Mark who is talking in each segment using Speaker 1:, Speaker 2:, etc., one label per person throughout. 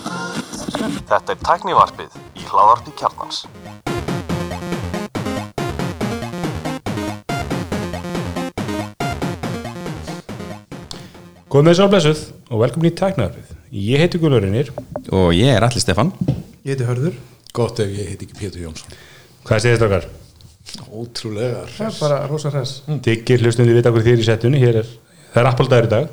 Speaker 1: Þetta er tæknivarpið í hláðarpi kjarnans.
Speaker 2: Góð með sálblessuð og velkomin í tæknaðarfið. Ég heiti Gunnar Reynir.
Speaker 3: Og ég er Alli Stefan
Speaker 4: Ég heiti Hörður
Speaker 5: Gott ef ég heiti ekki Pétur Jónsson
Speaker 2: Hvað séðist okkar?
Speaker 5: Ótrúlega
Speaker 4: Það er bara rosa hress
Speaker 2: Diggir hlustundi Mm. vita okkur þér í setjunni. Hér er, það er appaldagur í dag.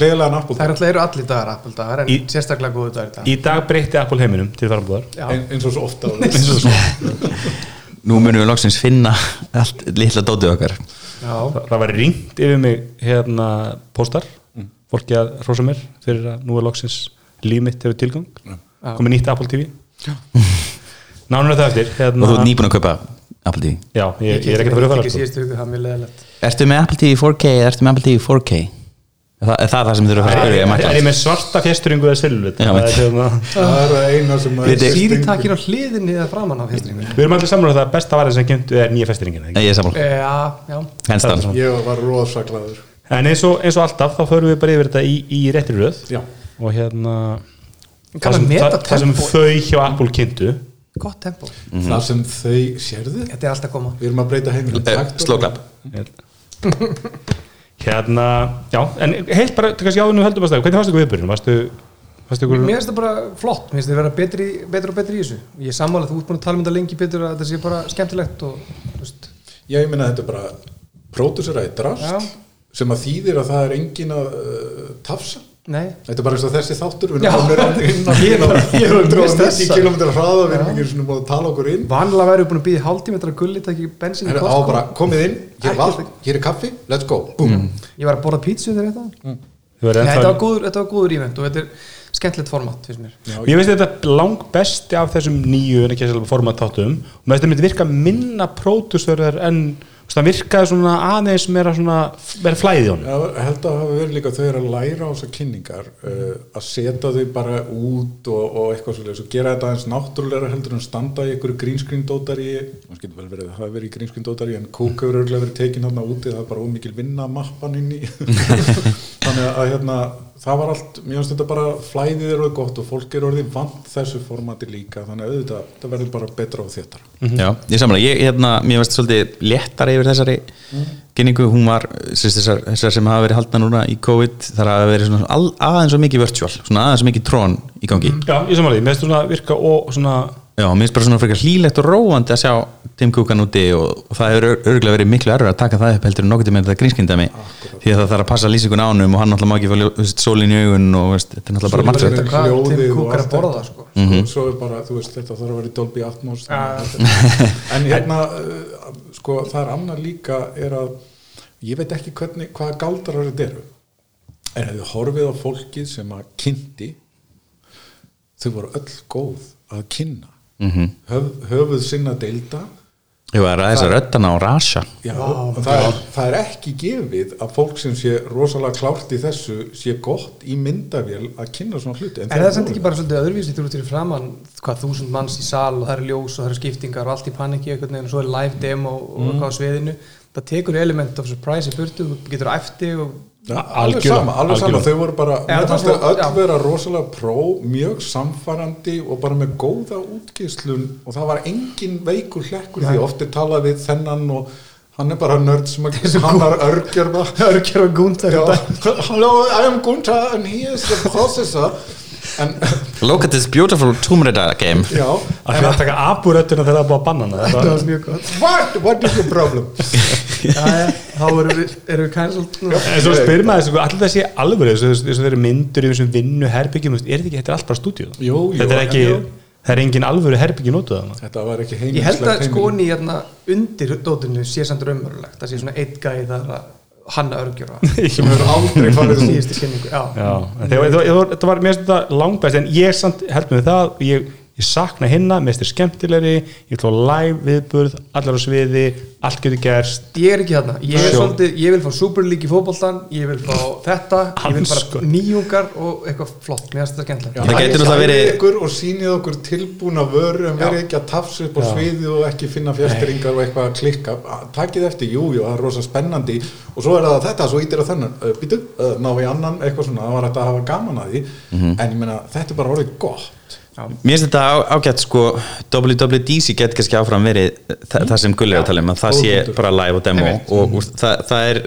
Speaker 5: Gleðilega náttúrulega
Speaker 4: Það er alltaf eru allir dagar appeldagar en
Speaker 2: Í-
Speaker 4: sérstaklega góðu dagar í dag
Speaker 2: Í dag breytti appal heiminum til farambúðar.
Speaker 4: Já,
Speaker 5: eins og svo ofta eins og svo
Speaker 3: Nú munum við loksins finna allt litla dótið okkar
Speaker 4: já,
Speaker 2: Það, það var ringt yfir mig hérna póstar. Fólki að hrósa mér fyrir að nú er loksins líf mitt hefur tilgang.
Speaker 4: Já.
Speaker 2: Komið nýtt Apple TV. Nánur það eftir.
Speaker 3: Og
Speaker 2: Hérna,
Speaker 3: þú ert nýbúin að kaupa Apple TV
Speaker 2: Já, ég, ég er
Speaker 4: keypti
Speaker 2: ekkert að
Speaker 4: mér
Speaker 2: fyrir að fara. sko.
Speaker 4: ekki síðustu viku, það er mjög leðilegt
Speaker 3: Ertu með Apple TV 4K eða ertu með Apple TV 4K? Er Það er það, það sem þú eru að fara að
Speaker 2: Sko. Er, er
Speaker 3: spyrja
Speaker 2: ég
Speaker 3: Michael?
Speaker 2: með svarta fjæsturingu eða silfur?
Speaker 3: Já,
Speaker 2: Það er
Speaker 3: mitt.
Speaker 2: hérna-
Speaker 5: Það er að eina sem að
Speaker 3: Viti-
Speaker 4: Stýritakir á hliðinni eða framan á fjastringu
Speaker 2: Við erum allir samlega það að besta varðin sem kynntu er nýja festiringin.
Speaker 3: Nei, Ég er sammála,
Speaker 4: Eh, Já, já,
Speaker 3: hands down
Speaker 5: Ég var rosaklaður
Speaker 2: En eins og, eins og alltaf þá förum við bara yfir þetta í, í réttri röð
Speaker 5: Já.
Speaker 2: og hérna
Speaker 4: Kann að
Speaker 2: sem,
Speaker 4: meta
Speaker 2: það, það sem
Speaker 4: tempóið.
Speaker 2: þau hjá Apple kynntu
Speaker 4: gott tempo
Speaker 3: Mhm.
Speaker 5: Það sem þau sérðu
Speaker 4: Þetta er alltaf að koma
Speaker 5: Við erum að breyta heiminum
Speaker 3: Eh,
Speaker 5: takt og-
Speaker 3: slow clap.
Speaker 2: hérna, já, en heilt bara, kannski áðunum höldum að stæða, hvernig fannst ykkur viðbyrjun? Varstu, fannst ykkur,
Speaker 4: Mér finnst það bara flott, mér finnst það vera betri, betur og betri í þessu Ég er sammála, þú ert búin að tala um þetta lengi betur að þetta sé bara skemmtilegt og, þú veist,
Speaker 5: Já, ég meina þetta er bara próduseraði
Speaker 4: Já.
Speaker 5: drast sem að þýðir að það er engin að uh, tafsa
Speaker 4: nei
Speaker 5: Þetta er bara eins og þessi þáttur Við
Speaker 4: Já.
Speaker 5: erum hérna komin inn á
Speaker 4: Ég er- ég er alveg
Speaker 5: 190
Speaker 4: stressað.
Speaker 5: km hraða Við erum ekki svona búin að tala okkur inn
Speaker 4: Vanlega væri búin að býða hálftímetra gulli takk í bensin
Speaker 5: Herra, á bara, komið inn, hér er vatn, hér er kaffi, let's go Búm.
Speaker 4: Ég var að borða pítsu þegar þetta
Speaker 2: þau verður
Speaker 4: Nei,
Speaker 2: ennþá-
Speaker 4: þetta var góður, þetta var góður ívent og þetta er skemmtilegt format finnst mér.
Speaker 2: Ég veist þetta lang besti af þessum nýju en ekki að forma tátum og með þetta myndi virka minna pródusörður en þú veist, það virkaði svona aðeins meira svona, meira flæði í honum
Speaker 5: Já, ég held að hafa verið líka að þau eru að læra á þessar kynningar uh, að setja þau bara út og, og eitthvað svolítið og gera þetta aðeins náttúrulega heldur en standa í einhverju grínskríndótari það getur vel verið að það hafa verið í grínskríndótari en kúk hefur örgulega verið tekin hann úti það er bara ómikil vinna mappan inn í þannig að hérna það var allt, mér finnst þetta bara flæðið er orðið gott og fólk er orðið vant þessu formati líka þannig að auðvitað, það verður bara betra og þéttara
Speaker 3: Já, ég er sammála, ég, hérna, mér varst svolítið léttar yfir þessari kynningu, hún var, sérst, þessar, þessar sem hafa verið haldna núna í COVID þar hafa verið svona al, aðeins og mikið virtual svona aðeins og mikið trón í gangi
Speaker 2: Já, ég samanlega, mér finnst svona virka og svona
Speaker 3: Já, mér finnst bara svona frekar hlýlegt og róandi að sjá Tim Cookan úti og, og það hefur ör- örugglega verið miklu erfur að taka það upp heldur en nokkuð með þetta grínskindami því að það þarf að passa lýsingun ánum og hann náttúrulega má ekki fá ljó- þú veist, sólin í augun og veist, þetta er náttúrulega bara margt
Speaker 5: Sólin í
Speaker 3: þetta
Speaker 5: augun.
Speaker 4: Hvað
Speaker 5: Hljóðið og
Speaker 4: Tim Cook er að
Speaker 5: allt
Speaker 4: borða
Speaker 5: þetta.
Speaker 4: sko.
Speaker 5: mm svo er bara, þú veist, þetta þarf að vera í Dolby Atmos þannig að- en hérna uh, sko, það er annað líka er að ég veit ekki hvernig, hvaða galdarar þetta eru en ef þið horfið á fólkið sem að kynnti þau voru öll góð að kynna -hmm. Höf, höfuð sinna deilda
Speaker 3: Jú, það er aðeins að röddana og rasa
Speaker 5: Já, það, er, það er ekki gefið að fólk sem sé rosalega klárt í þessu sé gott í myndavél að kynna svona hluti
Speaker 4: Er það
Speaker 5: þeir
Speaker 4: samt
Speaker 5: voru
Speaker 4: ekki bara svolítið öðruvísi þú eru til framann hvað þúsund manns í sal og það eru ljós og það eru skiptingar og allt í paniki einhvern veginn og svo er live demo
Speaker 5: Mhm.
Speaker 4: og mm. hvað á sviðinu það tekur element of surprise í burtu þú getur æfti og
Speaker 5: Ja, alveg
Speaker 2: Algjörlega,
Speaker 5: sama, alveg sama,
Speaker 2: algjörlega.
Speaker 5: þau voru bara
Speaker 4: Já,
Speaker 5: mér
Speaker 4: það
Speaker 5: fannst
Speaker 4: var-
Speaker 5: þau öll
Speaker 4: já.
Speaker 5: vera rosalega pró mjög samfarandi og bara með góða útgeislun og það var engin veikur hlekkur því oft er talað við þennan og hann er bara nörd sem að hann er örgjörða
Speaker 4: örgjör og gúndar
Speaker 5: Já, hello, I am Gunther and he is the processor en
Speaker 3: Look at this beautiful Tomb Raider game
Speaker 5: já
Speaker 2: að fyrir að taka aburöttuna þegar það er búið að banna hana
Speaker 4: það
Speaker 2: Þetta var-
Speaker 4: var mjög gott
Speaker 5: what, what is your problem
Speaker 4: Jæja, þá erum við, erum við cancelled núna.
Speaker 2: En svo spyrir maður þessu, allir það sé alvöru þessu, þessu, þessu þeir eru myndur í þessum vinnu herbyggjum, þú veist, er þetta ekki, þetta er allt bara stúdíu
Speaker 5: Jú, jú,
Speaker 2: Þetta er
Speaker 5: en
Speaker 2: ekki,
Speaker 5: jú.
Speaker 2: það er engin alvöru herbyggi notuð hana
Speaker 5: þetta var ekki
Speaker 4: ég held að
Speaker 5: heimilislegt
Speaker 4: skoni hérna undir dótinu sé samt raunverulegt það sé svona eitt gæði þar að hanna örgjör
Speaker 5: sem hefur aldrei farið út
Speaker 4: síðustu kynningu já.
Speaker 2: Já, en þegar- þetta var- þetta var, mér finnst þetta langbæst en ég samt held með það, ég, ég ég sakna hinna, mér styrir skemmtilegri ég ætla á live viðburð, allar á sviði allt getur gerst
Speaker 4: ég er ekki þarna, ég er
Speaker 2: Sjó.
Speaker 4: svolítið, ég vil fá Super League í fótboltan, ég vil fá þetta ég vil bara
Speaker 2: Andskot.
Speaker 4: nýjungar og eitthvað flott, mér finnst þetta skemmtilegt
Speaker 3: Það gæti náttúrulega verið-
Speaker 5: ykkur og sýnið okkur tilbúna vöru en verið ekki að tafsa upp á sviði og ekki finna fjastringar og eitthvað að klikka A- takið eftir, jú, jú, það er rosa spennandi og svo er það þetta, svo ítir að þennan uh, býtu, uh, ná í annan, eitthvað svona það var þetta að hafa gaman að því
Speaker 3: Mhm.
Speaker 5: en ég meina, þetta er bara orðið gott
Speaker 3: Mér finnst þetta á- ágætt sko WWDC get kannski áfram verið þa það sem Gulli er að tala um að það
Speaker 5: Góð
Speaker 3: sé
Speaker 5: punktur.
Speaker 3: bara live og demo
Speaker 5: Einmitt.
Speaker 3: og, og það, það, er,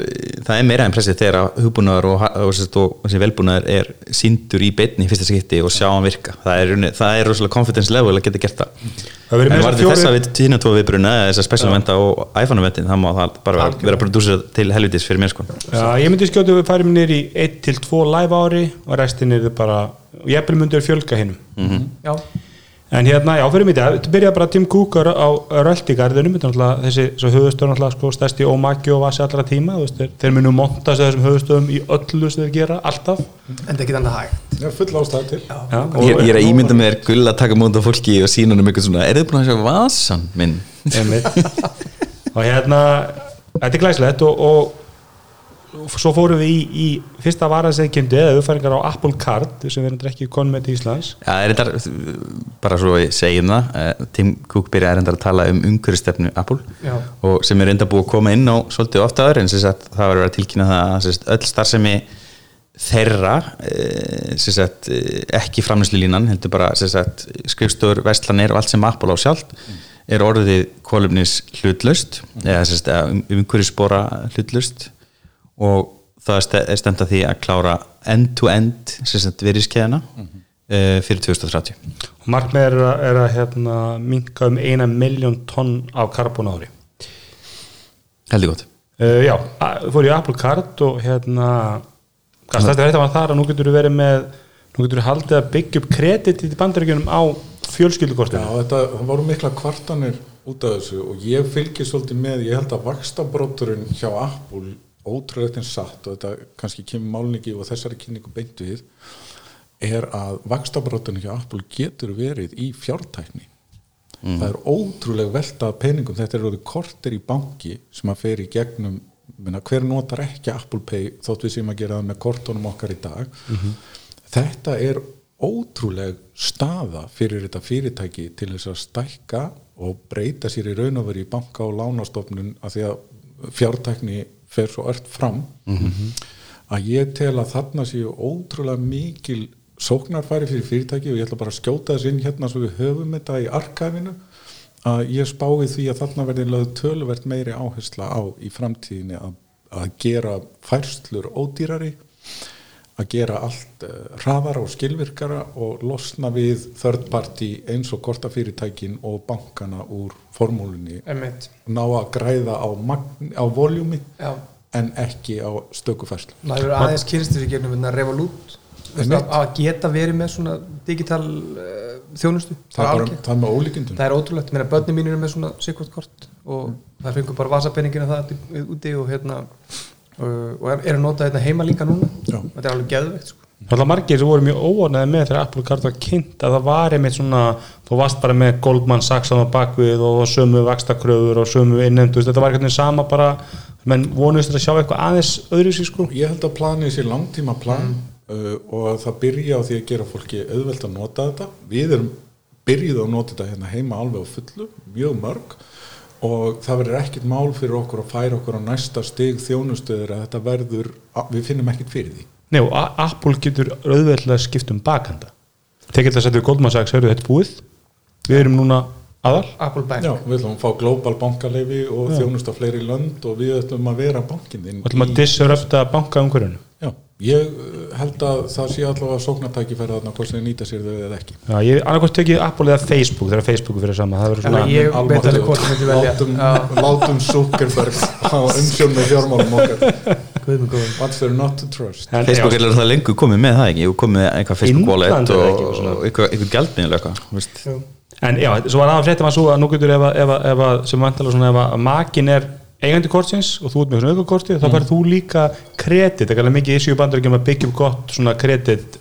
Speaker 3: það er meira impressið þegar að hugbúnaður og, ha- og, og, og, og velbúnaður er síndur í beinni í fyrsta skipti og sjá hann virka það er, í rauninni- það er rosalega confidence level að geta gert það
Speaker 2: Það verður meira
Speaker 3: en
Speaker 2: þess að
Speaker 3: var þetta þess
Speaker 2: fjórir-
Speaker 3: að við tína tvo viðbruna eða þess að special venda og iPhone vendin það má það bara vera, vera prodúsir til helvitis fyrir mér sko
Speaker 2: Já, ég myndi skjóta að við færum nýri í 1 til 2 live ári og restin er bara og ég eppil myndi að fjölga hinnum
Speaker 4: já,
Speaker 2: en hérna, já, fyrir mig þetta, þetta byrjaði bara Tim Cook á, á röldigarðinum þetta er náttúrulega þessi, svo höfustöður náttúrulega sko, stærsti ómaki og vasi allra tíma þú veist, þeir, þeir munu monta sig þessum höfustöðum í öllu sem þeir gera, alltaf
Speaker 4: en það er ekki þannig hægt
Speaker 5: það er full ástæða til já.
Speaker 2: já, og,
Speaker 3: Ég, ég er að ímynda með þér gull að taka múnd á fólki og sína hann um eitthvað svona, er þið búin að sjá vasan minn?
Speaker 2: Einmitt. og hérna þetta er glæslegt og, og, og svo fórum við í, í fyrsta varasegjumdi eða uppfæringar á Apple Card sem við erum ekki konum með til Íslands
Speaker 3: Já, er þetta, bara svo ég segjum það, eh, Tim Cook byrjaði reyndar að tala um umhverfstefnu Apple
Speaker 4: Já.
Speaker 3: og sem er reyndar búið að koma inn á svolítið ofta áður en sem sagt, það var að vera að tilkynna það að sem sagt, öll starfsemi þeirra eh, sem sagt, eh, ekki framlýslilínan, heldur bara sem sagt, skrifstöður, vestlanir og allt sem Apple á sjálft er orðið kolumnis hlutlaust eða sem sagt, umhverfspora hlutlaust og það er ste- er stemt að því að klára end-to-end sem sagt, veriðskeiðina eh, fyrir 2030
Speaker 2: og markmið er að, er að hérna, minka um eina miljón tonn af karbon á ári
Speaker 3: heldur gott
Speaker 2: uh, já, a- fór ég á Apple Card og hérna gastast þetta var þar að nú getur þú verið með nú getur þú haldið að byggja upp kredit í bandaríkjunum á fjölskyldukortinu
Speaker 5: þetta, það voru mikla kvartanir út af þessu og ég fylgir svolítið með, ég held að vakstabrotturinn hjá Apple ótrúlegt en satt og þetta kannski kemur málningi og þessari kynningu beint við er að vakstabrotturinn hjá Apple getur verið í fjártækni það er ótrúleg velta af peningum, þetta er orðið kortir í banki sem að fer í gegnum minna, hver notar ekki Apple Pay þótt við sem að gera það með kortunum okkar í dag þetta er ótrúleg staða fyrir þetta fyrirtæki til þess að stækka og breyta sér í raun og veri í banka og lánastofnun af því að fjártækni fer svo ört fram að ég tel að þarna séu ótrúlega mikil sóknarfæri fyrir fyrirtæki og ég ætla bara að skjóta þess inn hérna svo við höfum þetta í arkæfinu að ég spái því að þarna verði lögð töluvert meiri áhersla á í framtíðinni að, að gera færslur ódýrari að gera allt uh, hraðara og skilvirkara og losna við third party eins og kortafyrirtækin og bankana úr formúlunni
Speaker 4: emmitt,
Speaker 5: ná að græða á, magn, á voljúmi
Speaker 4: já
Speaker 5: en ekki á stöku færslu
Speaker 4: Það hefur aðeins kynst þessu gegnum hérna Revolut
Speaker 5: Einmitt.
Speaker 4: að að geta verið með svona digital uh, þjónustu
Speaker 5: það er, bara,
Speaker 4: algjört.
Speaker 5: það er með ólíkindum
Speaker 4: það er ótrúlegt, mér að börni mínu er með svona sikkort kort og það fengur bara vasapenningina það til- úti og hérna uh, og er, er að nota þetta heima líka núna
Speaker 5: Já.
Speaker 4: þetta er alveg geðveikt sko.
Speaker 2: Það var margir sem voru mjög óanæði með þegar Apple Card var kynnt að það var einmitt svona, þú varst bara með Goldman Sachs á bakvið og sömu vakstakröfur og sömu innendu, þetta var eitthvað sama bara, menn vonuðist þetta að sjá eitthvað aðeins öðru sig sko.
Speaker 5: ég held að planið sé langtíma plan uh, og að það byrja á því að gera fólki auðvelt að nota þetta við erum byrjuð að nota þetta hérna heima alveg á fullu, mjög mörg og það verður ekkit mál fyrir okkur að færa okkur á næsta stig þjónustöður að þetta verður, að, við finnum ekkit fyrir því
Speaker 2: Nei og A- Apple getur auðveldlega skipt um bakhanda. Þeir geta að setja við Goldman Sachs, hörðu þetta er búið, við erum núna aðal.
Speaker 4: Apple Bank
Speaker 5: Já, við ætlum að fá global bankaleifi og þjónusta fleiri lönd og við ætlum að vera bankin þinn
Speaker 2: Við ætlum að disrupta banka umhverjunum.
Speaker 5: Já, ég uh, held að það sé allavega sóknartækifæri þarna hvort sem þið nýta sér þau eða ekki
Speaker 2: Já, ég annarkvæmt tekið Apple eða Facebook þegar Facebook fyrir sama, það verður
Speaker 4: Já,
Speaker 2: svona...
Speaker 4: ég veit alveg hvort ég myndi velja
Speaker 5: Látum,
Speaker 4: Já,
Speaker 5: látum Zuckerberg á umsjón með fjármálum okkar
Speaker 4: guð minn góður.
Speaker 5: What's there not to trust
Speaker 2: En-
Speaker 3: Facebook er það lengur komið með það ekki og komið með eitthvað
Speaker 2: Indland
Speaker 3: Facebook wallet
Speaker 2: eða
Speaker 3: og,
Speaker 2: ekki, og svona.
Speaker 3: og eitthvað, eitthvað gjaldmiðl eitthvað þú veist.
Speaker 2: En já, svo var aðan fréttum að svo að nú getur ef, að- ef, að- ef, að- sem vantala svona ef að makin er eigandi kortsins og þú ert með svona aukakorti þá færð þú líka kredit, það er alveg mikið issue bandur ekki um að byggja upp gott svona kredit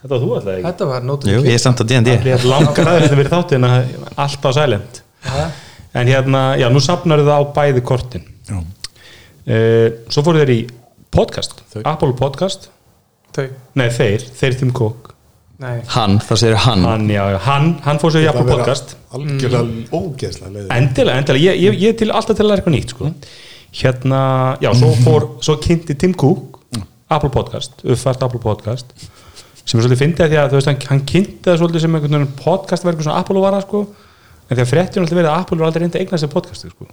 Speaker 2: Þetta var þú alltaf ekki
Speaker 4: Þetta var nótum
Speaker 3: Jú, ég er samt á D&D
Speaker 2: Ég hef langar aðeins þetta verið þáttina alltaf sælend En hérna, já, nú safnar það á bæði kortin
Speaker 5: Já.
Speaker 2: uh, Svo fóru þeir í podcast
Speaker 5: Þau.
Speaker 2: Apple podcast
Speaker 4: Þau,
Speaker 2: Nei, þeir, þeir Tim Cook
Speaker 4: nei
Speaker 3: Hann, þá segir hann
Speaker 2: Hann, já, já, hann, hann fór sér í
Speaker 5: Það
Speaker 2: Apple
Speaker 5: vera
Speaker 2: podcast
Speaker 5: algjörlega
Speaker 4: Mm.
Speaker 5: ógeðslega leiðið
Speaker 2: Endilega, endilega, ég, ég, ég er til alltaf til að læra eitthvað nýtt sko. Hérna, já, svo fór svo kynnti Tim Cook Apple Podcast, uppfært Apple Podcast sem er svolítið fyndið að því að þú veist hann, hann kynnti það svolítið sem einhvern veginn podcast verður svona Apple vara sko en því að fréttjum alltaf verið að Apple var aldrei reyndi að eigna sér podcasti sko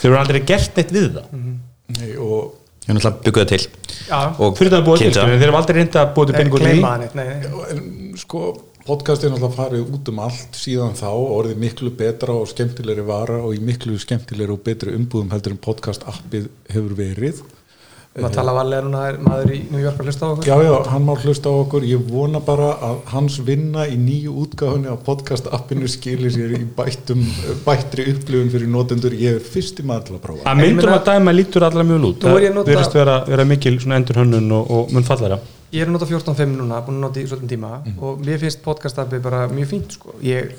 Speaker 2: þau eru aldrei gert neitt við það
Speaker 5: Nei, og,
Speaker 3: Ég er náttúrulega byggðu það til
Speaker 4: Já,
Speaker 3: og
Speaker 2: fyrir það að búa til sko,
Speaker 3: kynnta.
Speaker 2: en þeir eru aldrei reyndi að búa til
Speaker 4: Nei,
Speaker 2: peningur í
Speaker 4: gleyma hann eitt, nei, nei
Speaker 5: og en, sko, podcastin alltaf farið út um allt síðan þá og orðið miklu betra og skemmtilegri vara og í miklu skemmtilegri og betri umbúðum heldur en podcast appið hefur verið
Speaker 4: Maður tala varlega núna, það er maður í New York að hlusta á okkur
Speaker 5: Já, já, hann má hlusta á okkur ég vona bara að hans vinna í nýju útgáfunni á podcast appinu skilir sér í bættum, bættri upplifun fyrir notendur, ég er fyrsti maður til að prófa
Speaker 2: að myndur
Speaker 4: meina-
Speaker 2: að dæma lítur allar mjög lút
Speaker 4: Nú er
Speaker 2: það
Speaker 4: ég að nota-
Speaker 2: verðist vera, vera mikil endur hönnun og, og mun fallara
Speaker 4: Ég er að nota 14.5 núna, búin að nota í svolítið tíma
Speaker 2: Mhm.
Speaker 4: og mér finnst podcastafið bara mjög fínt sko. ég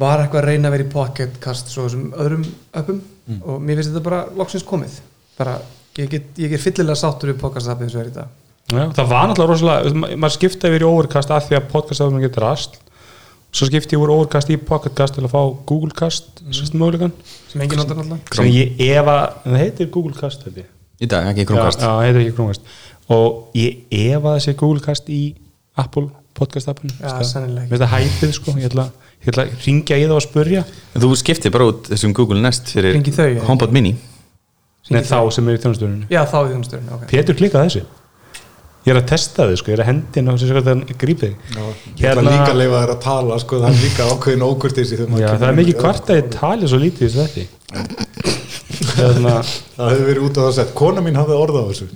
Speaker 4: var eitthvað að reyna að vera í pocketcast svo þessum öðrum öppum
Speaker 2: Mhm.
Speaker 4: og mér finnst þetta bara loksins komið bara, ég, get, ég er fyllilega sáttur við podcastafið eins og er í dag
Speaker 2: Já, það var náttúrulega rosalega, ma- maður skipta yfir í overcast af því að podcastafnum getur rast svo skipti ég úr overcast í pocketcast til að fá googlecast,
Speaker 4: Mm.
Speaker 2: sérst mögulegan
Speaker 4: sem engin notar náttúrulega
Speaker 2: sem ég efa en það heitir googlecast held ég.
Speaker 3: Í dag, ekki
Speaker 2: já,
Speaker 3: krumkast
Speaker 2: já, það heitir ekki chromecast og ég efa þessi googlecast í Apple podcast appinu
Speaker 4: Já, sennilega ekki.
Speaker 2: mér finnst það hæpið sko, ég ætla, ég ætla að ringja í það og spurja
Speaker 3: Þú skiptir bara út þessum Google Nest fyrir
Speaker 4: Hringi þau, eða?
Speaker 3: HomePod Mini
Speaker 2: Nei, þá sem er í þjónastöðuninu
Speaker 4: Já, þá í þjónusturinn, ok
Speaker 2: Pétur klikkað þessu ég er að testa þið sko, ég er að hendin og sér hvernig það grípið
Speaker 5: Já, ég ætla
Speaker 2: Hérna-
Speaker 5: líka að leifa þær að tala sko, það er líka ákveðin ókurtis
Speaker 2: Já, það er mikið kvartaði talið svo lítið þessu Hérna, þetta Þannig að
Speaker 5: Það hefði verið út á það sett, kona mín hafði orðað á þessu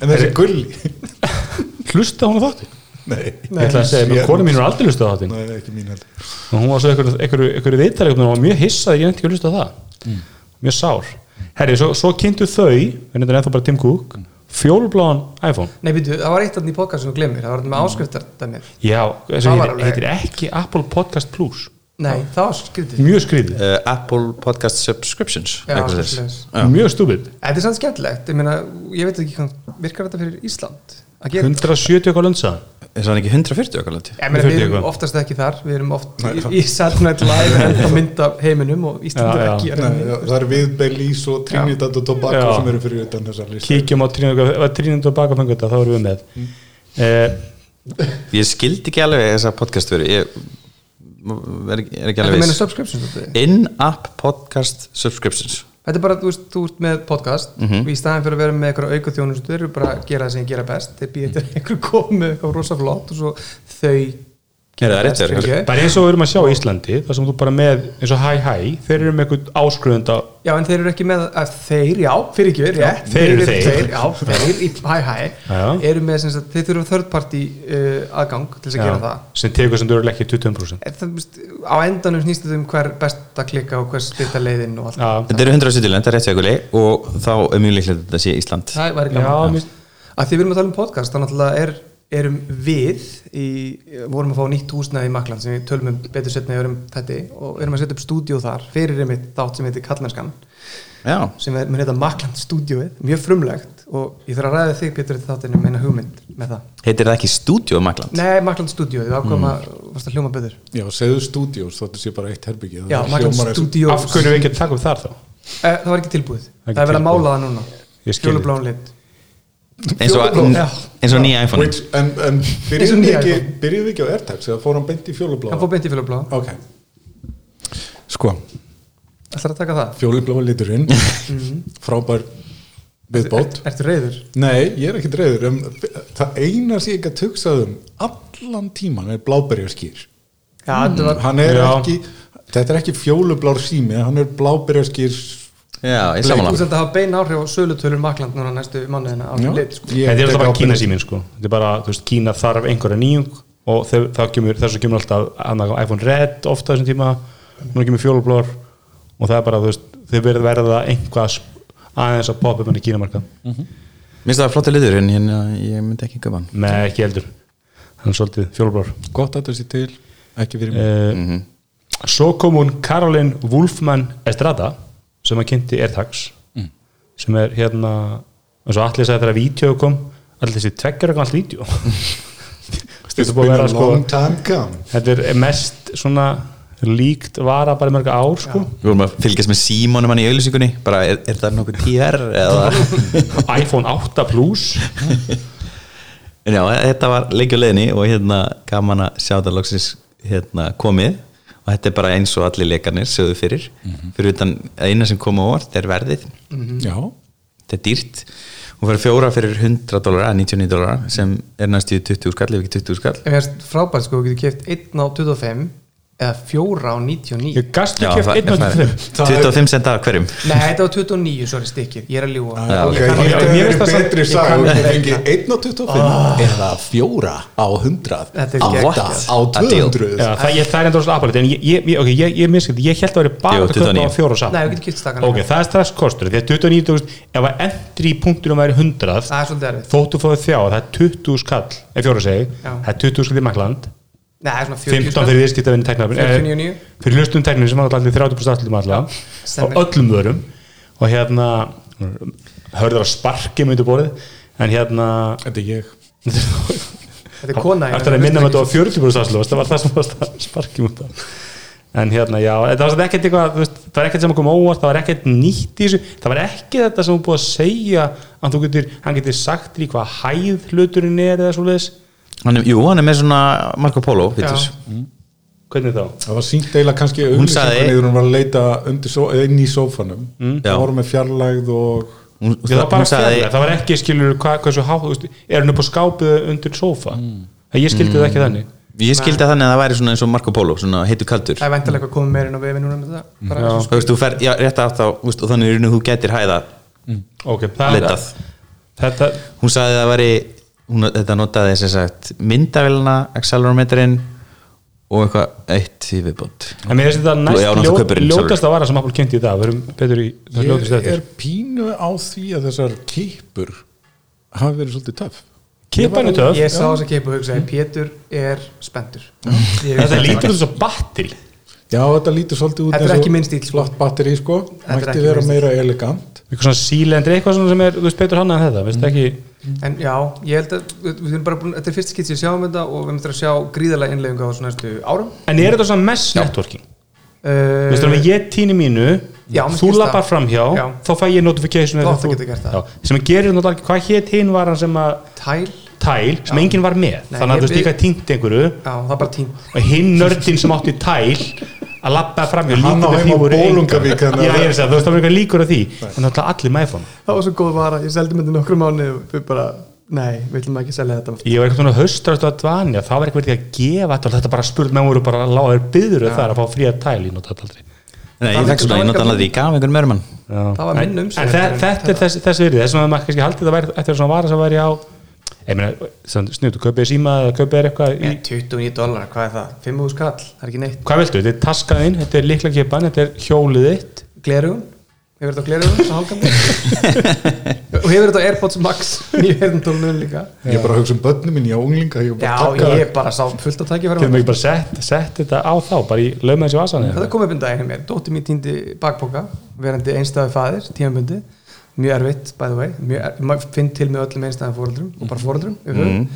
Speaker 5: En þessi gulli
Speaker 2: hlusta hún á þáttin
Speaker 5: Nei,
Speaker 2: Ég ætla að segja, menn konu mín var aldrei hlusta á þáttin
Speaker 5: Nei, ekki mín heldur
Speaker 2: og hún var svo einhverju- einhverju einhverju viðtali og hún var mjög hissað, ég nefndi ekki að hlusta á það mjög sár Herri, svo, svo kynntu þau, en þetta er ennþá bara Tim Cook fjólbláðan iPhone
Speaker 4: Nei, býtu, það var eitt af í podcast sem þú glemir það var þetta
Speaker 2: Mhm.
Speaker 4: með áskriftar
Speaker 2: Já, þessi
Speaker 4: Það
Speaker 2: heitir,
Speaker 4: var alveg-
Speaker 2: heitir ekki Apple Podcast Plus
Speaker 4: Nei, það var skrítið
Speaker 2: mjög skrýðið,
Speaker 3: uh, Apple Podcast Subscriptions
Speaker 4: Já,
Speaker 3: eitthvað
Speaker 4: svoleiðis.
Speaker 3: svoleiðis.
Speaker 2: mjög stúbid
Speaker 4: Þetta er samt skemmtilegt, ég meina, ég veit ekki hvað virkar þetta fyrir Ísland að gera
Speaker 2: 170 eitthvað löndsaðan
Speaker 3: Er það ekki 140 okkar langt?
Speaker 4: Ég meina, við
Speaker 2: 40
Speaker 4: erum
Speaker 2: eitthvað.
Speaker 4: oftast ekki þar, við erum oft í, í Saturnight Live en að mynda heiminum og Ísland
Speaker 2: Já,
Speaker 4: er
Speaker 2: já.
Speaker 4: ekki
Speaker 5: Nei, já, það er við Belís og Trinidad og Tobago
Speaker 2: Já.
Speaker 5: sem eru fyrir utan þessar listu
Speaker 2: kíkjum á trínundu og baka fengur þetta, þá erum við með mm.
Speaker 3: Ég skildi ekki alveg þessa podcast verið Ég er, ekki- er ekki
Speaker 4: Þetta
Speaker 3: alveg
Speaker 4: meina
Speaker 3: viss
Speaker 4: subscription svolítið.
Speaker 3: In-app podcast subscriptions
Speaker 4: Þetta er bara, þú veist, þú ert með podcast
Speaker 3: Mhm.
Speaker 4: og í staðin fyrir að vera með eitthvað auka þjónum þú eru bara að gera það sem ég gera best þeir býða
Speaker 3: Mhm.
Speaker 4: til að einhver kom með eitthvað rosa flott og svo þau
Speaker 3: Er það rétt
Speaker 4: fyrir
Speaker 3: verið?
Speaker 4: ég.
Speaker 2: bara eins og við erum að sjá í Íslandi þar sem þú bara með eins og hæ hæ þeir eru með einhvern áskruðunda
Speaker 4: Já, en þeir eru ekki með, að þeir, já, fyrir ekki verið, rétt
Speaker 2: þeir eru þeir.
Speaker 4: Já, þeir, í, hæ, hæ,
Speaker 2: Já.
Speaker 4: eru með, sem sagt, þeir þurfa third party uh, aðgang til þess að gera það
Speaker 2: sem tekur sem þú eru ekki 20%
Speaker 4: Er það, þú veist, á endanum snýst þetta um hver best að klikka og hver styrta leiðin og allt
Speaker 2: já,
Speaker 3: Þetta eru 170 lönd, það er rétt seguli og þá er mjög líklegt að þetta sé Ísland
Speaker 4: það væri
Speaker 2: já,
Speaker 4: gaman
Speaker 2: mér-
Speaker 4: að því við erum að tala um podcast þá náttúrulega er, erum við í, vorum að fá nýtt húsnaði í Makland sem við tölum um betur setna í örum þetta og erum að setja upp stúdíó þar fyrir einmitt þátt sem heitir Kallmennskan
Speaker 3: Já,
Speaker 4: sem er, mér heita Makland stúdíóið mjög frumlegt og ég þarf að ræða þig Pétur eftir þáttinn um eina hugmynd með það
Speaker 3: heitir það ekki Studio Magland?
Speaker 4: Nei, Makland stúdíóið, við
Speaker 2: Mm.
Speaker 4: ákvæmum að, varst að hljóma betur
Speaker 5: Já, segðu stúdíós, þetta sé bara eitt herbyggi
Speaker 4: Já, Makland stúdíó
Speaker 2: af hverju við ekki að taka upp þar þá
Speaker 4: Eh, Það var ekki tilbúið,
Speaker 2: Það er ekki
Speaker 4: það er
Speaker 2: tilbúið.
Speaker 4: verið að mála það núna
Speaker 2: Ég skil þig.
Speaker 4: Fjólubláan lit
Speaker 3: Eins og,
Speaker 4: Fjólublátt. Já.
Speaker 3: eins og nýja iPhone
Speaker 5: Which, En, en
Speaker 4: Eins og
Speaker 5: byrjuðu
Speaker 4: nýja
Speaker 5: ekki,
Speaker 4: iPhone.
Speaker 5: byrjuðu ekki á AirTags eða fór hann beint í
Speaker 4: Hann
Speaker 5: fjólubláa
Speaker 4: fór beint í fjólubláan
Speaker 5: Ok Sko,
Speaker 4: Það er að taka það
Speaker 5: fjólubláa liturinn frábær viðbót
Speaker 4: Ertu reyður?
Speaker 5: Nei, ég er ekki dreður um, það eina sem ég ekki að tugsað um allan tíman er bláberjaskýr
Speaker 4: Já, þetta var
Speaker 5: hann er
Speaker 2: Já.
Speaker 5: ekki þetta er ekki fjólublár sími hann er bláberjaskýr
Speaker 3: Já, ég
Speaker 4: Þú
Speaker 3: samanlega
Speaker 4: sem þetta hafa bein áhrif á sölutölur Makland núna næstu mánuðina á lit sko.
Speaker 2: þetta er alltaf bara Kína síminn sko þetta er bara, þú veist, Kína þarf einhverja nýjung og þeir, það kemur, þessu kemur alltaf annað, iPhone Red ofta þessum tíma núna kemur fjólublór og það er bara, þú veist, þeir verða verða einhvað aðeins að poppa upp henni Kínamarkað
Speaker 3: Mér finnst það flottir liður en hérna, ég myndi ekki köpa hann
Speaker 2: Nei, ekki heldur hann er svolítið fjólblár
Speaker 5: gott að þetta sé til, ekki fyrir mig
Speaker 2: uh, Svo kom hún Karolin Wolfman Estrada sem að kynnti Airtags
Speaker 3: Mm.
Speaker 2: sem er hérna eins og allir sagði þegar að vídeo kom allir þessi tveggjur og allt vídeo Þetta er búið að vera sko
Speaker 6: long time come
Speaker 2: þetta er mest svona líkt vara bara í mörg ár sko
Speaker 3: Við vorum að fylgjast með símanum hann í auðlýsingunni bara er, er það nokkuð PR eða
Speaker 2: iPhone 8 Plus
Speaker 3: En já, þetta var leikjuleginni og hérna gaman að sjá þetta loksins hérna komið og þetta er bara eins og allir leikarnir sögðu fyrir fyrir utan að eina sem kom á orð er verðið,
Speaker 4: Mhm.
Speaker 5: já,
Speaker 3: þetta er dýrt hún fyrir fjóra fyrir 100 dólara 99 dólara sem er næstu í 20 skall ef ekki 20 skall
Speaker 4: En mér finnst frábært sko, þú getur keft 1 á 25 eða 4 á 99
Speaker 2: Ég gastu
Speaker 3: Já,
Speaker 2: ekki
Speaker 3: það-
Speaker 2: eftir 1.5
Speaker 6: Það er-
Speaker 3: 25 cent af hverjum
Speaker 4: Nei, þetta var 29, sorry, stikkið, ég er að ljúga
Speaker 6: Já,
Speaker 2: Ah,
Speaker 6: ok,
Speaker 4: Ég kann-
Speaker 6: þetta er
Speaker 4: ég- ég-
Speaker 6: betri
Speaker 4: ég
Speaker 6: sag Þú
Speaker 4: kann-
Speaker 6: fengið 1 á 25 eða 4 á 100
Speaker 4: Ah. Þetta er
Speaker 6: á
Speaker 4: geggjað.
Speaker 6: 8 á
Speaker 3: A deal.
Speaker 6: 200
Speaker 2: Já, það, ég, það er endur svona apalít en ég, ég, ég- ok, ég, ég miskildi, ég held að vera bara
Speaker 3: Jú,
Speaker 2: að köpa á
Speaker 3: 29.
Speaker 2: fjóra og samt
Speaker 4: Nei, við getum keypt stakkan.
Speaker 2: ok, það er strax kostur því að 29.000, ef að endri í punktunum væri 100
Speaker 4: Það er svolítið erfið
Speaker 2: þóttu fóðu þjá, það er 20 skall ef fjóra segi,
Speaker 4: Já.
Speaker 2: það er 20 skall í Makland
Speaker 4: Nei, svona 40
Speaker 2: 15 fyrir viðskiptavinni teknarfinn
Speaker 4: 49.
Speaker 2: fyrir hlustum teknarfinn sem var allir 30% aftlum allan
Speaker 4: Sem
Speaker 2: og
Speaker 4: er-
Speaker 2: öllum vörum og hérna hörður að sparki mjög borðið en hérna
Speaker 5: þetta er ég
Speaker 4: Þetta er kona
Speaker 2: eftir að minna með þetta á 40% afslúst það var það sem var sparkið út af en hérna já, þetta var samt ekkert eitthvað þú veist, það var ekkert sem kom óvart, það var ekkert nýtt í þessu það var ekki þetta sem hún búið að segja að þú getur, hann getur sagt þér í hvað hæð hluturinn er eða svoleiðis
Speaker 3: hann er, Jú, hann er með svona Marco Polo
Speaker 4: Já.
Speaker 3: vitus.
Speaker 2: hvernig þá?
Speaker 5: það var sínt eiginlega kannski
Speaker 3: sagði-
Speaker 5: auðlýsingunni þegar hún var að leita undir so inn í sófanum mm.
Speaker 3: Já.
Speaker 5: það voru með fjarlægð og
Speaker 3: Hún-
Speaker 2: Já, það var
Speaker 3: hún
Speaker 2: bara
Speaker 3: sagði-
Speaker 2: fjarlæg, það var ekki skilur hvað, hversu há, þú veist, er hann upp á skápið undir sófa,
Speaker 3: Mm.
Speaker 2: það ég skildi það ekki þannig
Speaker 3: Ég skildi að þannig að það væri svona eins og Marco Polo svona heitu kaldur
Speaker 4: Það er vantilega eitthvað komið meira inn á vefi núna með þetta bara eins og
Speaker 3: Þú veist, þú fer, já, rétt átt á, þú veist, og þannig er unni þú getur hæða
Speaker 2: ok, það
Speaker 3: leitað
Speaker 2: þetta,
Speaker 3: hún sagði að það væri hún, þetta notaði sem sagt myndavélina accelerometrin og eitthvað eitt í viðbót
Speaker 2: en mér finnst þetta
Speaker 3: Þú- já, náttúrulega
Speaker 2: næst
Speaker 3: kaupirinn sjálfur.
Speaker 2: ljótast að vara sem Apple kynnti í dag, við erum betur í það
Speaker 5: ég
Speaker 2: ljótast
Speaker 5: er
Speaker 2: eftir
Speaker 5: pínu á því að þessar kippur hafi verið svolítið töff
Speaker 2: kipan er
Speaker 4: Ég
Speaker 2: töf,
Speaker 4: sá þess að keipa og hugsaði, Pétur er spendur Ég-
Speaker 2: þetta lítur út svo batteri
Speaker 5: já, þetta lítur svolítið út
Speaker 4: Þetta er
Speaker 5: eins og
Speaker 4: ekki minn stíll, sko.
Speaker 5: flott batteri sko,
Speaker 4: er
Speaker 5: mætti
Speaker 4: ekki
Speaker 5: vera
Speaker 4: minn stíll.
Speaker 5: meira elegant
Speaker 2: eitthvað svona sílendri, eitthvað svona sem er, þú veist, betur hann að þetta
Speaker 4: Mm.
Speaker 2: veist ekki,
Speaker 4: En já, ég held að við við erum bara búin, þetta er fyrst skitt sem ég sjáum þetta og við myndum að sjá gríðarlega innlegginga á þessu næstu árum
Speaker 2: en er þetta svona mess networking, þú veist,
Speaker 4: uh,
Speaker 2: þannig að ég tíni mínu
Speaker 4: Já, mér
Speaker 2: þú
Speaker 4: skilst það.
Speaker 2: lappar framhjá,
Speaker 4: Já.
Speaker 2: þá fæ ég notification
Speaker 4: Þú
Speaker 2: eða
Speaker 4: átt að geta gert það.
Speaker 2: Já, sem gerir náttúrulega ekki, hvað hétt hinn var hann sem að
Speaker 4: Tæl,
Speaker 2: tæl sem enginn var með
Speaker 4: Nei,
Speaker 2: þannig að
Speaker 4: ég
Speaker 2: þú veist
Speaker 4: við-
Speaker 2: líka týnt einhverju
Speaker 4: já, það er bara tím
Speaker 2: og hinn nördin sem átti tæl að labba fram hjá
Speaker 5: Hann á
Speaker 2: líkur að
Speaker 5: heima
Speaker 2: því
Speaker 5: á
Speaker 2: voru
Speaker 5: Bolungarvík,
Speaker 2: engar.
Speaker 5: þannig að-
Speaker 2: Já, ég er að segja, þú veist það var eitthvað líkur að því en náttúrulega allir með iPhone
Speaker 4: Það var svo góð vara, ég seldi myndi nokkru mánu og við bara, nei, við ætlum ekki að selja þetta
Speaker 2: ég var eitthvað svona höstrætt að dvanja það var eitthvað verið að gefa þetta þetta bara spurt með voru bara að lága þér byður það er að fá fría tæl í nota þetta aldrei
Speaker 3: Nei, ég
Speaker 4: Það
Speaker 3: fekk svona,
Speaker 4: var
Speaker 3: ég notaði
Speaker 4: eitthvað-
Speaker 3: hann að því, gaf einhvern mörmann
Speaker 4: Það var um
Speaker 2: En-
Speaker 4: minn umsvif
Speaker 2: en þe-
Speaker 4: en
Speaker 2: þetta er
Speaker 4: þetta.
Speaker 2: þess, þess virði þess að maður kannski haldið að væri eftir svona vara sem væri á ég meina snutu kaupið síma eða kaupið er eitthvað í,
Speaker 4: Nei, 29 dólar, hvað er það? 5.000 skall, það er ekki neitt
Speaker 2: hvað viltu, þetta er taskaðinn þetta er liklakipan, þetta er hjólið þitt
Speaker 4: Glerugun, hefur þetta á glerugun, svo hálfgan Og hefur þetta á AirPods Max, nýju herndólunum líka
Speaker 5: ég er bara að hugsa um börnum minni á unglinga ég er bara
Speaker 4: Já,
Speaker 5: að taka-
Speaker 4: ég bara sá fullt að tækja
Speaker 2: Getum við ekki bara sett, sett þetta á þá bara í lögmaðins í vasan
Speaker 4: Þetta kom upp en daginn hjá mér, dóttir mín týndi bakpoka, verandi einstæðu fæðir, tímabundi, mjög erfitt, by the way, mjög er, maður finn til með öllum einstæðum fóröldrum og bara fóröldrum yfir höfuð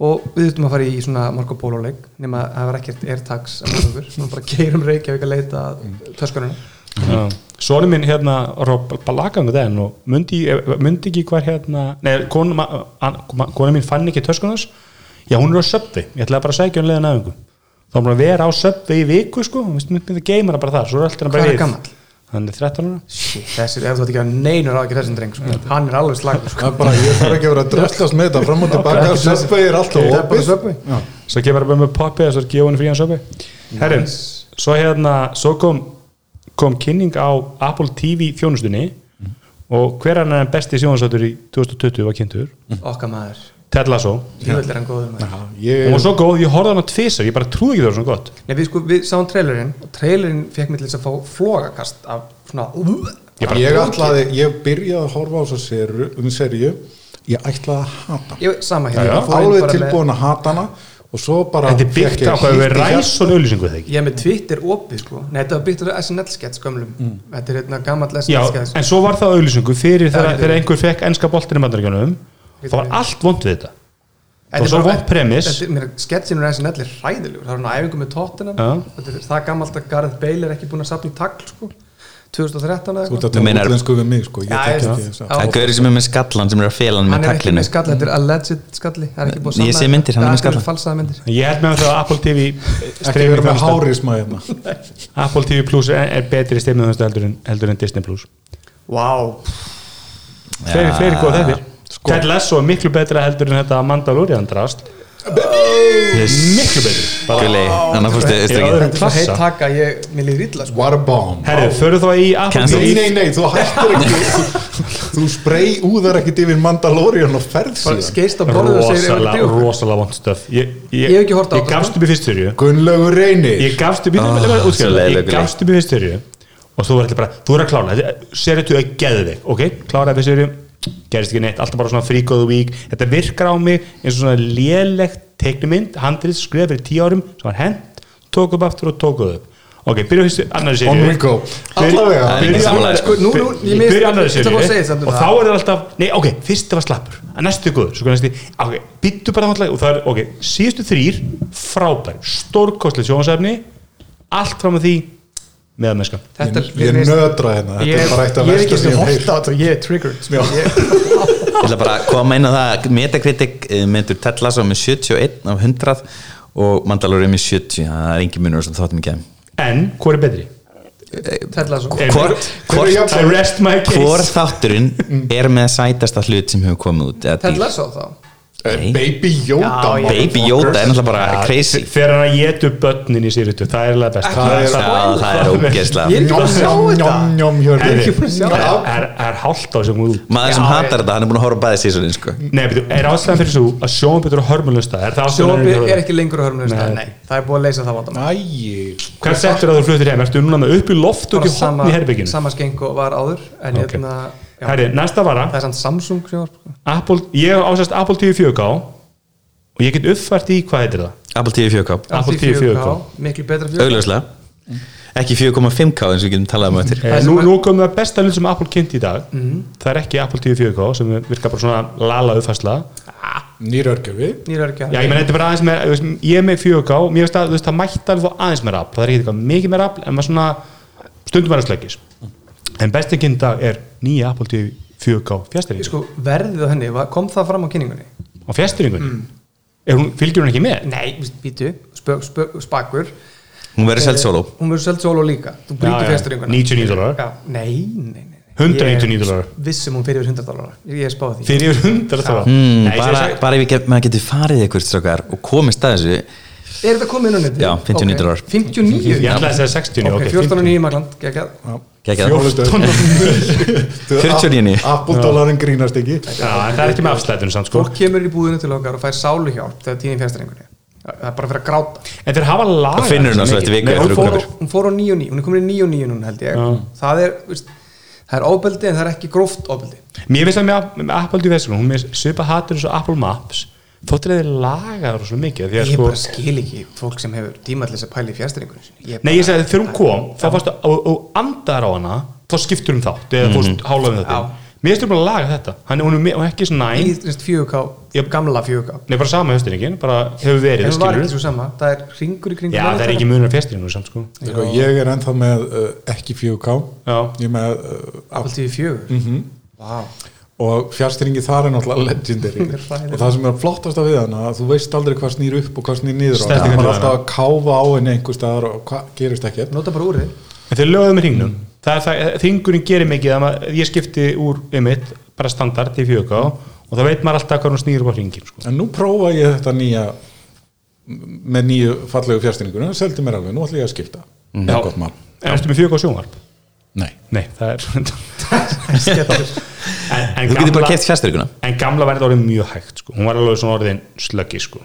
Speaker 4: og við þurftum að fara í svona Marco Polo leik, nema að það var ekkert airtags að mjög okkur, svona bara keirum Reykjavík að leita að töskununa.
Speaker 2: Sónu minn hérna Rob Balagang den og myndi, myndi ekki hvar hérna nei, konu, konu mín fann ekki töskunars já hún er á söpvi, ég ætlaði bara að segja hún leiðan aðingu þá er hún að vera á söpvi í viku sko, hún veist myndi að geima hana bara þar svo er allt hérna
Speaker 4: Hvað
Speaker 2: bara
Speaker 4: er gamall?
Speaker 2: hann er 13 ára
Speaker 4: Shit, þessir, ef þú ætti ekki að neinur á ekki þessum dreng, sko. hann er alveg slagur, sko.
Speaker 5: Það er bara, ég þarf ekki að vera að dröskast með þetta fram og tilbaka, Subway er alltaf
Speaker 4: Það er bara
Speaker 5: opið
Speaker 4: söpvi.
Speaker 2: svo kemur hann bara með poppi og svo er gefunni frían söpi herri, svo hérna svo kom, kom kynning á Apple TV þjónustunni og hver annar en besti sjónasáttur í 2020 var kynntur,
Speaker 4: Okka maður,
Speaker 2: Ted Lasso
Speaker 4: tíðvöld er hann góður maður.
Speaker 5: Já,
Speaker 2: og
Speaker 5: ég,
Speaker 2: var svo góð, ég horfði hann á tvisar ég bara trúi ekki það var svona gott
Speaker 4: Nei, við, sko, við sáum trailerinn og trailerinn fekk mér til þess að fá flogakast af svona
Speaker 2: Ég bara-
Speaker 5: ég ætlaði, ég byrjaði að horfa á þessa seru, um serju, ég ætlaði að hata hana.
Speaker 4: Ég, sama hér
Speaker 2: Já, já.
Speaker 4: Ég fór inn
Speaker 5: alveg
Speaker 4: bara með-
Speaker 5: tilbúin að hata hana og svo bara
Speaker 2: Þetta er byggt á
Speaker 5: fékk ég
Speaker 2: hvað við
Speaker 5: hlýtt í
Speaker 2: ræs og auðlýsingu þegar ekki
Speaker 4: Ég er með Twitter opið sko Nei, þetta var byggt á SNL-skets gömlum Þetta er hérna gammal
Speaker 2: Já,
Speaker 4: SNL-skets
Speaker 2: en svo var það auðlýsingu fyrir þegar,
Speaker 4: Já,
Speaker 2: þegar einhver fekk enska boltin í bandaríkjanum það var allt vond við þetta það var svo vond premis
Speaker 4: Sketsin úr SNL er hræðilegur Það var hann æfingu með Tottenham
Speaker 2: Já.
Speaker 4: Þetta er það gammalt að Gareth Bale er ekki búin að sapna í tagl sko 2013 eða
Speaker 5: Þú ert
Speaker 4: eitthvað
Speaker 5: að tala
Speaker 3: meinar-
Speaker 5: útlensku við mig sko Ég
Speaker 4: Já,
Speaker 5: tek
Speaker 4: já.
Speaker 5: ekki þess
Speaker 4: Já.
Speaker 5: að
Speaker 3: Það er gaurið sem er með skallan sem er að fela hann
Speaker 4: Hann
Speaker 3: með
Speaker 4: er ekki
Speaker 3: taklinu
Speaker 4: með skall, þetta er alleged skalli Það er ekki búin að
Speaker 3: Ég sé myndir, hann er með skalla.
Speaker 4: Falsaða myndir
Speaker 2: ég held með það að Apple TV
Speaker 5: Ekki
Speaker 2: streymið
Speaker 5: vera með
Speaker 2: þjónusta-
Speaker 5: hárisma hérna
Speaker 2: Apple TV Plus er, er betri streymið þjónusta heldur, en- heldur en Disney Plus
Speaker 4: Vá,
Speaker 2: fleiri,
Speaker 3: Ja.
Speaker 2: fleiri góð þetta sko. Ted Lasso er miklu betra heldur en þetta Mandalorian drast miklu betri
Speaker 3: Gulli, þannig að fórstu
Speaker 2: Í
Speaker 3: auðstrikið
Speaker 2: öðrum
Speaker 4: þetta er svo heitt
Speaker 2: klassa
Speaker 4: taka ég, mér líður illa sko.
Speaker 5: What a bomb
Speaker 2: herru, förum þá í Apple
Speaker 3: Cancel.
Speaker 5: Nei,
Speaker 2: TV
Speaker 5: nei, nei, þú hættir ekki þú, þú sprey úðar ekkit yfir Mandalorian og ferð
Speaker 4: Bara
Speaker 5: síðan
Speaker 4: skeist á borðið og
Speaker 2: rosalega,
Speaker 4: segir "Ef þetta er djók."
Speaker 2: rosalega vond stöf ég,
Speaker 4: Ég hef ekki horft á
Speaker 2: ég
Speaker 4: þetta,
Speaker 2: gafst
Speaker 4: sko.
Speaker 2: upp í fyrstu fyrstyrju
Speaker 5: Gunnlaugur reynir
Speaker 2: ég gafst upp í
Speaker 3: Ah,
Speaker 2: oh,
Speaker 3: svo
Speaker 2: ég
Speaker 3: leiðilegt.
Speaker 2: gafst upp í fyrstyrju og þú var allir bara, þú er að klára serið þú að geðu þig, ok, kláraði fyrstyrju gerist ekki neitt, alltaf bara svona fríkóðu vík þetta virkar á mig eins og svona lélegt teiknumynd, handrið skrifað fyrir tíu árum sem var hent, tók upp aftur og tók upp ok, byrja fyrst annari
Speaker 5: On
Speaker 2: serið
Speaker 5: we go. Allavega.
Speaker 3: Það er engin sammála.
Speaker 4: Sko, nú- nú- ég mis-
Speaker 2: byrja annari
Speaker 4: ég ætla
Speaker 2: serið
Speaker 4: bara að segja þetta um
Speaker 2: og
Speaker 4: það.
Speaker 2: þá er það alltaf, nei ok, fyrst var slappur að næstu er góður, svo næstu ok, byttu bara þangað og það er, ok, síðustu þrýr frábær, stórkostlega sjónasefni allt fram að því meða mennska
Speaker 4: Þetta
Speaker 5: Ég- ég nötra hérna, þetta
Speaker 4: Ég
Speaker 5: er bara eitt af
Speaker 4: ég er
Speaker 5: versta
Speaker 4: ekki
Speaker 5: sem
Speaker 4: sem
Speaker 5: ég hef
Speaker 4: horta á þetta, ég er triggered sko. Ég-
Speaker 3: Ég ætla bara að koma inn á það Metacritic eh, myndur Ted Lasso með 71 af 100 og Mandalorian með 70 það er engin munur sem þáttum ekki
Speaker 2: en, hvor er betri?
Speaker 4: Ted Lasso
Speaker 2: Er-
Speaker 3: hvort,
Speaker 5: Hver er
Speaker 3: hvort,
Speaker 5: jafn-
Speaker 2: I rest my case
Speaker 3: hvort þátturinn er með sætasta hlut sem hefur komið út eða
Speaker 4: Ted
Speaker 3: dýr?
Speaker 4: Lasso þá
Speaker 5: Eh, Baby Yoda
Speaker 4: Já, já.
Speaker 3: Baby Yoda er náttúrulega bara crazy
Speaker 2: þegar hann að getu börnin í sýrutu, það er alveg best
Speaker 4: Ekki
Speaker 2: það
Speaker 4: að
Speaker 2: er,
Speaker 3: Já, það er
Speaker 4: Ég
Speaker 3: ógeðslega
Speaker 4: er ekki búin að sjá þetta
Speaker 5: Njom, njom,
Speaker 4: Ég er ekki búin að sjá
Speaker 2: er,
Speaker 4: þetta
Speaker 2: er, er hálft á þessum út
Speaker 3: Maður sem
Speaker 4: Já,
Speaker 3: hatar
Speaker 4: ég-
Speaker 3: þetta, hann er búin að horfa á bæði sísunin sko.
Speaker 2: Nei, betur, er ástæðan fyrir svo að sjónbyttur og hörmulegsta er það ástæðan
Speaker 4: Sjópi
Speaker 2: fyrir
Speaker 4: er ekki lengur að hörmulegust
Speaker 2: Nei.
Speaker 4: Nei, það er búið að leysa það vandamál
Speaker 5: Æi
Speaker 2: Hvað settur að þú fluttir heim? Ertu núna með upp í loft og
Speaker 4: Bara
Speaker 2: ekki hotn
Speaker 4: sama-
Speaker 2: í herbygginu?
Speaker 4: Sama skeng og var áður En
Speaker 2: Ok.
Speaker 4: hérna já,
Speaker 2: Herri, næsta vara
Speaker 4: Það er samt Samsung sjónvarp
Speaker 2: Apple, Ég ásast Apple TV 4K og ég get uppfært í, hvað heitir það?
Speaker 3: Apple TV 4K
Speaker 2: Apple TV 4K
Speaker 4: Miklu betra 4K
Speaker 3: augljóslega ekki 4,5K eins og við getum talað um eftir
Speaker 2: Eh,
Speaker 4: Það sem Mhm.
Speaker 2: Nú,
Speaker 4: er-
Speaker 2: nú komum við að besta hlut sem Apple kynnt í dag Það er ekki Apple TV 4K sem virkar bara svona lala uppfærsla
Speaker 5: Nýrörgjöfi
Speaker 4: Nýra er ekki
Speaker 2: Já, ég menn, þetta er bara aðeins meira, þú veist, ég er með 4K og mér finnst að, þú veist, það mætti alveg fá aðeins meira afl, það er ekki eitthvað mikið meira afl en maður svona stundum verður sleggis en besti kynnt í dag er nýja Apple TV 4K fjastýringu
Speaker 4: Sko verðið á henni var- Kom það fram á kynningunni?
Speaker 2: á fjastýringunni,
Speaker 4: Mm.
Speaker 2: er hún, fylgir hún ekki með?
Speaker 4: Nei, býtu spö- spö- Spakur
Speaker 3: hún verður
Speaker 2: eh,
Speaker 3: selt solo
Speaker 4: Hún verður seld solo líka
Speaker 2: Já,
Speaker 4: Þú brýtur
Speaker 2: já.
Speaker 4: fjastringuna
Speaker 2: 99 dólarar.
Speaker 4: Já, Nei, nei, nei nei.
Speaker 2: 199
Speaker 4: Ég er
Speaker 2: dólarar.
Speaker 4: Vissum hún fyrir yfir 100 dólarar Ég ég spáði því
Speaker 2: fyrir yfir 100 þá
Speaker 3: mm,
Speaker 2: Nei, ég
Speaker 3: bara,
Speaker 2: segi- segi-
Speaker 3: bara ef ég get, maður getur farið eitthvað strákar og komist að þessu
Speaker 4: Er þetta komið inn á netið?
Speaker 3: Já, 59
Speaker 4: Ok.
Speaker 3: dólarar.
Speaker 4: 59?
Speaker 2: ég ætlaði að segja 60
Speaker 4: Ok, 14 og 9 í Magland geggjað.
Speaker 3: Gekkið það. 49.
Speaker 5: Apple-dólarin grínast ekki
Speaker 2: Já, en það er ekki með afslætun samt sko
Speaker 4: Fólk kemur í búðinu til okkar og fær sálu hjálp þegar tíðin fjastringunni Það er bara fyrir að gráta
Speaker 2: en þeir hafa laga
Speaker 3: Það finnur hún á slætti viku eftir
Speaker 2: hún fór
Speaker 3: að
Speaker 4: fór,
Speaker 3: Drukkabur.
Speaker 4: á- hún fór á 9 og 9 Hún er komin í 9 og 9 núna held ég
Speaker 2: Já.
Speaker 4: Það er, veist, það er óbeldi en það er ekki gróft óbeldi
Speaker 2: mér finnst það með, með Apple TV fjastýringu hún með svipa hattur eins og Apple Maps þóttir að þeir laga það svo mikið því að
Speaker 4: Ég
Speaker 2: sko
Speaker 4: bara skil ekki fólk sem hefur tíma til þess að pæla í fjastringunni
Speaker 2: Nei, ég segi að þegar hún kom, þá fannst að og andar á hana, þá skiptur hún þátt eða þú veist, hálaðum þetta
Speaker 4: Já.
Speaker 2: Mér finnst þú bara að laga þetta, hann hún er me- hún er ekki svona næn,
Speaker 4: Í fjöguká,
Speaker 2: Ég-
Speaker 4: gamla fjöguká
Speaker 2: nei bara sama höstingin bara hefur verið,
Speaker 4: En það var
Speaker 2: skilur
Speaker 4: ekki svo sama, það er ringur í kringum
Speaker 2: Já, það er ekki munur að fjastirinu samt sko
Speaker 5: Sko, Ég er ennþá með uh, ekki 4K
Speaker 2: Já.
Speaker 5: Ég er með uh, Apple
Speaker 4: Alltið í fjögur mm -hmm.
Speaker 5: og fjárstýringi þar er náttúrulega legendary
Speaker 4: er hræðilegt.
Speaker 5: og það sem er flottast af við hana að þú veist aldrei hvað snýr upp og hvað snýr niður á
Speaker 2: Stendur
Speaker 5: það
Speaker 2: hvernig
Speaker 5: er
Speaker 2: við
Speaker 5: alltaf að káfa á henni einhver staðar og hvað gerist ekki
Speaker 4: Nota bara úr þið
Speaker 2: En þeir lögðum í hringnum, það er það, þingurinn gerir mikið að maður- ég skipti úr einmitt, bara standard í fjöka og það veit maður alltaf hvað hún snýr upp á hringin sko
Speaker 5: en nú prófa ég þetta nýja með nýju fallegu fjárstýringuna seldi mér alveg, nú ætla ég að skipta mm.
Speaker 2: Já.
Speaker 5: gott mál,
Speaker 2: En ertu með fjöka og sjónvarp?
Speaker 5: nei
Speaker 2: Nei, það er En- en
Speaker 3: þú getur
Speaker 2: gamla-
Speaker 3: bara keft fjastrygguna
Speaker 2: En gamla var þetta orðin mjög hægt sko. Hún var alveg svona orðin slöggi sko.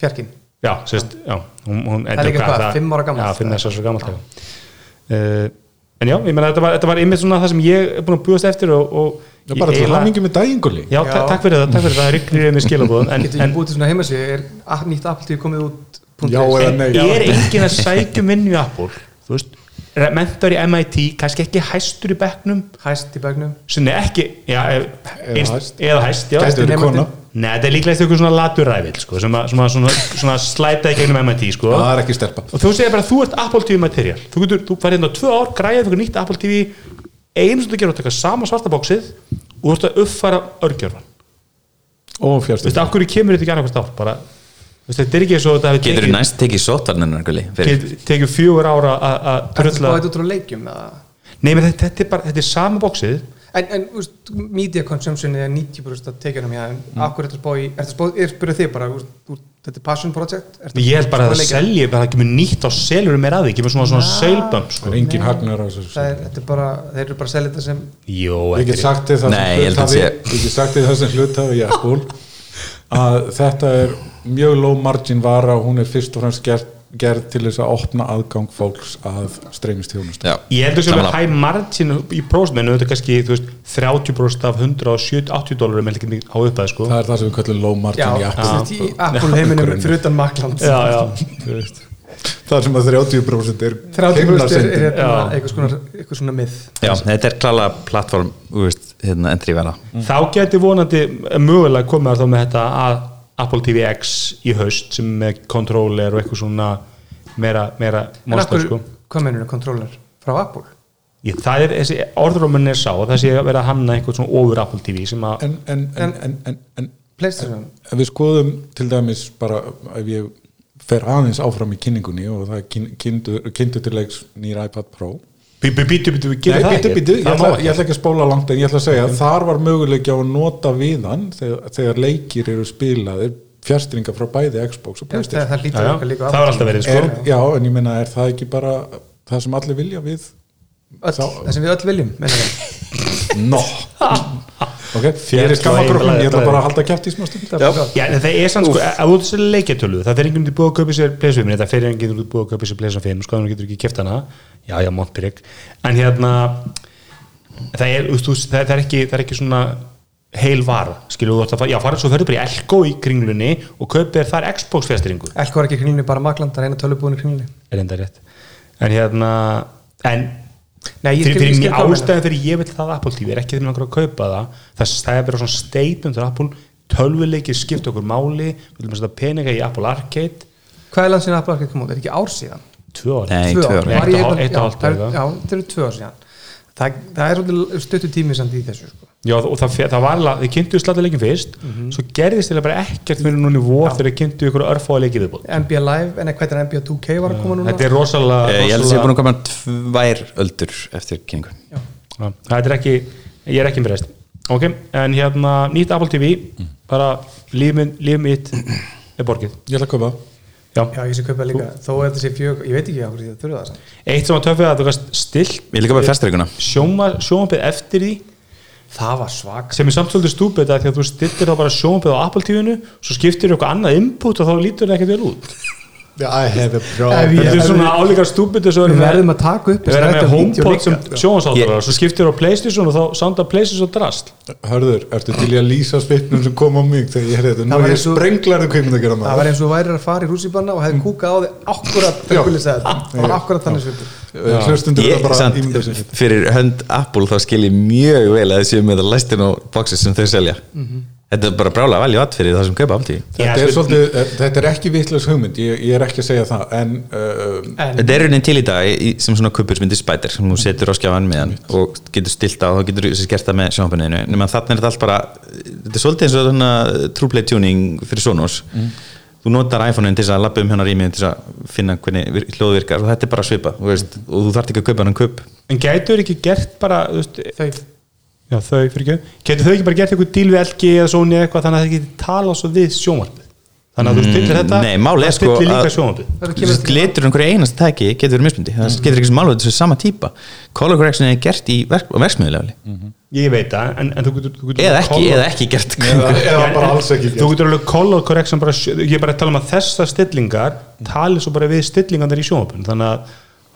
Speaker 4: Fjarkin
Speaker 2: Já, sérst, já hún, hún,
Speaker 4: er líka hvað, fimm ára gamalt?
Speaker 2: Já, fimm þess að svo gamalt já. Eh, Uh, En já, ég meina þetta var, þetta var einmitt svona það sem ég er búin að búast eftir og, og
Speaker 5: Já, bara til
Speaker 2: eiginlega-
Speaker 5: hamingi með dæingulí
Speaker 2: Já, ta-
Speaker 4: Já.
Speaker 2: takk fyrir það, takk fyrir það, það rignir yfir með skilabóðum en,
Speaker 4: getur ég
Speaker 2: en
Speaker 4: búið til svona heimasíðu er app- nýtt appeltíð komið út punktur
Speaker 5: Já,
Speaker 4: is?
Speaker 5: eða
Speaker 2: en
Speaker 5: nei já.
Speaker 2: er enginn að sækja um vinnu í Apple þú veist, er mentor í MIT kannski ekki hæstur í bekknum
Speaker 4: hæst í begnum
Speaker 2: sem er ekki já, ef- einst-
Speaker 5: hæst.
Speaker 2: eða hæst já.
Speaker 5: Gæti verið
Speaker 4: Nemandi.
Speaker 5: kona.
Speaker 2: Nei, þetta er líklegast eitthvað svona laturæfil sko, sem að svona, svona, svona slætaði gegnum MIT sko.
Speaker 5: Það er ekki stelpa
Speaker 2: og þú segir bara þú ert Apple TV material þú, getur, þú farið hérna á tvö ár, græðið fyrir nýtt Apple TV einu sem þú gerir að taka sama svarta bóksið og þú ert að uppfæra örgjörfan þú
Speaker 5: Og fjárstu
Speaker 2: veist, af hverju kemur þetta ekki annað hvert ár bara, þú veist, þetta er ekki svo að þetta hafi
Speaker 3: Getur
Speaker 2: tekið-
Speaker 3: þú næst tekið sótarnirnar Gulli?
Speaker 2: get- tekið fjögur ára að- að
Speaker 4: þetta er
Speaker 2: drulla
Speaker 4: spáðið út frá leikjum eða?
Speaker 2: nei, menn þetta, þetta er bara, þetta er sama bóksið
Speaker 4: en, en úst, media consumption er 90% að tekja hann mér en mm. akkur er þetta spáðið er þetta spáðið, er spyrir þig bara úst, úr, þetta er passion project ertu
Speaker 2: ég held bara að
Speaker 4: spá í
Speaker 2: það
Speaker 4: leikina?
Speaker 2: selji bara það kemur nýtt á seljur meir að því, kemur svona, svona selbömb sko.
Speaker 5: Engin hagnar á
Speaker 4: Það
Speaker 5: þessu
Speaker 4: er, þetta er bara, þeir eru bara að selja þetta sem
Speaker 2: jú,
Speaker 5: Ég get sagt þið það
Speaker 3: Nei,
Speaker 5: sem
Speaker 3: ég held að
Speaker 5: hluthafi-
Speaker 3: sé-
Speaker 5: Ég get sagt þið það sem hluthafi í Apple að þetta er mjög low margin vara og hún er fyrst og fremst gerð, gerð til þess að opna aðgang fólks að streymisthjónust
Speaker 3: Já,
Speaker 2: Ég heldur sem að
Speaker 3: sammála.
Speaker 2: high margin í prófstmennu þetta er kannski þú veist, 30% af 170-80 dólarum en ekki á uppæði sko
Speaker 5: Það er það sem við kallum low margin
Speaker 4: já,
Speaker 5: í Apple
Speaker 4: sem sagt í Apple heiminum fyrir utan Makland
Speaker 2: Já, já,
Speaker 5: Þú veist. Það er sem að 30% er
Speaker 4: 30% er, er
Speaker 5: himnasending.
Speaker 4: hérna
Speaker 2: Já.
Speaker 4: eitthvað svona, eitthvað svona mið
Speaker 3: Já, þetta er klála plattform þú veist, hérna, entry vera
Speaker 2: þá geti vonandi mögulega komið þar þá með þetta að Apple TV X í haust sem er með controller og eitthvað svona meira, meira
Speaker 4: en
Speaker 2: monster
Speaker 4: akkur,
Speaker 2: sko
Speaker 4: hvað mennur kontroller frá Apple
Speaker 2: Ég, það er, þessi orðrómun er sá að það sé að vera að hanna eitthvað svona ofur Apple TV sem að
Speaker 5: en, en, en, en, en, en
Speaker 4: Playstation
Speaker 5: ef við skoðum til dæmis bara ef ég fer aðeins áfram í kynningunni og það er kyn- kynntu- kynntu til leiks nýr iPad Pro
Speaker 2: býtu, býtu, býtu, við
Speaker 5: Nei,
Speaker 2: gerum það
Speaker 5: bíddu,
Speaker 2: ekki
Speaker 5: bíddu, ég,
Speaker 2: það má
Speaker 5: ætla,
Speaker 2: ekki
Speaker 5: ég
Speaker 2: Mm.
Speaker 5: ætla ekki að spóla langt en ég ætla að segja að þar var möguleiki á að nota viðan þegar, þegar leikir eru spilaðir fjastringa frá bæði Xbox og
Speaker 4: það,
Speaker 5: Playstation
Speaker 4: það
Speaker 2: Já,
Speaker 4: lítur
Speaker 2: já,
Speaker 4: eitthvað líka á
Speaker 2: það var
Speaker 4: Apple.
Speaker 2: alltaf verið sko
Speaker 5: er, Já, en ég meina er það ekki bara það sem allir vilja við
Speaker 4: öll,
Speaker 5: Þá-
Speaker 4: það sem við öll viljum meina ég.
Speaker 5: No Ok, ég er í skammakróknum, ég ætla bara að halda kæft í smá stund
Speaker 4: Það er bara gott.
Speaker 2: Já, en það er sann sko, að þú ert sér leikjartölu það fer enginn til búið að kaupa sér pleysa 5 það fer enginn til búið að kaupa sér pleysa 5 sko, þannig getur ekki kæft hana, já, já, montbyrg en hérna það er, þú veist, þú- það, það er ekki það er ekki svona heil vara skilu, þú ert að fara, já, fara svo ferðu bara í Elko í kringlunni og kaupir þér þar Xbox festiringu
Speaker 4: Elko er ekki í kringlunni, bara Magland, það er eina tölubúin í kringlunni
Speaker 2: er enda rétt en hérna, en
Speaker 4: Nei, ég
Speaker 2: fyrir,
Speaker 4: skil- ég
Speaker 2: fyrir
Speaker 4: skil
Speaker 2: mér
Speaker 4: hvað þú meinar.
Speaker 2: ástæðan fyrir ég vil það Apple TV er ekki þegar mig langar að kaupa það það, það er bara svona statement fyrir Apple tölvuleikir skipta okkur máli við viljum að setja peninga í Apple Arcade
Speaker 4: Hvað er langt síðan Apple Arcade kom út? Er ekki ár síðan?
Speaker 2: tvö ára
Speaker 3: Nei, tvö ár.
Speaker 4: Var
Speaker 2: Eitt
Speaker 4: ég
Speaker 2: og hál-
Speaker 4: bara-
Speaker 2: eitt og
Speaker 4: já,
Speaker 2: hálft
Speaker 4: það
Speaker 2: eða?
Speaker 4: eru- Já, það eru tvö ár síðan Það, það er svolítið stuttu tími samt í þessu sko.
Speaker 2: Já, og það, fe- það var alveg, þið kynntu slattuleikin fyrst
Speaker 4: Mhm.
Speaker 2: svo gerðist þeirra bara ekkert fyrir núna í vor þegar þið kynntu ykkur örfáða leikið viðbúð
Speaker 4: NBA Live, en hvað er NBA 2K var að koma núna?
Speaker 2: þetta er rosalega,
Speaker 3: Eh, Ég held að sé búin
Speaker 2: rosalega
Speaker 3: að koma tvær öldur eftir kynningu
Speaker 2: Já, þetta er ekki, ég er ekki með rest ok, en hérna nýtt Apple TV
Speaker 3: Mm.
Speaker 2: bara líf minn- líf mitt er borgið
Speaker 5: Ég ætla að köpa
Speaker 2: já.
Speaker 4: Já, ég sé kaupa líka, þó er þetta sé fjög ég veit ekki hvað þetta þurfa það samt
Speaker 2: eitt sem var töffið að þú gast stilt
Speaker 3: Ég líka bara festreikuna
Speaker 2: sjóma, sjómapið eftir því
Speaker 4: Það var svak
Speaker 2: sem er samt svolítið stúpid að því að þú stiltir þá bara sjómapið á Apple TV-inu svo skiptir eitthvað annað input og þá lítur það ekkert vel út
Speaker 6: I have a
Speaker 4: Ef
Speaker 6: problem
Speaker 4: ég-
Speaker 2: þetta er svona álíka stúpid þess að
Speaker 4: Við
Speaker 2: vera með-
Speaker 4: verðum að taka upp um
Speaker 2: Við verðum með HomePod sem sjónvarsáttur
Speaker 3: sko. Ég-
Speaker 2: svo skiptir á Playstation og þá soundar Playstation drast
Speaker 5: Hörður, ertu til í að lýsa svipnum sem kom á mig þegar ég heyrði þetta
Speaker 4: Það
Speaker 5: Nú
Speaker 4: var
Speaker 5: er ég
Speaker 4: eins og-
Speaker 5: sprenglarðu kveimund að gera
Speaker 4: Það var eins og þú værir að fara í rússibanna og hefði kúkað á þig akkurat þegar Gulli sagði þetta Það var akkurat þannig svipur
Speaker 5: maður Hlustundur er
Speaker 3: Ég,
Speaker 5: Eh, bara
Speaker 3: sant,
Speaker 5: ímynda sér
Speaker 3: fyrir hönd Apple þá skil ég mjög vel að þessi með það læstin og boxið sem þau selja
Speaker 5: Mhm.
Speaker 3: Þetta er bara brálega valjú að fyrir það sem kaupa aftíð
Speaker 2: Já,
Speaker 5: þetta er,
Speaker 2: sko-
Speaker 5: svolítið, eh, þetta er ekki vitlaus hugmynd ég, ég er ekki að segja það en uh,
Speaker 4: En
Speaker 3: Þetta er raunin til í dag í- sem svona kupursmyndi spætir sem þú setur á skjáðan með hann og getur stilt á og getur þessi gert það með sjónpunniðinu nema þannig er þetta allt bara þetta er svolítið eins og svona trúplay tuning fyrir Sonos
Speaker 5: Mm.
Speaker 3: þú notar iPhone-in til þess að lappa um hérna rýmið til þess að finna hvernig vir- hljóð virkar og þetta er bara svipa þú veist, og þú þarft ekki að kaupa hann kup
Speaker 2: en gætur ekki gert bara þú veist,
Speaker 4: þau
Speaker 2: já, þau fyrir ekki gætur þau ekki bara gert eitthvað díl við LG eða Sony eða eitthvað þannig að það geti tala svo við sjónvarpið þannig að þú stillir þetta
Speaker 3: Mm, nei, málið er
Speaker 2: það stillir
Speaker 3: sko
Speaker 2: líka
Speaker 3: að-
Speaker 2: sjónvarpið
Speaker 4: Þetta kemur til-
Speaker 3: glitur um hverju einast tæki getur verið mismundi það
Speaker 2: Mm.
Speaker 3: getur ekki sem alveg þessu sama típa color correction er gert í verk, verksmiðulegli
Speaker 2: ég veit það en, en þú getur, þú getur
Speaker 3: eða ekki,
Speaker 2: Mm-hmm. color-
Speaker 3: eða ekki gert
Speaker 5: eða bara alls ekki
Speaker 2: þú getur alveg color correction bara, sjö- ég er bara að tala um að þessar stillingar tali svo bara við stillingarnar í sjónvarpinu þannig að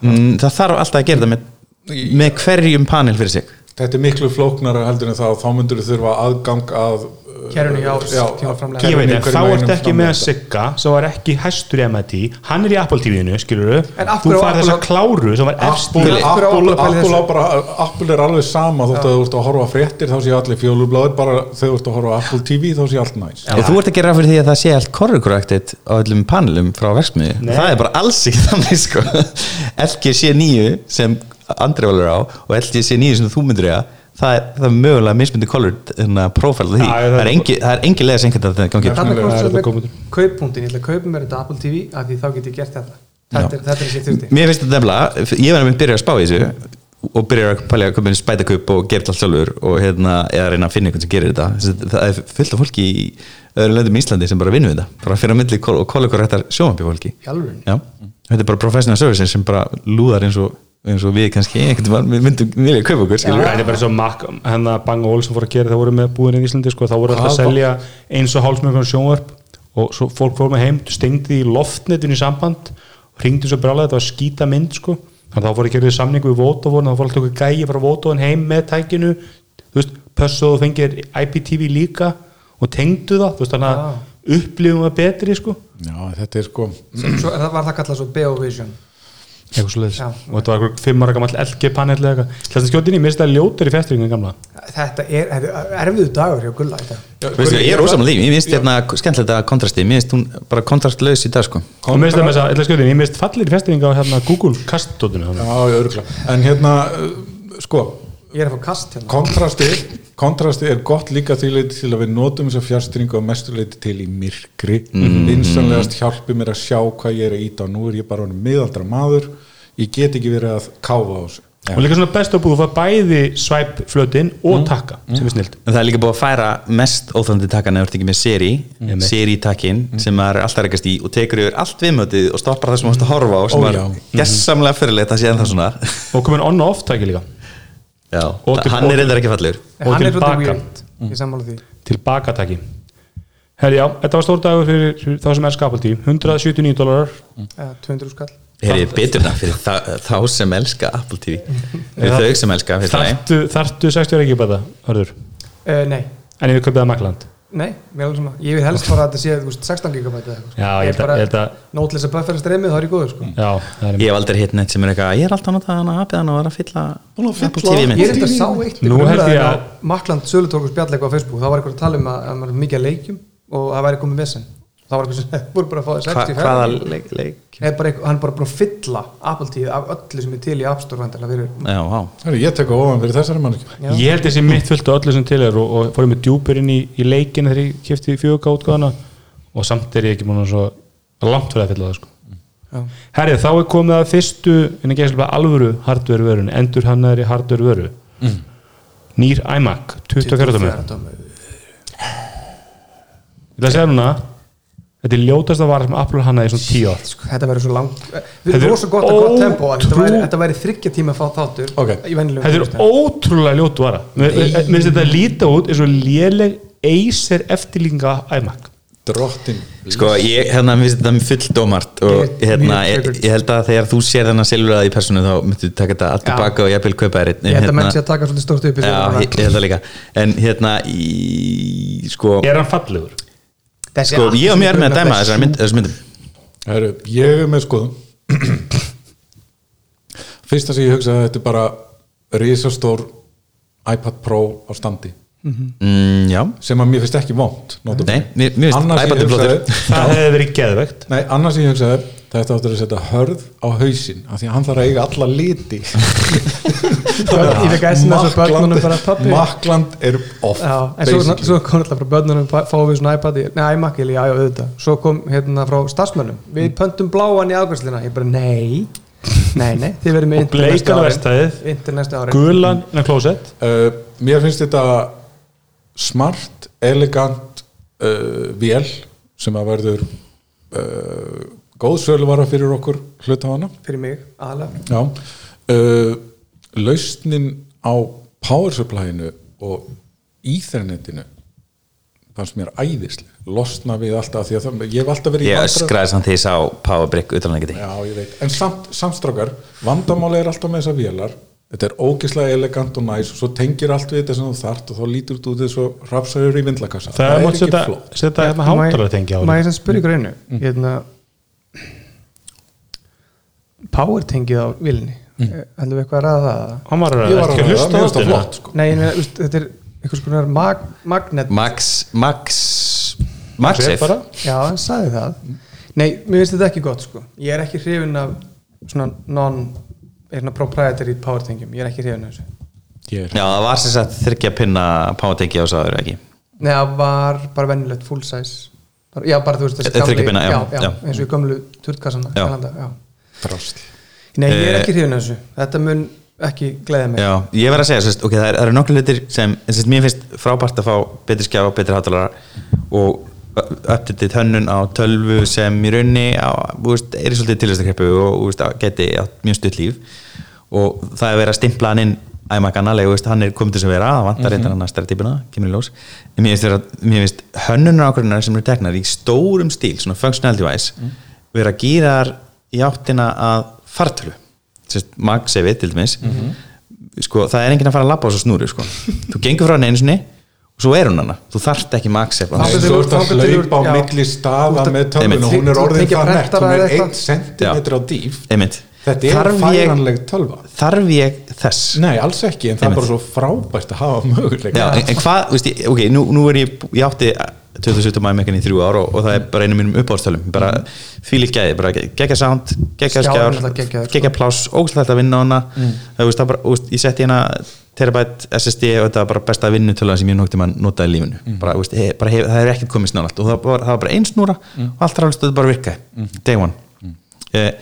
Speaker 3: Mm, það þarf alltaf að gera það með, með hverjum panel fyrir sig
Speaker 5: þetta er miklu flóknara heldur en það þá myndur þú þurfa aðgang að uh,
Speaker 4: Kerfinu hjá tímaframleiðanda.
Speaker 5: kerfinu
Speaker 2: ég veit
Speaker 5: í
Speaker 2: að
Speaker 5: hverjum
Speaker 2: þá
Speaker 5: einum
Speaker 2: ertu ekki með
Speaker 5: framleiðanda.
Speaker 2: Sigga sem var ekki hæstur í MIT hann er í Apple TV-inu, skilur
Speaker 4: En af
Speaker 2: þú
Speaker 4: hverju á
Speaker 2: farið
Speaker 4: Apple-
Speaker 2: þessa kláru sem var efst í
Speaker 5: Apple,
Speaker 4: Af hverju á
Speaker 5: Apple,
Speaker 4: Apple
Speaker 5: Apple, á
Speaker 4: að pæla í þessu?
Speaker 5: bara, Apple er alveg sama þótt að þú ert að horfa á fréttir þá séu allir fjólublaður bara þegar þú ert að horfa á Apple TV þá séu allt næs
Speaker 3: En þú ert að gera ráð fyrir því að það sé allt korrektið á öllum panelum frá verksmiði
Speaker 2: Nei.
Speaker 3: Það er bara alls ekki þannig sko LGC 9 sem Andri valur á og LGC 9 sem þú myndir eiga það er, það er mögulega mismyndi kolur þannig að prófæla því
Speaker 2: Já, ég-
Speaker 3: það, er engi, það er engi leið sem þetta þetta gangi upp,
Speaker 4: Þarna
Speaker 5: Hugsanlega
Speaker 4: komst
Speaker 2: er
Speaker 4: það
Speaker 2: þetta
Speaker 4: með
Speaker 2: komendur.
Speaker 4: kaupbúndin, ég ætla að kaupa mér þetta Apple TV af því þá get ég gert þetta Þetta er, þetta er sér
Speaker 3: sko.
Speaker 4: þurfti
Speaker 3: Mér finnst þetta nefnilega, ég var nefnilega að byrja að spá í þessu og byrja að pælja að koma inn spætakup og gera þetta allt sjálfur og hérna eða reyna að finna einhvern sem gerir þetta Þessi- það er fullt af fólki í öðrum löndum í Íslandi sem bara vinnur við þetta bara fyrir að milli kol og kollegur réttar sjómanbjörfólki
Speaker 4: Í alvörunni?
Speaker 3: Já, þetta er bara professional services sem bara lúðar eins og, eins og við kannski einhvern veginn við myndum vilja kaupa okkur skilur
Speaker 2: Það er bara svo makk, henn að hérna, Bang Ól sem fór að gera það voru með búin í Íslandi sko, þá voru alltaf að
Speaker 5: Hvað?
Speaker 2: selja eins og hálsmjörgum sjónvarp og svo fólk fór með heim, stengdi í loftnetinu í samband ringdi svo brálega, þetta var skýta mynd sko, þannig að þá fór að gera þau samning við Vótavón, þá fór alltaf okkur gæi frá Vótavón heim með tækinu, þú veist pössu og þú fengir IPTV líka og tengdu það, þú veist þannig
Speaker 4: Ah.
Speaker 2: að upplifum það betri sko
Speaker 5: Já, þetta er sko
Speaker 4: Svo er það var það kallað svo Beovision
Speaker 2: eitthvað svo
Speaker 4: Já.
Speaker 2: og þetta var eitthvað fimm ára gamall LG panel eða eitthvað, þess að skjótinni, mér finnst það ljótur í festringu en gamla
Speaker 4: Þetta er, þetta er erfiðu dagur hjá Gulla í dag.
Speaker 3: Veistu, ég er ósamlega líf, ég finnst hérna skemmtilegt að kontrasti, mér finnst hún bara kontrastlaus í dag sko
Speaker 2: og mér finnst það með þess að, eitthvað skjóðin, ég minnst fallir festering á hérna Google kastdótinu þannig.
Speaker 5: Já, örgla En hérna, uh, sko
Speaker 4: Ég er að fá kast hérna
Speaker 5: kontrasti, kontrasti er gott líka því leiti til að við notum þess að fjárstýringu og mestu leiti til í myrkri vinsanlegast hjálpi mér að sjá hvað ég er að íta og nú er ég bara orðinn miðaldra maður ég get ekki verið að káfa á þessu
Speaker 2: og líka svona best að búið að fá bæði swipe flötin og takka, sem er snilt
Speaker 3: En það er líka búið að færa mest óþöndi takkan eða þú ert ekki með seri,
Speaker 2: Einmitt.
Speaker 3: seri takkin sem maður er alltaf að rekast í og tekur yfir allt viðmötið og stoppar það sem maður að horfa á
Speaker 5: Ó,
Speaker 3: sem maður
Speaker 5: já.
Speaker 3: er gessamlega fyrirleitt að sé ennþá svona
Speaker 2: og komin on og off takki líka
Speaker 3: Já,
Speaker 2: Og til-
Speaker 3: hann er reyndar ekki fallur
Speaker 4: En
Speaker 2: Og
Speaker 4: Eh, Hann
Speaker 2: til
Speaker 4: er svolítið
Speaker 2: baka.
Speaker 4: weird, ég sammála því
Speaker 2: tilbaka takki herri já, þetta var stór dagur fyrir, fyrir þá sem er skapaltíf 179 dólarar
Speaker 4: Eða 200 Eh, skall
Speaker 3: Heyri, betur um það fyrir þá, þá sem elska Apple TV fyrir
Speaker 2: Já.
Speaker 3: þau sem elska fyrir það
Speaker 2: þartu, þartu 60 ekki bæða, hörður
Speaker 4: uh, Nei,
Speaker 2: en ég vil kaupa það makland
Speaker 4: nei, mér er alveg svona Ég vil helst bara að þetta sé þú veist, 16 gigabæti eða eitthvað sko.
Speaker 2: Já, ég held að- ég held að-
Speaker 4: bara Nótlisa buffer streymið, það er í góður sko
Speaker 2: já, það er
Speaker 3: ég hef aldrei hitt neitt sem er eitthvað ég er alltaf að nota hana appið hann og er að fylla Apple TV
Speaker 4: Ég er
Speaker 3: mynd
Speaker 4: þetta sá eitt
Speaker 2: Nú held ég að-
Speaker 4: Makland Sölutorgur spjallega á Facebook Það var eitthvað að tala um að, að maður er mikið að leikjum og það væri komið vesen Það var eitthvað sem voru bara að fá þér
Speaker 3: Hva,
Speaker 4: 60
Speaker 3: hvaða leik, leik
Speaker 4: Nei, bara, eitthvað- hann er bara búin að fylla Apple TV af öllu sem er til í App Store vandilega fyrir
Speaker 3: já, vá.
Speaker 5: Herri, ég tek á ofan fyrir þessari mannskja
Speaker 4: Já.
Speaker 2: ég held þessi mitt fullt og öllu sem til er og, og fórum með djúpur inn í, í leikinu þegar ég kefti fjögurka útgáðana og samt er ég ekki múin að svo langt fyrir að fylla það sko
Speaker 4: Já.
Speaker 2: Herrið, þá er komið að fyrstu en ekki eitthvað alvöru hardware vörun endur hann er í hardware vöru nýr iMac 24 tómi ég
Speaker 4: dómur
Speaker 2: ætla að segja núna þetta er ljótasta vara sem Apple hannaði í svona 10 ár
Speaker 4: sko, þetta verður svo langt við
Speaker 2: Þetta
Speaker 4: erum
Speaker 2: er
Speaker 4: rosa gott að gott tempo að þetta
Speaker 2: ótrú-
Speaker 4: væri, þetta væri þryggja tíma að fá þáttur
Speaker 5: Ok.
Speaker 4: í venjulegum
Speaker 2: þetta er
Speaker 4: tíma.
Speaker 2: ótrúlega ljótu vara mér mér- mér finnst þetta líta út eins og léleg Acer eftirlíkinga iMac
Speaker 5: drottin
Speaker 3: sko ég hérna mér finnst þetta full dómart og
Speaker 4: Ég-
Speaker 3: hérna
Speaker 4: mjög
Speaker 3: ég,
Speaker 4: tryggur.
Speaker 3: ég held að þegar þú sér þennan silfraði í personu þá myndu taka þetta allt
Speaker 4: Já.
Speaker 3: tilbaka og ég vil kaupa þér einn.
Speaker 4: ég held að menn
Speaker 3: Hérna-
Speaker 4: sé að um taka svolítið stórt upp í
Speaker 3: Já,
Speaker 4: þessum
Speaker 3: ég ég held að líka en hérna í, sko,
Speaker 2: er hann fallegur?
Speaker 4: Þessi
Speaker 3: sko
Speaker 4: appelsín-
Speaker 3: ég og mér með að dæma
Speaker 4: þessi-
Speaker 3: þessar mynd, þessar myndum
Speaker 5: Herru, ég er með skoðum Fyrsta sem ég hugsaði að þetta er bara risastór iPad Pro á standi
Speaker 3: mm, já,
Speaker 5: sem að mér finnst ekki vond notum.
Speaker 3: Nei, mér- mér finnst
Speaker 5: Annað sem
Speaker 3: iPad
Speaker 5: ég
Speaker 3: er
Speaker 5: hugsaði-
Speaker 2: það hefði verið geðvegt
Speaker 5: Nei, annars sem ég hugsaði þetta áttur að setja hörð á hausinn af því að hann þarf að eiga alla liti
Speaker 4: Ég fekk SMS og börnunum bara, "Pabbi."
Speaker 5: Makland er off
Speaker 4: Já, en svo,
Speaker 5: basically.
Speaker 4: svo kom alltaf frá börnunum fá- fáum við svona iPad, í- nei iMac eða já, já, auðvitað svo kom hérna frá starfsmönnum við
Speaker 2: Mm.
Speaker 4: pöntum bláan í afgræslina, ég bara nei nei, nei, þið verðum
Speaker 2: Og bleika verkstæðið.
Speaker 4: yndir næsta ári
Speaker 2: gulan innan klósett
Speaker 5: Uh, mér finnst þetta smart, elegant uh, vél sem að verður uh, góð söluvara fyrir okkur hlutafana
Speaker 4: fyrir mig, aðalega
Speaker 5: Já uh, Lausnin á power supply-inu og ethernetinu fannst mér æðisli losna við alltaf því að það, ég hef alltaf verið í
Speaker 3: ég
Speaker 5: vandræðum-
Speaker 3: öskraði samt því ég sá Powerbrick utan að geta
Speaker 5: Já, ég veit, en samt, samstrákar vandamáli er alltaf með þessar vélar þetta er ógislega elegant og næs og svo tengir allt við þetta sem þú þart og þá lítur þú út eins og rafsæður í vindlakassa
Speaker 2: það er mátt setja,
Speaker 5: flott
Speaker 2: setja hérna hátalara á Mm.
Speaker 4: Má ég
Speaker 2: þetta.
Speaker 4: sem spyrja ykkur einu hérna, Power tengið á vilinni
Speaker 2: Mm.
Speaker 4: Heldum við eitthvað að ræða það?
Speaker 2: hann var að
Speaker 5: ég var
Speaker 2: ekki
Speaker 5: að
Speaker 2: hlusta á
Speaker 5: hlusta það, það
Speaker 2: þetta.
Speaker 5: flott sko.
Speaker 4: Nei, ég meina, úst, þetta er eitthvað svona mag, magnet
Speaker 3: Max Max Max
Speaker 2: Sér bara.
Speaker 4: Já, hann sagði það Nei, mér finnst þetta ekki gott sko Ég er ekki hrifin af svona non er svona proprietary power tengjum Ég er ekki hrifin af þessu
Speaker 5: ég er
Speaker 3: Já, það var sem sagt þryggja pinna pátekki á sáður ekki
Speaker 4: Nei, það var bara venjulegt full size bara, Já, bara þú veist þessi
Speaker 3: Eh, þryggjapinna, já,
Speaker 4: já,
Speaker 3: já.
Speaker 4: eins og í gömlu turtkassana
Speaker 3: Já.
Speaker 4: Kanada, já.
Speaker 5: drast
Speaker 4: Nei, ég er
Speaker 3: Eh,
Speaker 4: ekki hrifin af þessu Þetta mun ekki gleða mig
Speaker 3: Já, ég verð að segja, sérst, ok, það er- það eru er nokkru litir sem, sérst, mér finnst frábært að fá betri skjá, betri hátalara og upptitið hönnun á tölvu sem í raunni á, úst, er í svolítið tilhæstakreppu og úst, á- geti átt mjög stutt líf og það er verið að stimpla hann inn æmak annarlega, úst, hann er komið til sem vera það vantar reyndar hann að stæra típuna, kemur í ljós En mér finnst, vera, mér finnst hönnunar ákvörunar sem eru teknar í stórum stíl, svona functional device, vera gýrar í áttina að fartölu sérst, magsefið til dæmis sko, það er enginn að fara að labba á þessu snúru sko. þú gengur frá hann einu sinni og svo er hún hana, þú þarft ekki magsef
Speaker 5: Nei,
Speaker 4: Þangað til
Speaker 5: þú
Speaker 4: þú-
Speaker 5: ert að
Speaker 4: þangað til þú-
Speaker 5: hlaupa á
Speaker 4: já.
Speaker 5: milli
Speaker 4: Þú
Speaker 5: staða
Speaker 4: ert að-
Speaker 5: með tölvun og hún er
Speaker 4: Þú-
Speaker 5: orðin
Speaker 4: tengja
Speaker 5: það nett, hún
Speaker 4: prentara
Speaker 5: er
Speaker 4: eða
Speaker 5: 1
Speaker 4: eitthvað.
Speaker 5: cm á dýf
Speaker 3: einmitt,
Speaker 5: þetta er færanleg tölva
Speaker 3: þarf ég þess
Speaker 5: nei, alls ekki, en það er bara svo frábært að hafa
Speaker 3: Já,
Speaker 5: möguleika
Speaker 3: en, en hvað, veist ég, ok, nú, nú er ég ég átti 27. mæmekkan í þrjú ár og, og það er bara einu mínum uppáðstölum bara
Speaker 4: Mm.
Speaker 3: fílið gæði, bara geggja sound geggja skjár,
Speaker 4: Skjárinn alltaf geggjaður, sko. Mm.
Speaker 3: geggja pláss ógæslega að vinna á hana það, veist, það bara, veist, ég setti hérna terabyte SSD og þetta var bara besta vinnutölu sem ég nokti mann notaði í lífinu
Speaker 4: Mm.
Speaker 3: bara, veist, hef, bara hef, það er ekkert komið snált og það var, það var bara einn snúra
Speaker 4: Mm.
Speaker 3: og allt ráðist og þetta bara virkaði, day one eh,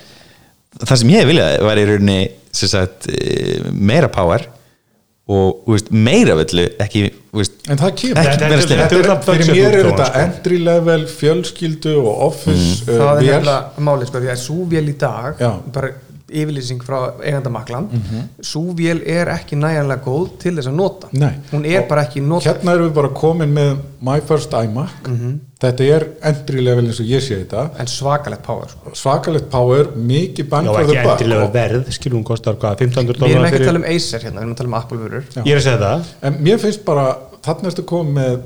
Speaker 3: það sem ég viljaði var í rauninni sem sagt, eh, meira power og þú veist, meira völlu ekki þú veist,
Speaker 5: en það
Speaker 3: Ekki
Speaker 5: kemur
Speaker 2: Þetta
Speaker 3: vera
Speaker 2: er-
Speaker 3: slegmt.
Speaker 2: þetta
Speaker 5: Þetta
Speaker 2: er
Speaker 5: er,
Speaker 2: alltaf
Speaker 5: fyrir
Speaker 2: budget
Speaker 5: mér er
Speaker 2: útgáfan,
Speaker 5: þetta
Speaker 2: sko.
Speaker 5: entry level fjölskyldu og office mm.
Speaker 4: það
Speaker 5: uh,
Speaker 4: er
Speaker 5: vél
Speaker 2: hérna-
Speaker 4: nefnilega málið sko, því að súvél í dag
Speaker 5: Já. Mhm.
Speaker 4: bara yfirlýsing frá eigandamaklan mm súvél er ekki næjanlega góð til þess að nota
Speaker 5: Nei.
Speaker 4: hún er
Speaker 5: Og
Speaker 4: bara ekki nota
Speaker 5: hérna erum við bara komin með my first iMac
Speaker 2: Mhm.
Speaker 5: þetta er entry level eins og ég sé þetta
Speaker 4: en svakalegt power sko.
Speaker 5: svakalegt power, mikið bang
Speaker 2: Já,
Speaker 5: for
Speaker 2: ekki
Speaker 5: the buck
Speaker 2: endilega
Speaker 5: Og-
Speaker 2: verð, skilum hún kostar hvað, 1500
Speaker 4: við erum
Speaker 2: dólar
Speaker 4: ekki að
Speaker 2: fyrir
Speaker 4: tala um Acer hérna, við erum að tala um Apple vörur
Speaker 2: Ég er að segja það,
Speaker 5: en mér finnst bara, þarna ertu komin með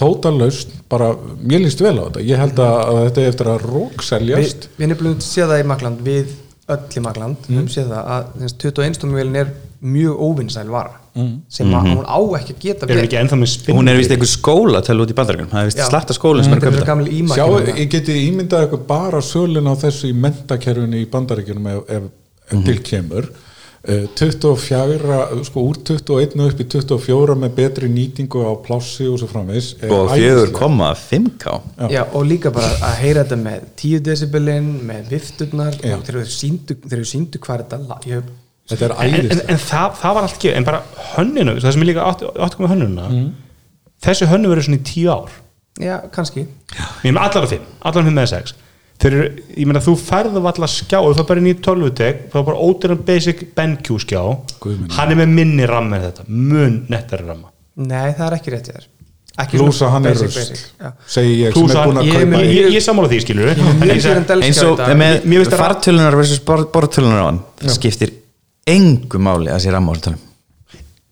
Speaker 5: total laust bara, mér líst vel á þetta ég held að, að þetta er eftir að
Speaker 4: við,
Speaker 5: rókseljast
Speaker 4: við erum búin að sé það í makland við öll í makland, við
Speaker 5: Mm.
Speaker 4: erum séð það að 21 stómvélin er mjög óvinnsæl vara
Speaker 5: Mm.
Speaker 4: sem að
Speaker 3: Mhm.
Speaker 4: hún á ekki að geta
Speaker 2: erum við ekki ennþá með spinn
Speaker 3: hún er vist einhver skóla til út í bandarækjum það er vist
Speaker 4: Já. Mm,
Speaker 3: slatta skólinn sem er að
Speaker 4: þetta er
Speaker 3: köpa
Speaker 4: svo
Speaker 3: þetta
Speaker 4: gamli ímakinn
Speaker 5: Sjá,
Speaker 4: þarna.
Speaker 5: ég geti ímyndað eitthvað bara sölun á þessu í mentakerfinu í bandaríkjunum ef, ef mm til kemur Eh, 24, sko úr 21 upp í 24 með betri nýtingu á plássi og svo framvegs er
Speaker 3: og
Speaker 5: æðislegt.
Speaker 3: 4,5k
Speaker 5: Já.
Speaker 4: Já, og líka bara að heyra þetta með 10 decibelin, með vifturnar
Speaker 5: Já.
Speaker 4: og þegar við síndu, þegar við síndu hvað er þetta la- ég,
Speaker 5: Þetta er
Speaker 2: en, en,
Speaker 5: æðist
Speaker 2: en það, það var allt gefið, en bara hönninu það sem ég líka átt- átt komið hönnuna þessu hönnu verður svona í tíu ár
Speaker 4: Já, kannski
Speaker 2: ég er með allar af þeim, allar af þeim með sex þeir eru, ég meina þú færðu allar skjá og það bara nýjum tölvutek það er bara óteran basic BenQ skjá
Speaker 5: Guð minn.
Speaker 2: hann er með minni ramma en þetta mun nettari ramma
Speaker 4: Nei, það er ekki rétt hjá þér Ekki
Speaker 5: Lúsa hann er
Speaker 4: basic,
Speaker 5: rusl
Speaker 4: basic, já.
Speaker 5: segi ég sem
Speaker 2: Plús
Speaker 5: er
Speaker 2: hann,
Speaker 5: búin að
Speaker 2: ég,
Speaker 5: kaupa
Speaker 2: ég,
Speaker 5: í-
Speaker 2: ég, ég sammála því skilur við en
Speaker 4: Mikið
Speaker 2: ég
Speaker 4: er en
Speaker 2: segi-
Speaker 4: delskjá
Speaker 3: eins og
Speaker 4: í dag.
Speaker 3: með
Speaker 2: Mér- mér finnst það-
Speaker 3: fartölunar versus bor- borðtölunar á hann það skiptir engu máli að sé ramma á þessu tölum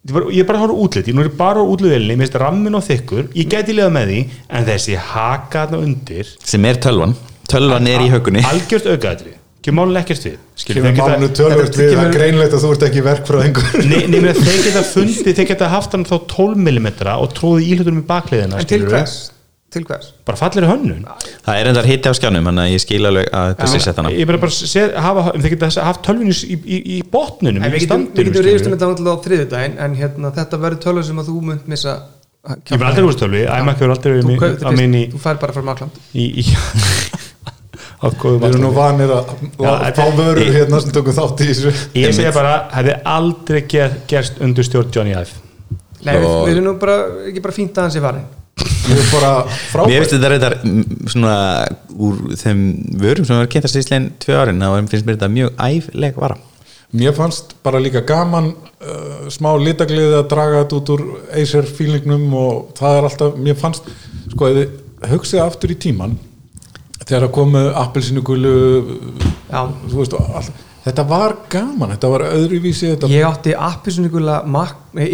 Speaker 2: ég bara- ég er bara að horfa á útlit, ég nú er ég bara á útlitvelinni mér finnst rammin og þykkur, ég gæti liða með því en þessi haka þarna undir
Speaker 3: sem er tölvan, tölvan er í hökunni
Speaker 2: algjört aukaðri, kemur málun ekkert við skilur
Speaker 5: kemur
Speaker 2: þeir geta-
Speaker 5: mánu tölvöld við að
Speaker 4: þetta kemur-
Speaker 5: greinleita þú ert ekki verk frá einhver
Speaker 2: Nei, nei, meni, þeir geta fundið, þeir geta haft hann þá 12 mm og tróði íhlutunum í bakliðina
Speaker 4: En til
Speaker 2: skilurðu.
Speaker 4: hvers? Til hvers?
Speaker 2: Bara fallir hönnun
Speaker 3: það er endar hitti á skjánum, þannig að ég skil alveg að þetta sé sett hana
Speaker 2: Ég bara bara sé, hafa, um, þeir geta haft tölvunni í, í, í botnunum,
Speaker 4: En
Speaker 2: í
Speaker 4: við getum, við
Speaker 2: standunum
Speaker 4: getum reyðust um
Speaker 2: skilurðu.
Speaker 4: þetta náttúrulega á þriðudaginn en hérna, þetta verður tölva sem að þú munt missa
Speaker 2: Ég verð aldrei úr tölvi, æmak hefur aldrei verið
Speaker 4: Þú,
Speaker 2: mi-
Speaker 4: kaupir
Speaker 2: að
Speaker 4: fyrst-
Speaker 2: minni
Speaker 4: þú fær bara frá makland
Speaker 2: í, í, í á góðu
Speaker 5: við erum nú
Speaker 2: vatnsfæri.
Speaker 5: vanir
Speaker 2: Já,
Speaker 5: að fá
Speaker 2: þetta-
Speaker 5: vörur hérna sem tökum þátt í þessu
Speaker 2: Ég segja bara, hefði aldrei ger, gerst undir stjórn Johnny Ive
Speaker 4: Nei, við,
Speaker 3: Og-
Speaker 4: við erum nú bara, ekki bara fínt aðeins í varin
Speaker 5: ég er bara
Speaker 3: Mér
Speaker 5: frábært
Speaker 3: finnst þetta reyndar mm, svona úr þeim vörum sem var kynntast í Íslein tvö árin, þá finnst mér þetta mjög æfleg vara.
Speaker 5: Mér fannst bara líka gaman uh, smá litagliði að draga þetta út úr Acer fílingnum og það er alltaf, mér fannst sko, ef þið hugsið aftur í tíman þegar það komu appelsinu gulu
Speaker 4: Já.
Speaker 5: þú veist, all, Þetta var gaman, þetta var öðruvísi þetta
Speaker 4: ég átti eh, appisunikulega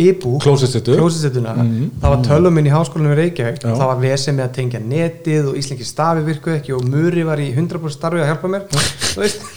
Speaker 4: íbú
Speaker 5: Klósettsetu.
Speaker 4: klósetsetuna það var tölum minn í háskólanum í Reykjavík
Speaker 5: Já.
Speaker 4: það var vesið með að tengja netið og íslengi stafi virkuð ekki og Muri var í 100% starfi að hjálpa mér þú veist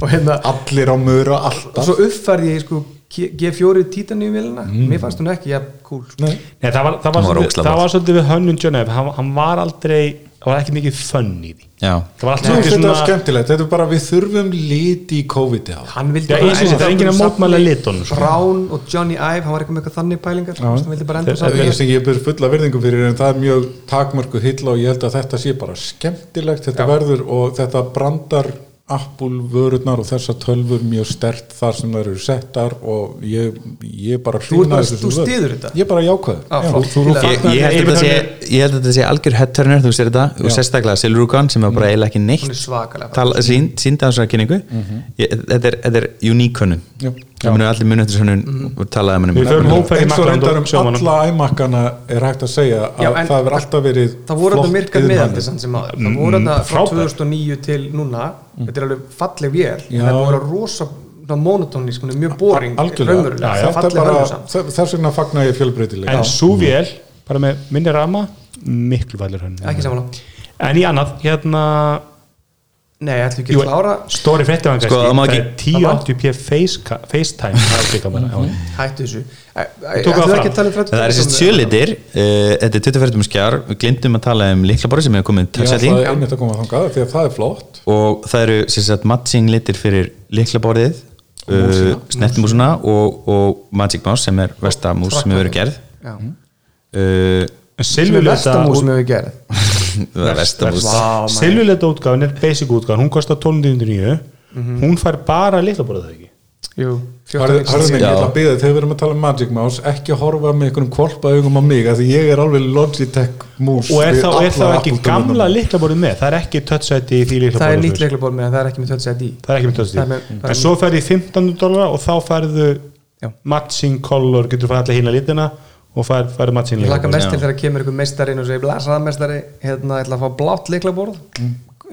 Speaker 4: og hérna
Speaker 5: Allir á mör og alltaf
Speaker 4: og svo uppfærði ég sko G- G4 titaníum velina mér fannst hún ekki, já, cool sko.
Speaker 5: Nei,
Speaker 2: Nei, það var, það var,
Speaker 3: Hún var
Speaker 2: svolítið,
Speaker 3: ógeðslega
Speaker 2: það
Speaker 3: flott.
Speaker 2: var svolítið við hönnun John F hann, hann var aldrei, það var ekki mikið fönn í því
Speaker 3: Já.
Speaker 2: það var allt
Speaker 5: Nei,
Speaker 2: svolítið
Speaker 5: þetta var
Speaker 2: svona
Speaker 5: skemmtilegt, þetta er bara við þurfum liti í COVID á
Speaker 4: hann vildi
Speaker 2: Já, eins og sé, það er enginn að mótmæla litunum, sko.
Speaker 4: Brown og Johnny Ive, hann var eitthvað með eitthvað þannig pælingar hann vildi bara enda
Speaker 2: Þeir-
Speaker 5: Það
Speaker 4: saman
Speaker 5: er sem ég byrð fulla verðingum fyrir en það er mjög takmörku hilla og ég held að þetta sé bara skemmtilegt þetta verður og þetta brandar Apple vörurnar og þessar tölfur mjög stert þar sem þær eru settar og ég, ég bara
Speaker 4: Þú ert
Speaker 5: hrifnaði
Speaker 4: bara-
Speaker 5: þessu
Speaker 4: þú
Speaker 5: sem vörur.
Speaker 4: styður þetta?
Speaker 5: Ég bara jákvæður
Speaker 4: Já,
Speaker 5: Já.
Speaker 4: flott.
Speaker 5: Þú- þú-
Speaker 4: Ég-
Speaker 3: Ég, ég, held að þetta sé, ég held að þetta sé algjör headturner þú sér þetta og
Speaker 5: Já.
Speaker 3: sérstaklega Silrukan sem er bara eiginlega ekki
Speaker 4: hún er
Speaker 3: neitt
Speaker 4: svakalega
Speaker 3: tala, sínd, sínda þessar kynningu ég, þetta, er, þetta er uník hönnun
Speaker 5: Já.
Speaker 3: það munum allir munið eftir hönnun
Speaker 4: Mhm.
Speaker 3: og talaði um
Speaker 2: Við förum
Speaker 3: hennum
Speaker 2: hópferð í
Speaker 5: eins og
Speaker 2: Makland
Speaker 5: reyndar
Speaker 2: og sjáum
Speaker 5: um
Speaker 2: hana.
Speaker 5: alla æmakkana er hægt að segja að
Speaker 4: Já, en-
Speaker 5: það hefur alltaf verið
Speaker 4: það voru
Speaker 5: flott
Speaker 4: þetta myrkar
Speaker 5: iðnhönnun.
Speaker 4: meðaldi samt sem aður það voru þetta frá
Speaker 2: frábært.
Speaker 4: 2009 til núna þetta er alveg falleg vél
Speaker 5: Já.
Speaker 4: en það voru rosa svona monotónísk, hún er mjög boring
Speaker 5: algjörlega,
Speaker 4: raunveruleg,
Speaker 5: Já, já.
Speaker 4: það
Speaker 5: þetta er
Speaker 4: falleg
Speaker 5: bara
Speaker 4: hönnun samt
Speaker 5: þess- þess vegna fagna ég fjölbreytilega
Speaker 2: en súvél, bara með minni rama miklu valur hönnun
Speaker 4: ekki saman á
Speaker 2: en í annað, hérna
Speaker 4: nei, ætlum við ekki að klára
Speaker 2: stóri fréttir hann
Speaker 3: Sko, það má
Speaker 2: kannski,
Speaker 3: ekki-
Speaker 2: það er 1080p face, ca- FaceTime það er klikkað bara,
Speaker 3: Mhm.
Speaker 2: já.
Speaker 4: hættu þessu
Speaker 2: tók það
Speaker 4: ætlum við ekki
Speaker 2: fram.
Speaker 4: að tala um 30
Speaker 3: það er þessi sjölitir uh, þetta er 24 skjár, við glimtum að tala um líklaborði sem hefur komið
Speaker 5: ég
Speaker 3: talsett í
Speaker 5: ætlaði einmitt að koma þangað því að það er flott
Speaker 3: og það eru sem sagt, matching litir fyrir líklaborðið uh,
Speaker 5: músina.
Speaker 3: snertimúsuna og, og Magic Mouse sem er vestamús sem hefur verið gerð uh,
Speaker 2: en
Speaker 4: sem er
Speaker 2: silfurlita
Speaker 4: vestamú sem hefur gerð
Speaker 3: vestamús
Speaker 4: Vá, maður.
Speaker 2: silfurlita útgáðan er basic útgáðan hún kostar 12.909
Speaker 4: Mhm.
Speaker 2: hún fær bara litla borða það ekki
Speaker 4: jú,
Speaker 5: Harður harður
Speaker 4: 14
Speaker 5: minn, ég
Speaker 3: Já.
Speaker 5: ætla að byggja þegar við erum að tala um Magic Mouse ekki að horfa með einhverjum kvolpa augum á mig af því ég er alveg Logitech Moose
Speaker 2: og er
Speaker 5: við hérna.
Speaker 2: þá, er
Speaker 5: allar
Speaker 2: þá ekki
Speaker 5: Apple-tölvurnar.
Speaker 2: gamla liklaborðið með það er ekki touchsæti í því
Speaker 4: það er
Speaker 2: liklaborðið
Speaker 4: nýtt leiklaból með það er ekki með 27 í
Speaker 2: það er ekki með
Speaker 4: Það er með-
Speaker 2: touchsæti
Speaker 4: það er
Speaker 2: en svo færði 15 dólar og þá færðu
Speaker 4: Já.
Speaker 2: matching color, getur færði allir hína litina og færði, færði matching
Speaker 4: Ég laka
Speaker 2: liklaborðið
Speaker 4: mest til þegar kemur einhver meistari inn og segir blasaða meistari, hérna ætla að fá blátt leiklaborð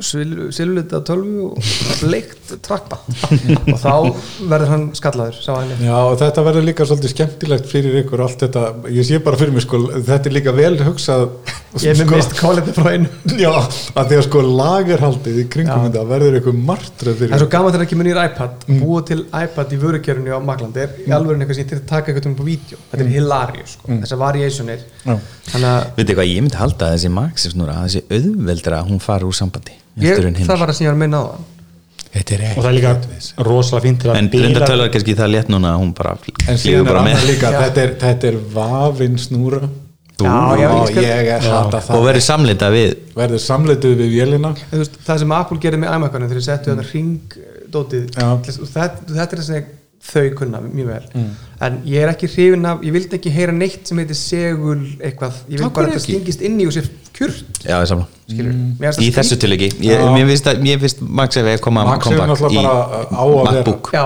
Speaker 4: silvlita tölvu og bleikt trakpa og þá verður hann skallaður sá hann
Speaker 5: Já, og þetta verður líka svolítið skemmtilegt fyrir ykkur allt þetta, ég sé bara fyrir mig sko, þetta er líka vel hugsað
Speaker 4: ég er
Speaker 5: sko-
Speaker 4: með mist kólið frá einu
Speaker 5: Já, að því að sko lagerhaldið í kringum
Speaker 4: Já.
Speaker 5: þetta verður ykkur martröð
Speaker 4: það
Speaker 5: fyrir
Speaker 4: er svo gaman þegar það kemur nýr iPad búa til iPad í vörukjörunni á Maglandi er í alvörinu eitthvað sem ég til að taka eitthvað um på vídeo þetta er hilarious sko, þessar variationir
Speaker 5: Já.
Speaker 4: þannig að
Speaker 3: Veitu hvað, ég myndi halda að þessi Maxis núna, að þessi auðveldra að hún fara úr sambandi heldur en
Speaker 4: ég,
Speaker 3: hinn.
Speaker 4: það var að sem ég var að minna á það
Speaker 5: Þetta er
Speaker 2: og það er líka rosalega fínt til að
Speaker 3: En reyndar talar kannski það létt núna að hún bara
Speaker 5: En
Speaker 3: flýgur
Speaker 5: síðan er
Speaker 3: bara
Speaker 5: annað
Speaker 3: með
Speaker 5: líka,
Speaker 4: Já.
Speaker 5: þetta er, þetta er vafinn snúra
Speaker 4: Já, já, ég
Speaker 5: og
Speaker 4: skal-
Speaker 5: ég er hata
Speaker 3: og
Speaker 5: það
Speaker 3: verður samlita við
Speaker 5: verður samleituð við vélina
Speaker 4: En þú veist, það sem Apple gerði með iMac-unum þegar þeir settu mm. ringdótið
Speaker 5: Já.
Speaker 4: þetta, þetta er þess að þau kunna mjög vel
Speaker 5: Mm.
Speaker 4: en ég er ekki hrifin af, ég vildi ekki heyra neitt sem heitir segul eitthvað ég vil
Speaker 5: Af
Speaker 4: bara
Speaker 5: hverju
Speaker 4: að
Speaker 5: ekki?
Speaker 4: þetta
Speaker 5: Mm.
Speaker 4: stingist inn í og sér kjurt
Speaker 3: Já, ég samla
Speaker 4: skilur, mér
Speaker 3: Í þessu tilöki, ég, mér finnst að- mér finnst Max ef ég koma
Speaker 5: Max er
Speaker 3: comeback í
Speaker 5: náttúrulega bara uh, á að vera
Speaker 3: MacBook
Speaker 4: Já.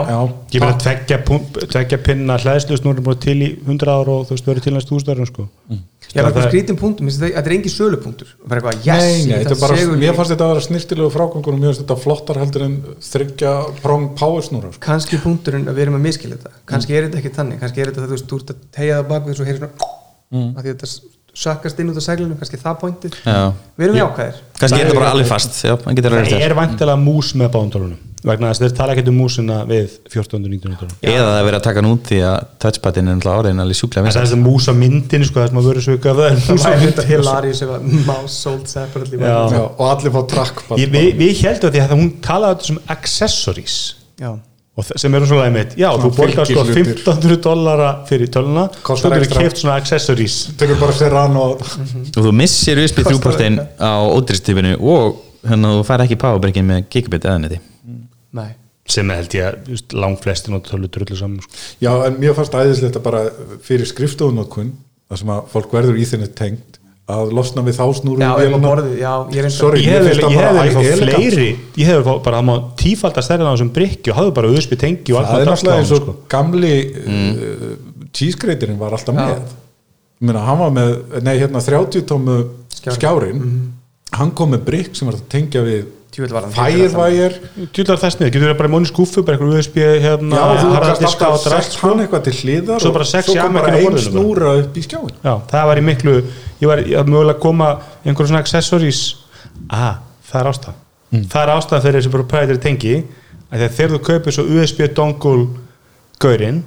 Speaker 2: ég meina tveggja, pún- tveggja pinna hlæðslust nú er búin til í 100 ára og þú veist, verður til næst úrstæðurinn sko
Speaker 4: ég er
Speaker 2: Það-
Speaker 4: bara skrítin punktum, þessi- þetta er engin sölupunktur bara eitthvað, yes,
Speaker 5: Nei,
Speaker 4: ég
Speaker 5: nei,
Speaker 4: vil
Speaker 5: þetta er
Speaker 4: þetta
Speaker 5: bara,
Speaker 4: segul-
Speaker 5: mér fannst þetta að vera snirtilegu frágangur og mér fannst þetta flottar heldur en þryggja prong powersnúra sko.
Speaker 4: kannski punkturinn að við erum að miskila
Speaker 5: Mm.
Speaker 4: þetta kannski er þetta ekki þannig, kannski er þetta það þú veist, þú ert að tegja það bakvið svo heyrir svona
Speaker 5: Mm.
Speaker 4: að því þetta sökkast inn út af seglunum kannski það pointið,
Speaker 3: Já.
Speaker 4: við erum jákvæðir
Speaker 3: Kannski er þetta bara alveg fast, já, hann getur að
Speaker 2: það
Speaker 3: reyta
Speaker 2: er vantilega mús með bándólunum vegna þess að þeir tala ekkert um músina við 14.900
Speaker 3: Eða það er verið að taka hann út því að touchpadin er náttúrulega orðin alveg sjúklega
Speaker 2: En það
Speaker 3: vinsæl.
Speaker 2: er þess að músa myndin sko, það sem að vera sögja það er
Speaker 4: Það
Speaker 2: músa
Speaker 4: var þetta
Speaker 2: myndin
Speaker 4: hilarious ef að mouse sold separately var.
Speaker 2: Já.
Speaker 5: Já, og allir fá track
Speaker 2: Ég- við, við heldum að því að hún talaði þetta sem accessories
Speaker 4: Já.
Speaker 2: og þa- sem eru svona einmitt, já, þú
Speaker 5: Svona
Speaker 2: borgar sko
Speaker 5: fylgihlutir.
Speaker 2: 1500 dollara fyrir töluna og
Speaker 5: Kostar
Speaker 2: þú getur
Speaker 5: extra.
Speaker 2: keft svona accessories
Speaker 5: Tökur bara Serrano
Speaker 3: og þú missir USB 3-portin á ódristipinu og hérna þú fær ekki powerbrickin með gigabit eða netti
Speaker 4: Nei.
Speaker 2: sem held ég að just, langflestin og tölur drullu saman sko.
Speaker 5: Já, en mér fannst æðislegt að bara fyrir skrifstofunótkun þar sem að fólk verður í þenni tengt að losna við þá snúru
Speaker 4: Já, ef að borðið, já, ég reyndi
Speaker 5: Sorry.
Speaker 2: ég
Speaker 5: Mér
Speaker 2: hefði
Speaker 5: finnst
Speaker 2: hef,
Speaker 5: það
Speaker 2: hef, hef,
Speaker 5: bara alveg
Speaker 2: hef
Speaker 5: elegant,
Speaker 2: fleiri ég hefði fá- bara, hann má tífalda stærðin á þessum brikki og hafði bara USB tengi og
Speaker 5: það
Speaker 2: allt
Speaker 5: er náttúrulega eins og
Speaker 2: sko.
Speaker 5: gamli mm. uh, cheesegreitirinn var alltaf
Speaker 4: Já.
Speaker 5: með ég meina hann var með, nei hérna 30 tómu
Speaker 4: Skjárinn.
Speaker 5: skjárin hann kom með brikk sem var að tengja við
Speaker 4: Tjúvill var hann
Speaker 5: Firewire
Speaker 2: Tjúlar þess niður, getur verið bara í mónu skúfu bara eitthvað USB hérna,
Speaker 5: Já, þú gast
Speaker 2: harðardiska
Speaker 5: alltaf
Speaker 2: og drast
Speaker 5: sett hann eitthvað til hliðar
Speaker 2: Svo bara sex
Speaker 5: svo
Speaker 2: í afmækinu
Speaker 5: kom bara
Speaker 2: á
Speaker 5: ein
Speaker 2: borðinu bara.
Speaker 5: snúra upp í skjáin
Speaker 2: Já, það var í miklu ég var ég var mögulega að koma einhverjum svona accessories ah, það er ástæð
Speaker 5: Mm.
Speaker 2: það er ástæð fyrir þessu proprietary tengi að þegar þegar þú kaupir svo USB dongle gaurinn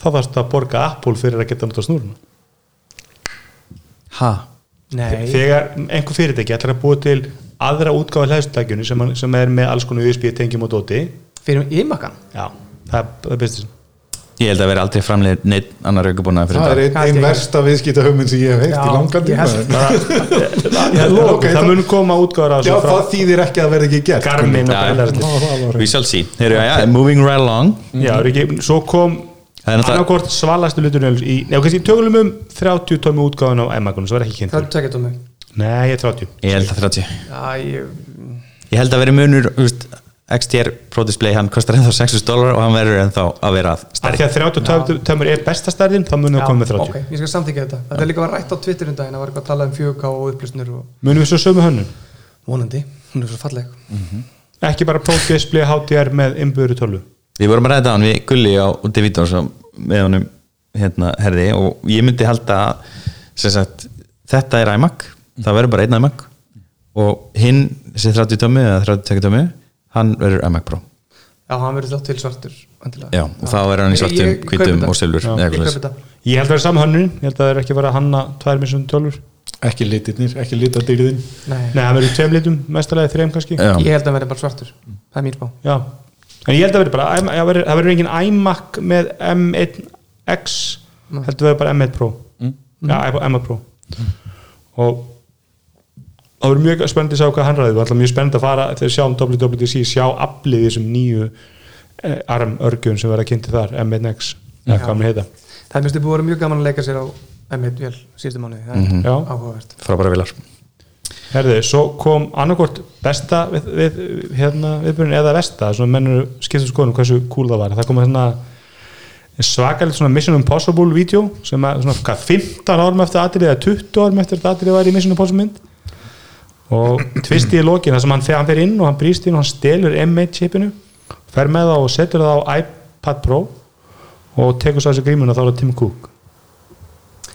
Speaker 2: þá þarfst að borga Apple fyrir að geta nota snúruna
Speaker 3: ha,
Speaker 4: Nei,
Speaker 2: þegar einhver fyrirtæki ætlar að búa til aðra útgáfa hlæðstækjunni sem, hann- sem er með alls konar USB tengjum og dóti
Speaker 4: fyrir um ymakan
Speaker 2: já, það er, það er bestið
Speaker 3: ég held að vera aldrei framlegir neitt annar aukubúna fyrir
Speaker 5: það er
Speaker 3: þetta
Speaker 5: einn ein versta viðskita sem ég hef heilt í
Speaker 4: Já,
Speaker 5: langan
Speaker 4: ég
Speaker 5: tíma
Speaker 4: held
Speaker 2: það,
Speaker 5: ok,
Speaker 2: það
Speaker 5: þá-
Speaker 2: mun koma útgáfar af
Speaker 5: já,
Speaker 2: þessu
Speaker 5: það þýðir ekki að verði ekki gert sko.
Speaker 2: Garmin og
Speaker 3: Já, já.
Speaker 2: bælar
Speaker 5: Ná, það var
Speaker 3: we shall see, Heru, já, já, moving right along
Speaker 2: Já, er ekki, svo kom
Speaker 3: Það er náttúrulega-
Speaker 2: annarkort svalastu liturinn í, já, kannski tölum um 30 tómi útgáðan á M-agunum, svo er ekki kynnt
Speaker 4: Það er tökja tómi
Speaker 2: Nei, ég er 30
Speaker 3: ég held að 30
Speaker 4: Já, ég
Speaker 3: Ég held að veri munur úst, XTR Pro Display, hann kostar ennþá 60 dólar og hann verður ennþá að vera
Speaker 2: Af
Speaker 3: stærri
Speaker 2: því að 30 tómur er besta stærðin þá munum
Speaker 4: já,
Speaker 2: við koma með 30
Speaker 4: ok, ég skal samþykja þetta Þetta er líka var rætt á Twitter um daginn Það var eitthvað að tala um 4K og upplýsnir og
Speaker 2: Munum við svo sömu hönnum
Speaker 4: vonandi Hún er svo falleg
Speaker 2: Ekki bara Pro Display HDR með innbyrðu tölu
Speaker 3: Við vorum að ræða hann við Gulli á Divítón með honum hérna, herði og ég myndi halda að sem sagt, þetta er iMac það verður bara einn iMac og hinn, þessi 30 tómi eða 32 tómi hann verður iMac Pro
Speaker 4: Já, hann verður þátt til svartur endilega.
Speaker 3: Já, og þá verður hann í
Speaker 4: Ég-
Speaker 3: svartum,
Speaker 4: ég kaupi
Speaker 3: hvítum
Speaker 4: þetta.
Speaker 3: og silfur,
Speaker 4: Já.
Speaker 3: eða
Speaker 4: Ég
Speaker 3: eitthvað
Speaker 4: kaupi
Speaker 3: svoleiðis.
Speaker 4: þetta.
Speaker 2: Ég held að það er saman hönnunin, ég held að það er ekki verið að hanna tvær með svona tölur
Speaker 5: ekki litirnir, ekki litadýrðin
Speaker 4: Nei,
Speaker 2: Nei, það verður í tveim litum, mestalagi þreim kannski Já,
Speaker 3: Já,
Speaker 4: ég held að hann verður bara svartur Það er mín spá
Speaker 2: en ég held að verður bara æma- já, verður- það verður engin iMac með M1X heldur verður bara M1 Pro já, M1 Pro og það verður mjög spennandi að sjá hvað hann ræði, það er alltaf mjög spennandi að fara þegar um við sjáum WWDC, sjá aflið í þessum nýju eh, arm örgjum sem verða kynnti þar, M1X eða hvað hann heita,
Speaker 4: Það er mjög búið að vera mjög gaman að leika sér á M1 vel síðustu mánuði, það er
Speaker 3: Mhm.
Speaker 2: já
Speaker 4: áhugavert
Speaker 3: frábæra vilar
Speaker 2: Herði, svo kom annarkort besta við, við, hérna, viðbjörn eða vesta svona mennur skiptum skoðunum um hversu cool það var það kom hérna svakalegt svona Mission Impossible vídeo sem að svona hvað 15 árum eftir aðrið eða 20 árum eftir að aðrið var í Mission Impossible mynd og tvisti í lokin þar sem hann fer, hann fer inn og hann brýst inn og hann stelur M1 chipinu fer með það og setur það á iPad Pro og tekur svo þessu grímuna þá er það Tim Cook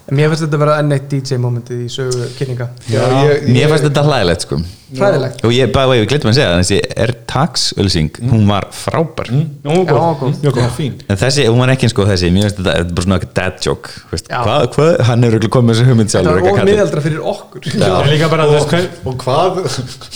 Speaker 4: En mér finnst þetta að vera enn eitt DJ momentið í sögu kynninga
Speaker 5: já, ég, ég,
Speaker 3: Mér fannst þetta hlæðilegt sko
Speaker 4: Fræðilegt
Speaker 3: og ég, bæði, ég glemt að segja það, þessi AirTags ölsing, hún var frábær
Speaker 2: Já, hún var
Speaker 4: Já,
Speaker 2: góð.
Speaker 4: góð.
Speaker 2: Mjög góð.
Speaker 5: Já, fín
Speaker 3: En þessi, hún var ekki eins og þessi, mér finnst þetta, þetta er bara svona eitthvað dad joke, veist,
Speaker 4: Já.
Speaker 3: hvað, hvað, hann er örugglega komið með þessu hugmynd
Speaker 4: Það
Speaker 3: sjálfur,
Speaker 4: var
Speaker 3: eitthvað kallið.
Speaker 4: ómiðaldra fyrir okkur
Speaker 2: Það er líka bara þú veist, hver-
Speaker 5: og hvað,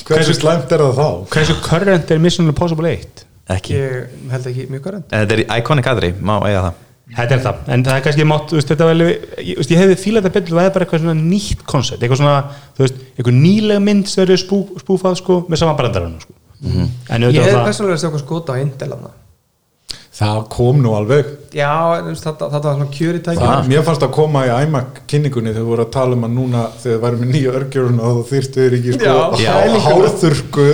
Speaker 5: hversu slæmt er það þá
Speaker 2: hversu current er Mission Impossible 1
Speaker 3: Ekki,
Speaker 4: Ég held ekki mjög garant
Speaker 3: En þetta er iconic aðri, má eiga það.
Speaker 2: Þetta er það, en það er kannski mátt, þú veist, þetta var alveg, ég, þú veist, ég hefði fílað þetta betur, það er bara eitthvað svona nýtt koncept, eitthvað svona, þú veist, eitthvað nýlega mynd sem verður spú, spúfað, sko, með sama brandarann, sko. En
Speaker 4: Ég
Speaker 2: auðvitað
Speaker 4: hefði
Speaker 2: það,
Speaker 4: persónulega að sjá okkur skota á Intel hana.
Speaker 5: það kom nú alveg
Speaker 4: Já, en þú veist, þetta þetta var svona kjöri tæki
Speaker 5: það, mér fannst að koma í iMac kynningunni þegar voru að tala um að núna þegar við værum með nýja örgjörun og þá þyrftu þeir ekki
Speaker 3: Já.
Speaker 5: sko hálþurku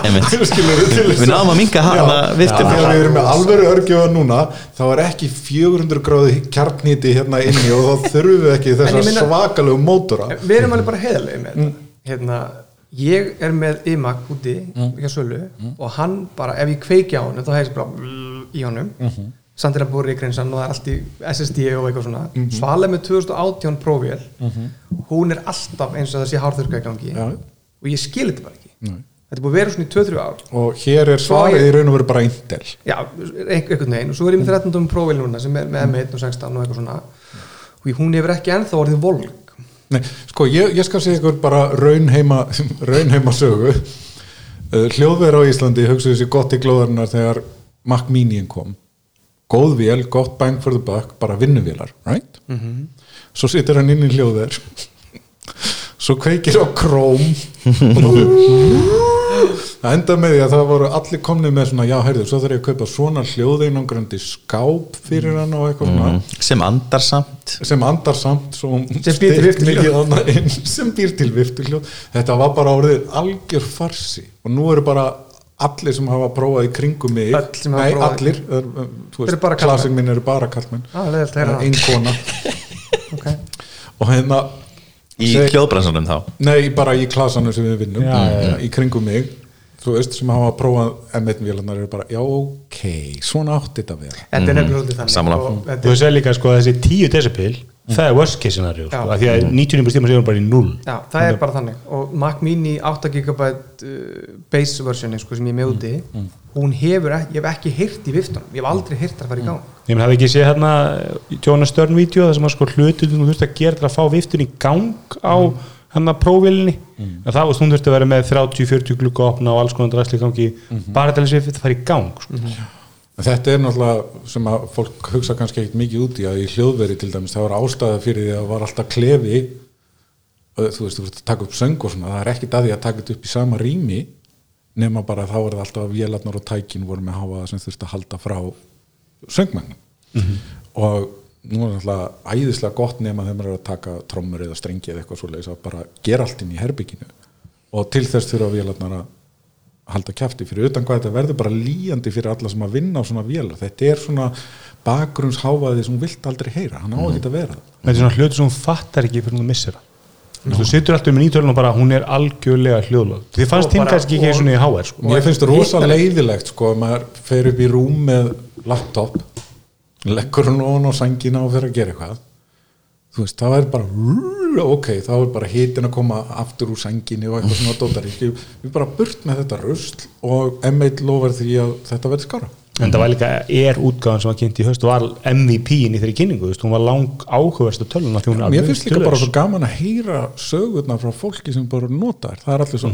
Speaker 3: Einmitt. Við náðum að minka hann að virktum.
Speaker 5: þegar við erum með alvöru örgjörun núna þá er ekki 400 gráði kjarnýti hérna inni og þá þurfum við ekki
Speaker 4: En ég
Speaker 5: þessa
Speaker 4: meina-
Speaker 5: svakalegu mótora
Speaker 4: En Við erum alveg bara heiðarlega með
Speaker 2: Mm.
Speaker 4: þetta Hérna, ég er með IMAG úti
Speaker 2: Mm.
Speaker 4: hjá Sölu og hann bara, ef ég kveiki á hann þá hefði ég bara blr, í honum
Speaker 2: Mhm.
Speaker 4: samt er að búið reikrinsan og það er allt í SSD og eitthvað svona
Speaker 2: Mhm.
Speaker 4: mm -hmm. með 2018 prófél hún er alltaf eins og það sé hárþurka í gangi
Speaker 5: Já.
Speaker 4: og ég skil þetta bara ekki Þetta er búið að vera svona í 2-3 ár
Speaker 5: og hér er
Speaker 4: Svo
Speaker 5: svarið
Speaker 4: ég-
Speaker 5: í raun og veru bara Intel
Speaker 4: Já, einhver- einhvern veginn og svo er ég
Speaker 2: Mm.
Speaker 4: með 13. prófél núna sem er með M1 og 16 og eitthvað svona og ég- hún hefur ekki ennþá orðið volg
Speaker 5: Nei, sko, ég, ég skal segja ykkur bara raunheima, raunheima sögu. Uh, Hljóðver á Íslandi hugsaðu sér gott í glóðarinnar þegar Mac Minion kom. Góð vél, gott bang for the buck, bara vinnuvélar, right? Svo situr hann inn í hljóðver, svo kveikir á króm Það enda með því að það voru allir komnið með svona, já, heyrðu, svo þarf ég að kaupa svona hljóðeinangrandi skáp fyrir hann og eitthvað svona
Speaker 3: Sem andar samt.
Speaker 5: sem andar samt svo hún
Speaker 4: Sem býr til
Speaker 5: styrk
Speaker 4: viftuhljóð.
Speaker 5: mikið annað inn, sem býr til viftuhljóð þetta var bara orðið algjör farsi og nú eru bara allir sem hafa prófað í kringum mig
Speaker 4: Öll sem hafa
Speaker 5: nei
Speaker 4: prófað.
Speaker 5: allir er, þú
Speaker 4: Eru
Speaker 5: veist,
Speaker 4: bara karlmenn.
Speaker 5: klassik minn eru bara kallmenn
Speaker 4: Ah, leiðilegt að heyra það.
Speaker 5: ein kona
Speaker 4: okay.
Speaker 5: og hérna
Speaker 3: Í
Speaker 5: seg-
Speaker 3: hljóðbransunum þá.
Speaker 5: nei bara í klassanum sem við vinnum
Speaker 2: Já, já,
Speaker 5: í kringum mig þú veist sem hafa prófað M1-vélarnar eru bara, já ok, svona átti þetta að vera
Speaker 4: þetta er nefnilega svolítið þannig
Speaker 3: Sammála.
Speaker 4: og þetta
Speaker 2: Mm. þú veist líka sko að þessi 10 decibel það er worst case scenario sko,
Speaker 4: Já.
Speaker 2: af því að 99% tíma séum bara í 0
Speaker 4: Já, það er bara þannig og Mac Mini 8 GB uh, base versioni sko, sem ég er með úti
Speaker 2: Mm,
Speaker 4: hún hefur, ek- ég hef ekki heyrt í viftunum ég hef aldrei heyrt það að
Speaker 2: Mm.
Speaker 4: fara í gang
Speaker 2: ég menn hafði ekki séð hérna Jónas Störn vídeo það sem að sko hlutur þú þurft að gera til að fá viftun í gang á mm. hérna prófélinni en það var hún þurfti að vera með 30-40 glukka opna og alls konar drasli í gangi bara til þess að þetta fari í gang sko.
Speaker 5: En þetta er náttúrulega sem að fólk hugsa kannski ekkert mikið út í að í hljóðveri til dæmis það var ástæða fyrir því að það var alltaf klefi ö, þú veist, þú veist að taka upp söng og svona, það er ekkert að því að taka þetta upp í sama rými nema bara þá er það alltaf að vélarnar og tækin voru með háaða sem þurfti að halda frá söngmennum og nú er náttúrulega æðislega gott nema þegar maður er að taka trommur eða strengi eða eitthvað svoleiðis að bara gera allt inn í herbygginu og til þess þurfa vélarnar að halda kjafti fyrir utan hvað þetta verður bara líjandi fyrir alla sem að vinna á svona vélar þetta er svona bakgrunnsháfaði sem þú vilt aldrei heyra, hann á ekki að vera það.
Speaker 2: þetta er svona hlutur sem hún fattar ekki fyrir hún missir það Þú veist, þú situr alltaf með nýtölun og bara hún er algjörlega hljóðlög Þið fannst
Speaker 4: Og
Speaker 2: þín
Speaker 4: bara-
Speaker 2: kannski ekki eins og niður HR sko.
Speaker 5: mér finnst það rosa leiðilegt sko, ef maður fer upp í rúm með laptop leggur hann ofan á sængina og fer að gera eitthvað þú veist, það er bara ok, þá er bara hitin að koma aftur úr sænginni og eitthvað svona dótari við bara burt með þetta rusl og M1 lofar því að þetta verður skára
Speaker 2: en það var líka er útgáðan sem var kynnt í höst og var MVP-in í þeirri kynningu þú veist, hún var lang áhugaversta tölun af því hún er
Speaker 5: Mér
Speaker 2: alveg
Speaker 5: finnst líka
Speaker 2: dullaus.
Speaker 5: bara svo gaman að heyra sögurnar frá fólki sem bara notar það er allir svo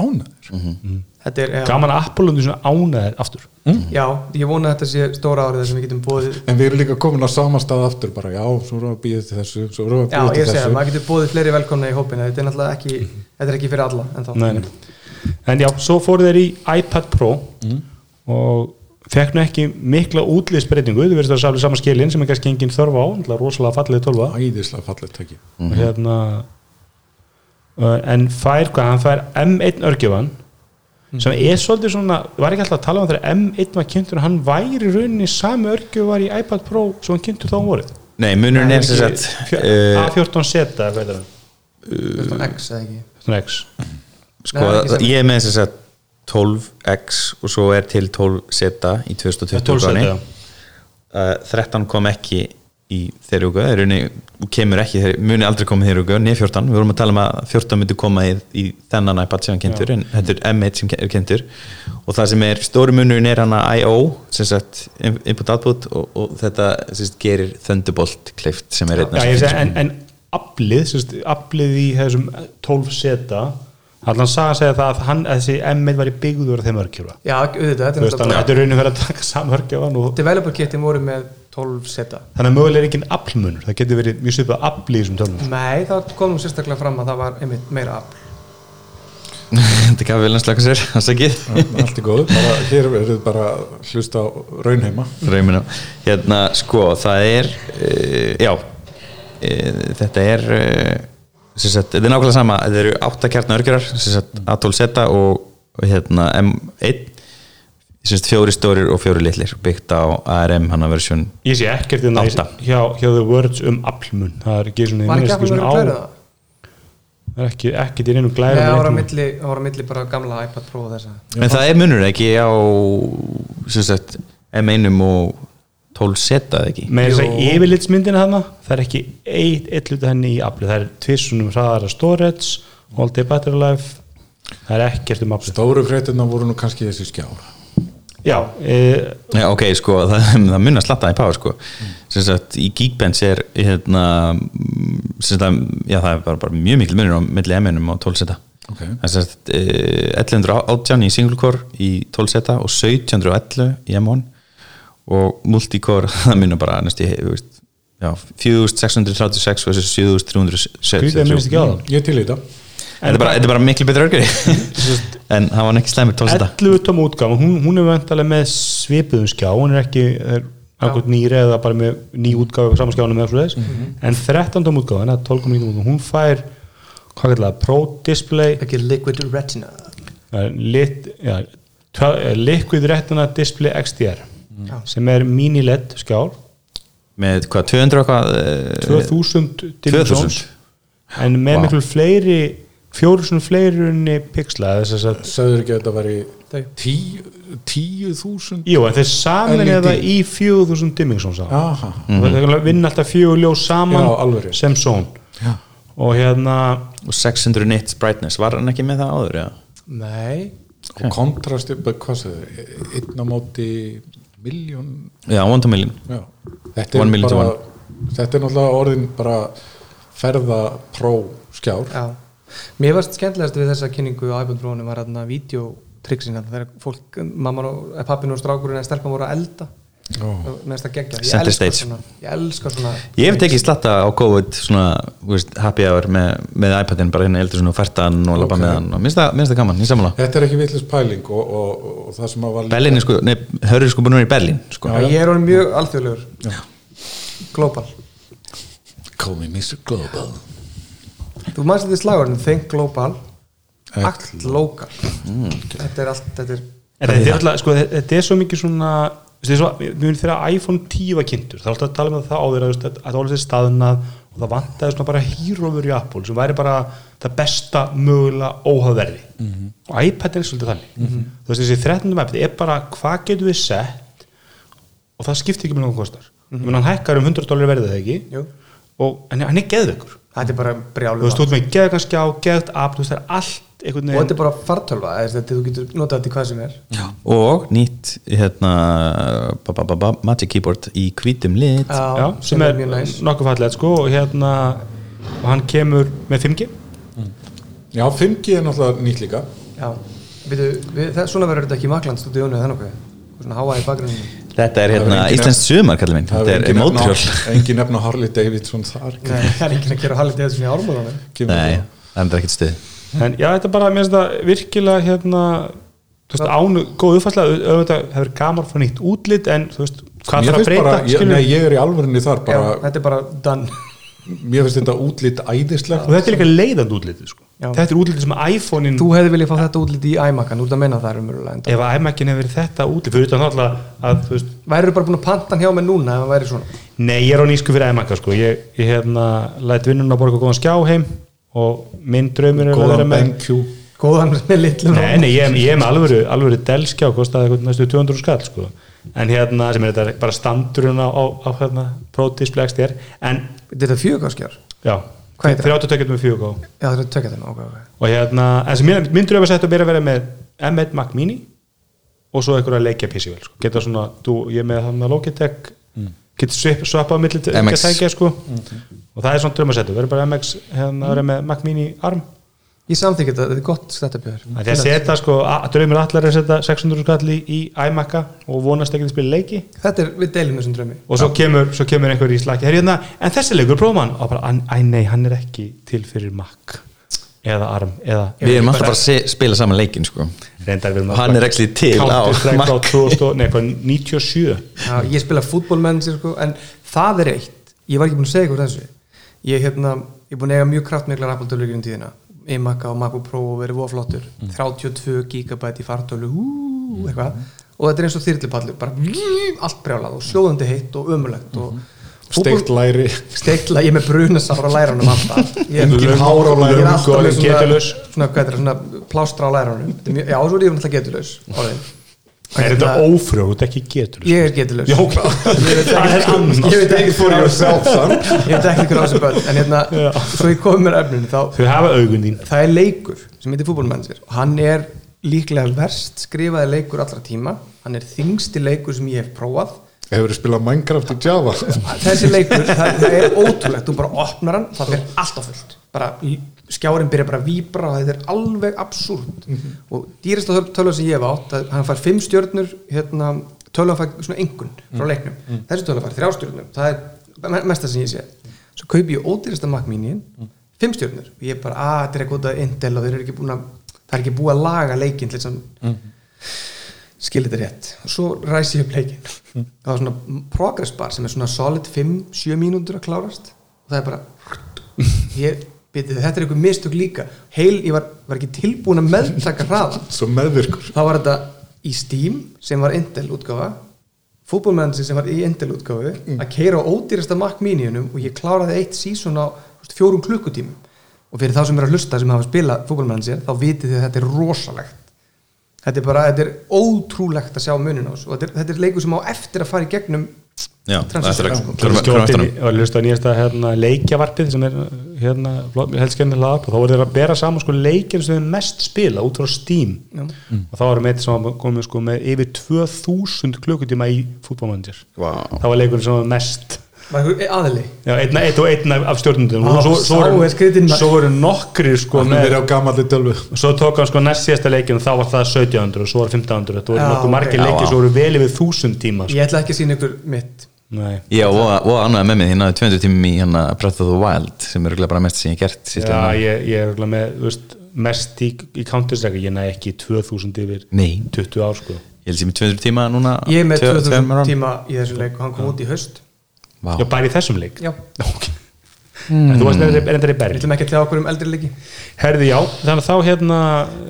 Speaker 5: ánæður
Speaker 4: Mhm. Þetta er, já,
Speaker 2: gaman að Apollundi svona ánæðir aftur
Speaker 5: Mm.
Speaker 4: já, ég vona að þetta sé stóra árið þar sem við getum bóðið
Speaker 5: En við erum líka komin á sama stað aftur bara já, svo erum við að býða til þessu svo erum við
Speaker 4: Já,
Speaker 5: að
Speaker 4: ég
Speaker 5: býða til
Speaker 4: segja,
Speaker 5: þessu
Speaker 4: maður getur bóðið fleiri velkomna í hópina þetta er náttúrulega ekki, þetta er ekki fyrir alla en þá
Speaker 2: Mhm. nei, nei. en já, svo fóru þeir í iPad Pro
Speaker 5: Mm.
Speaker 2: og fekk nú ekki mikla útlýðsbreytingu þú verðist að sálega saman skilin sem er kannski engin þörf á náttúrulega rosalega fallega tölva
Speaker 5: Æðislega fallet tæki
Speaker 2: og hérna uh, en fær hvað, hann fær M1 örgjöfan sem er svolítið svona, var ekki alltaf að tala um þegar M1 var kynntur, hann væri í rauninni sami örgjöfar í iPad Pro sem hann kynntur þá um vorið
Speaker 3: Nei, munurinn er sem sagt
Speaker 2: Fjö-
Speaker 3: uh,
Speaker 2: A14 seta, hvað er það?
Speaker 4: Þetta er X eða ekki
Speaker 2: Svona X
Speaker 3: sko,
Speaker 4: Nei, ekki sem-
Speaker 3: Ég er með sem sagt 12x og svo er til 12 seta í 2020
Speaker 2: 12 seta,
Speaker 3: gáni.
Speaker 2: já.
Speaker 3: uh, 13 kom ekki í þeirri ugu rauninni, kemur ekki, þeirri, muni aldrei koma í þeirri ugu, nýja 14, við vorum að tala um að 14 myndi koma í, í þennan iPad sem hann kynntur, en þetta er M1 sem er kynntur og það sem er, stóri munurinn er hann að I.O. sem sagt in- input-output og, og þetta sem sagt, gerir Thunderbolt kleift sem er einn
Speaker 2: Já,
Speaker 3: af
Speaker 2: ég
Speaker 3: þessum
Speaker 2: segi, en, en aflið, sérst, aflið í þessum 12 seta allan sagan segja það að hann, að þessi M1 var í byggður af þeim örkjöfa
Speaker 4: Já, auðvitað, þetta er
Speaker 2: þannig að
Speaker 4: náttúrulega
Speaker 2: þetta er raunin verið að taka saman örkjöfan og
Speaker 4: developer kitin voru með 12 seta
Speaker 2: þannig að mögulega er engin aflmunur það getur verið mjög svipað aflið í þessum tölunum
Speaker 4: Nei, það kom nú sérstaklega fram að það var einmitt meira afl
Speaker 3: þetta gaf vel að slaka sér, það segið
Speaker 5: Allt í góðu, bara, hér eru þið bara að hlusta á raunheima
Speaker 3: Raumin á Hérna, sko, það er uh, Já uh, Þetta er uh, sem sagt, Þetta er nákvæmlega sama, þetta eru átta kjarnar örgjurar A12 seta og, og hérna, M1 sem sagt, fjóri stórir og fjóri litlir byggt á ARM hana versjón
Speaker 2: ég sé ekkert hérna í-
Speaker 3: Átta.
Speaker 2: hjá, hjá The Words um aflmun það er ekki svona
Speaker 4: Var ekki afl
Speaker 2: sko, svona
Speaker 4: verið
Speaker 2: á-
Speaker 4: að klæra það?
Speaker 2: það er ekki, ekki til einu
Speaker 4: Nei,
Speaker 2: glæra
Speaker 4: það voru á milli, það voru á milli bara gamla iPad Pro og þessa
Speaker 3: En það er munur ekki á sem sagt, M1 og 12 seta eða ekki
Speaker 2: með þess að
Speaker 4: Jú.
Speaker 2: yfirlitsmyndina hana það er ekki eitt, eitt hluti henni í aflið það er tvissunum hraðara storage all day battery life það er ekkert um aflið
Speaker 5: Stóru fréttina voru nú kannski þessi skjár
Speaker 2: já, e,
Speaker 3: Já, ok, sko, það, það mun að slatta í pár, sko. Sem sagt, í Geekbench er, hérna, mm, sem sagt, já, það er bara, bara mjög mikil munur á milli M1-um og 12 seta.
Speaker 5: Ok.
Speaker 3: Það er sem sagt, eh, 1118 í single core í 12 seta og 1711 í M1 og multicore, það munur bara, næstu, ég, þú veist, já, 4636 versus 7373.
Speaker 2: Skrýtið að minnist ekki á það.
Speaker 5: Ég til í þetta
Speaker 3: Þetta er bara, þetta er bara miklu betra örgri, en það var ekki slæmur 12 seta.
Speaker 2: 11 tóm útgáfa, hún, hún er vantalega með svipuðum skjá, hún er ekki er akkur nýri eða bara með ný útgáfa saman skjánum eða svo þess, en 13 tóm útgáfa, þannig að 12,9 útgáfa, hún fær hvað kallar það, Pro Display
Speaker 4: Ekki Liquid Retina
Speaker 2: eh, lit, ja, tra- eh, Liquid Retina Display XDR
Speaker 4: Já.
Speaker 2: sem er E mini LED skjár
Speaker 3: Með hvað, 200 og hvað? eh,
Speaker 2: 2000
Speaker 3: 2000?
Speaker 2: dimensjóns en með
Speaker 3: Vá.
Speaker 2: miklu fleiri fjóru svona fleirunni pixla eða þess að
Speaker 5: Söður ekki að þetta væri
Speaker 4: Þau.
Speaker 5: tíu, tíu þúsund
Speaker 2: Jú, en þeir samin
Speaker 5: LED.
Speaker 2: eða í 4000 dimmingsons mm
Speaker 5: Aha,
Speaker 2: -hmm. vinna alltaf fjögur ljós saman
Speaker 5: Mhm. Já, alveg rétt.
Speaker 2: sem són
Speaker 5: Já.
Speaker 2: og hérna
Speaker 3: og 600 nits brightness, var hann ekki með það áður já?
Speaker 4: Nei,
Speaker 5: og kontrast bara hvað sem þau, einn á móti miljón,
Speaker 3: já, one to million
Speaker 5: já þetta
Speaker 3: One
Speaker 5: er,
Speaker 3: million to
Speaker 5: bara, þetta er náttúrulega orðin bara ferða pró skjár
Speaker 4: já Mér varst skemmtilegast við þessa kynningu á iPod Pro-unum var þarna videotryksin þegar fólk, mamman og eh, pappinn og strákurinn eða stelpan voru að elda
Speaker 5: Ó.
Speaker 4: og með þess að gegja
Speaker 3: Center stage.
Speaker 4: svona, ég elska svona
Speaker 3: Ég hef tekið slatta á COVID svona, þú veist, happy hour með, með iPadin bara hérna eldur svona og fært hann og labba
Speaker 5: Ok.
Speaker 3: með hann og minnst það, minnst það gaman, ég samla
Speaker 5: þetta er ekki vitlis pæling og, og, og, það sem að var líka-
Speaker 3: Berlin er sko, nei, hörður sko búin að vera í Berlin sko.
Speaker 4: Já, ég er orðin mjög alþjóðlegur Global
Speaker 5: Call me Mr. Global
Speaker 4: Þú manst þetta slagurinn, think global
Speaker 5: Act
Speaker 4: act local
Speaker 2: Mm.
Speaker 4: Þetta er allt, þetta er
Speaker 2: en þetta er alltaf, sko, þetta þetta er svo mikið svona þetta er svo, við munum þegar iPhone 10 var kynntur það er alltaf að tala með það áður að, þú veist, að, að það var alltaf staðnað og það vantaði svona bara hýrófur í Apple sem væri bara það besta mögulega óhafverði
Speaker 5: Mhm.
Speaker 2: og iPad er svolítið þannig þú veist þessi 13. iPad er bara hvað getum við sett og það skiptir ekki með náttúrulega kostar
Speaker 5: Mhm.
Speaker 2: mm -hmm. hann hækkar um 100 dólar verðið það ekki
Speaker 4: Jú.
Speaker 2: og hann, er- hann er geðveikur
Speaker 4: þetta er bara
Speaker 2: þú
Speaker 4: brjálum
Speaker 2: veist, þú ert með geðganskjá, geðt app þú veist, það er allt einhvern
Speaker 4: og þetta
Speaker 2: veginn
Speaker 4: er bara fartölva eða þetta, þú getur notað þetta í hvað sem er
Speaker 3: og nýtt hérna, ba, ba, ba, ba, Magic Keyboard í hvítum lit
Speaker 2: já, sem er
Speaker 4: mjög næs
Speaker 2: nokkuð fallið sko, og hérna og hann kemur með 5G
Speaker 5: Já, 5G er náttúrulega nýtt líka
Speaker 4: Já, Veitu, við, það, svona verður þetta ekki í Makland stúdíónu eða nokkuð Og svona háa í bakgrunni
Speaker 3: þetta er hérna
Speaker 5: Það er engin-
Speaker 3: Íslands sumar kallar minn,
Speaker 5: Það
Speaker 3: þetta er
Speaker 5: engin nefna-
Speaker 3: mótrjól
Speaker 5: Engin nefna Harley Davidson þar
Speaker 4: það er ekki að gera hallið eða svona í ármálunum
Speaker 5: kemur
Speaker 3: nei,
Speaker 5: það.
Speaker 3: það er ekkert stuð
Speaker 2: en já, þetta er bara, mér finnst það virkilega hérna, þú veist, ánu góð uppfærsla, au- auðvitað hefur gamar frá nýtt útlit, en þú veist, hvað
Speaker 5: Mér
Speaker 2: þarf að
Speaker 5: finnst
Speaker 2: breyta
Speaker 5: bara, ég,
Speaker 2: skilur?
Speaker 5: nei, ég er í alvörinni þar
Speaker 4: Já,
Speaker 5: bara,
Speaker 4: þetta er bara done
Speaker 5: mér finnst þetta útlít æðislegt
Speaker 2: og þetta er líka leiðandi útlitið sko.
Speaker 4: Já.
Speaker 2: þetta er útlitið sem iPhone-in
Speaker 4: Þú hefði viljað fá þetta útliti í iMac-an, þú ert að menna það umurlega enda
Speaker 2: ef að iMac-in hefur verið þetta útlit fyrir utan náttúrulega að, þú veist,
Speaker 4: Værirðu bara búin að panta hann hjá mig núna ef það væri svona
Speaker 2: Nei, ég er á nýsku fyrir æmaka sko. ég, ég hérna, læt vinnun að borga góðan skjá heim og minn draumur er að vera
Speaker 5: góðan
Speaker 2: með
Speaker 5: BenQ
Speaker 4: Góðan með litlum
Speaker 2: Nei, nei, ég, ég er með alvöru, alvöru delskjá kostaði eitthvað næstu 200 skall sko. en hérna, sem er þetta bara standurinn á, á, á hérna, prótisblegst þér en,
Speaker 4: Þetta er fjögurkáskjár
Speaker 2: já,
Speaker 4: Hvað heitir
Speaker 2: 30
Speaker 4: það?
Speaker 2: tökjum með fjögur
Speaker 4: Já, þetta er tökja þetta, ok, ok
Speaker 2: og hérna, en sem minn, minn draumur sættu að vera að vera með M1 Mac Mini og svo einhverja leikja PC vel sko. geta svona, þú, ég er með þannig að Logitech
Speaker 3: Mm.
Speaker 2: getur svipp, svappað á milli te-
Speaker 3: MX.
Speaker 2: tækja, sko.
Speaker 3: Mm.
Speaker 2: og það er svona draumasettu, verður bara MX hérna, verður með Mac Mini arm
Speaker 3: Mm.
Speaker 4: Ég samþykja þetta, þetta er gott setup hjá
Speaker 2: því að
Speaker 4: þér
Speaker 2: setja sko, a- draumur allar er að setja 600 skall í, í iMac-a og vonast ekki að spila leiki
Speaker 4: Þetta er, við deilum þessum draumi
Speaker 2: og svo kemur, svo kemur einhver í slaki "Heyrðu, hérna, en þessi leikur prófum hann og bara, "An- æ nei, hann er ekki til fyrir Mac eða arm, eða
Speaker 3: við erum alltaf bara að se- spila saman leikin sko.
Speaker 2: reyndar við
Speaker 3: Hann er actually til á
Speaker 2: Counter-Strike frá
Speaker 3: Mac.
Speaker 2: 2000 og- nei, hvað, 97
Speaker 4: Já, ég spila fútbolmennir sko, en það er eitt, ég var ekki búin að segja ykkur þessu ég, hérna, ég er búin að eiga mjög kraftmiklar Apple tölur í um tíðina iMac og MacBook Pro og verið voflottur
Speaker 2: Mm.
Speaker 4: 32 gigabæti í fartölu hú, eitthvað, og þetta er eins og þyrlipallur bara vím, allt brjálað og sjóðandi heitt og ömulegt
Speaker 2: Mhm.
Speaker 4: og
Speaker 5: steikt læri
Speaker 4: steikla, ég er með brunasár á lærunum alltaf ég er
Speaker 5: Engin hár á
Speaker 4: ég er
Speaker 5: lærunum,
Speaker 4: alltaf með
Speaker 2: orðin
Speaker 4: sko, svona,
Speaker 2: getulaus.
Speaker 4: svona, hvað er það, svona plástra á lærunum Þetta er mjög- já, svo er ég alltaf getulaus orðin.
Speaker 2: er þetta
Speaker 4: Hérna,
Speaker 2: ófrjóð, þetta er ekki getur
Speaker 4: ég er getulaus
Speaker 2: Já, ok.
Speaker 4: Ég veit
Speaker 2: Það er
Speaker 4: ekki-
Speaker 2: annað.
Speaker 4: ég veit ekki
Speaker 5: for yourself son
Speaker 4: ég veit ekki hvernig á þessu börn en hérna, svo ég kom mér að efninu þá,
Speaker 2: þau hafa augun þín
Speaker 4: það er leikur sem heitir fútbolmennsir og hann er líklega verst skrifaði leikur allra tíma hann er þingsti leikur sem ég hef prófað
Speaker 5: hefur þið spilað Minecraft í Java
Speaker 4: þessi leikur, það, það er ótrúlegt þú bara opnar hann, það fyrir alltaf fullt bara í- skjárinn byrjar bara að víbra og þetta er alveg absúrt og dýrasta tölva sem ég hef átt að hann fær fimm stjörnur hérna, tölva fær svona engun frá leiknum þessi tölva fær þrjá stjörnur það er me- mesta sem ég sé svo kaupi ég ódýrasta makmínin fimm stjörnur og ég er bara, að þetta er eitthvað út af Intel og þeir eru ekki búin að það er ekki búið að laga leikinn til þess að skil þetta rétt og svo ræsi ég upp leikinn það var svona progress bar sem er svona solid 5-7 mínútur að klárast og það er bara ég byrði þetta er einhver mistök líka heil, ég var, var ekki tilbúin að meðtaka hraðan
Speaker 5: svo meðvirkur
Speaker 4: þá var þetta í Steam sem var Intel útgáfa fútbolmennsi sem var í Intel útgáfu
Speaker 3: Mm.
Speaker 4: að keira á ódýrasta Mac miniunum og ég kláraði eitt sísón á þú veist, fjórum klukkutímum og fyrir þá sem eru að hlusta sem hafa spilað fútbolmennan sér þá vitið þið að þetta er rosalegt þetta er bara, þetta er ótrúlegt að sjá munin á þessu og þetta er, þetta er leikur sem á eftir að fara í gegnum
Speaker 3: Já, það
Speaker 4: transistor,
Speaker 3: er
Speaker 4: sko.
Speaker 3: ekki
Speaker 2: Ég
Speaker 3: Klára eftir hann
Speaker 2: var hlust að nýjasta hérna, leikjavarpið sem er hérna, helskjarnir hlað og þá voru þeir að bera saman sko, leikir sem þeir mest spila út frá Steam
Speaker 3: Mm.
Speaker 2: og þá varum eitt sem komið sko, með yfir 2000 klukkutíma í fútbolmanager
Speaker 3: Vá.
Speaker 2: það var leikurinn sem var mest
Speaker 4: var einhver aðili
Speaker 2: Já, einn, einn og einn af stjórnundum
Speaker 4: Á,
Speaker 2: svo,
Speaker 4: sá
Speaker 2: svo, voru-
Speaker 4: er skrýtinn maður.
Speaker 2: svo voru nokkri sko,
Speaker 5: Hann er
Speaker 2: með,
Speaker 5: verið á gamalli tölvu
Speaker 2: svo tók hann sko næst síðasta leikin þá var það 1700 og svo var 1500 þetta voru
Speaker 4: Já,
Speaker 2: nokkuð margir
Speaker 4: ok.
Speaker 2: leikir
Speaker 3: Já,
Speaker 2: svo voru vel yfir 1000 tíma sko.
Speaker 4: ég ætla ekki að sína ykkur mitt
Speaker 2: Nei.
Speaker 3: Já, og, og annað með mig, ég náði 200 tímum í hérna Breath of the Wild sem er örugglega bara mest sem ég hef gert hérna. síðan
Speaker 2: Já, ég, ég er örugglega með þú veist, mest í, í Counter-Strike ég næ ekki 2000 yfir
Speaker 3: Nei.
Speaker 2: 20 ár sko
Speaker 3: Ég held sem í 200 tíma núna
Speaker 4: ég er með
Speaker 3: tvö-
Speaker 4: 2000
Speaker 3: tveimur árum.
Speaker 4: tíma í þessu leik og hann kom út í haust
Speaker 3: Vá.
Speaker 2: Já, bara í þessum leik
Speaker 4: já, Mm.
Speaker 2: En Þú varst reyndar- reyndar í
Speaker 4: við
Speaker 2: Berlín
Speaker 4: ætlum ekki að tega okkur um eldri leiki
Speaker 2: Herði, já, þannig að þá hérna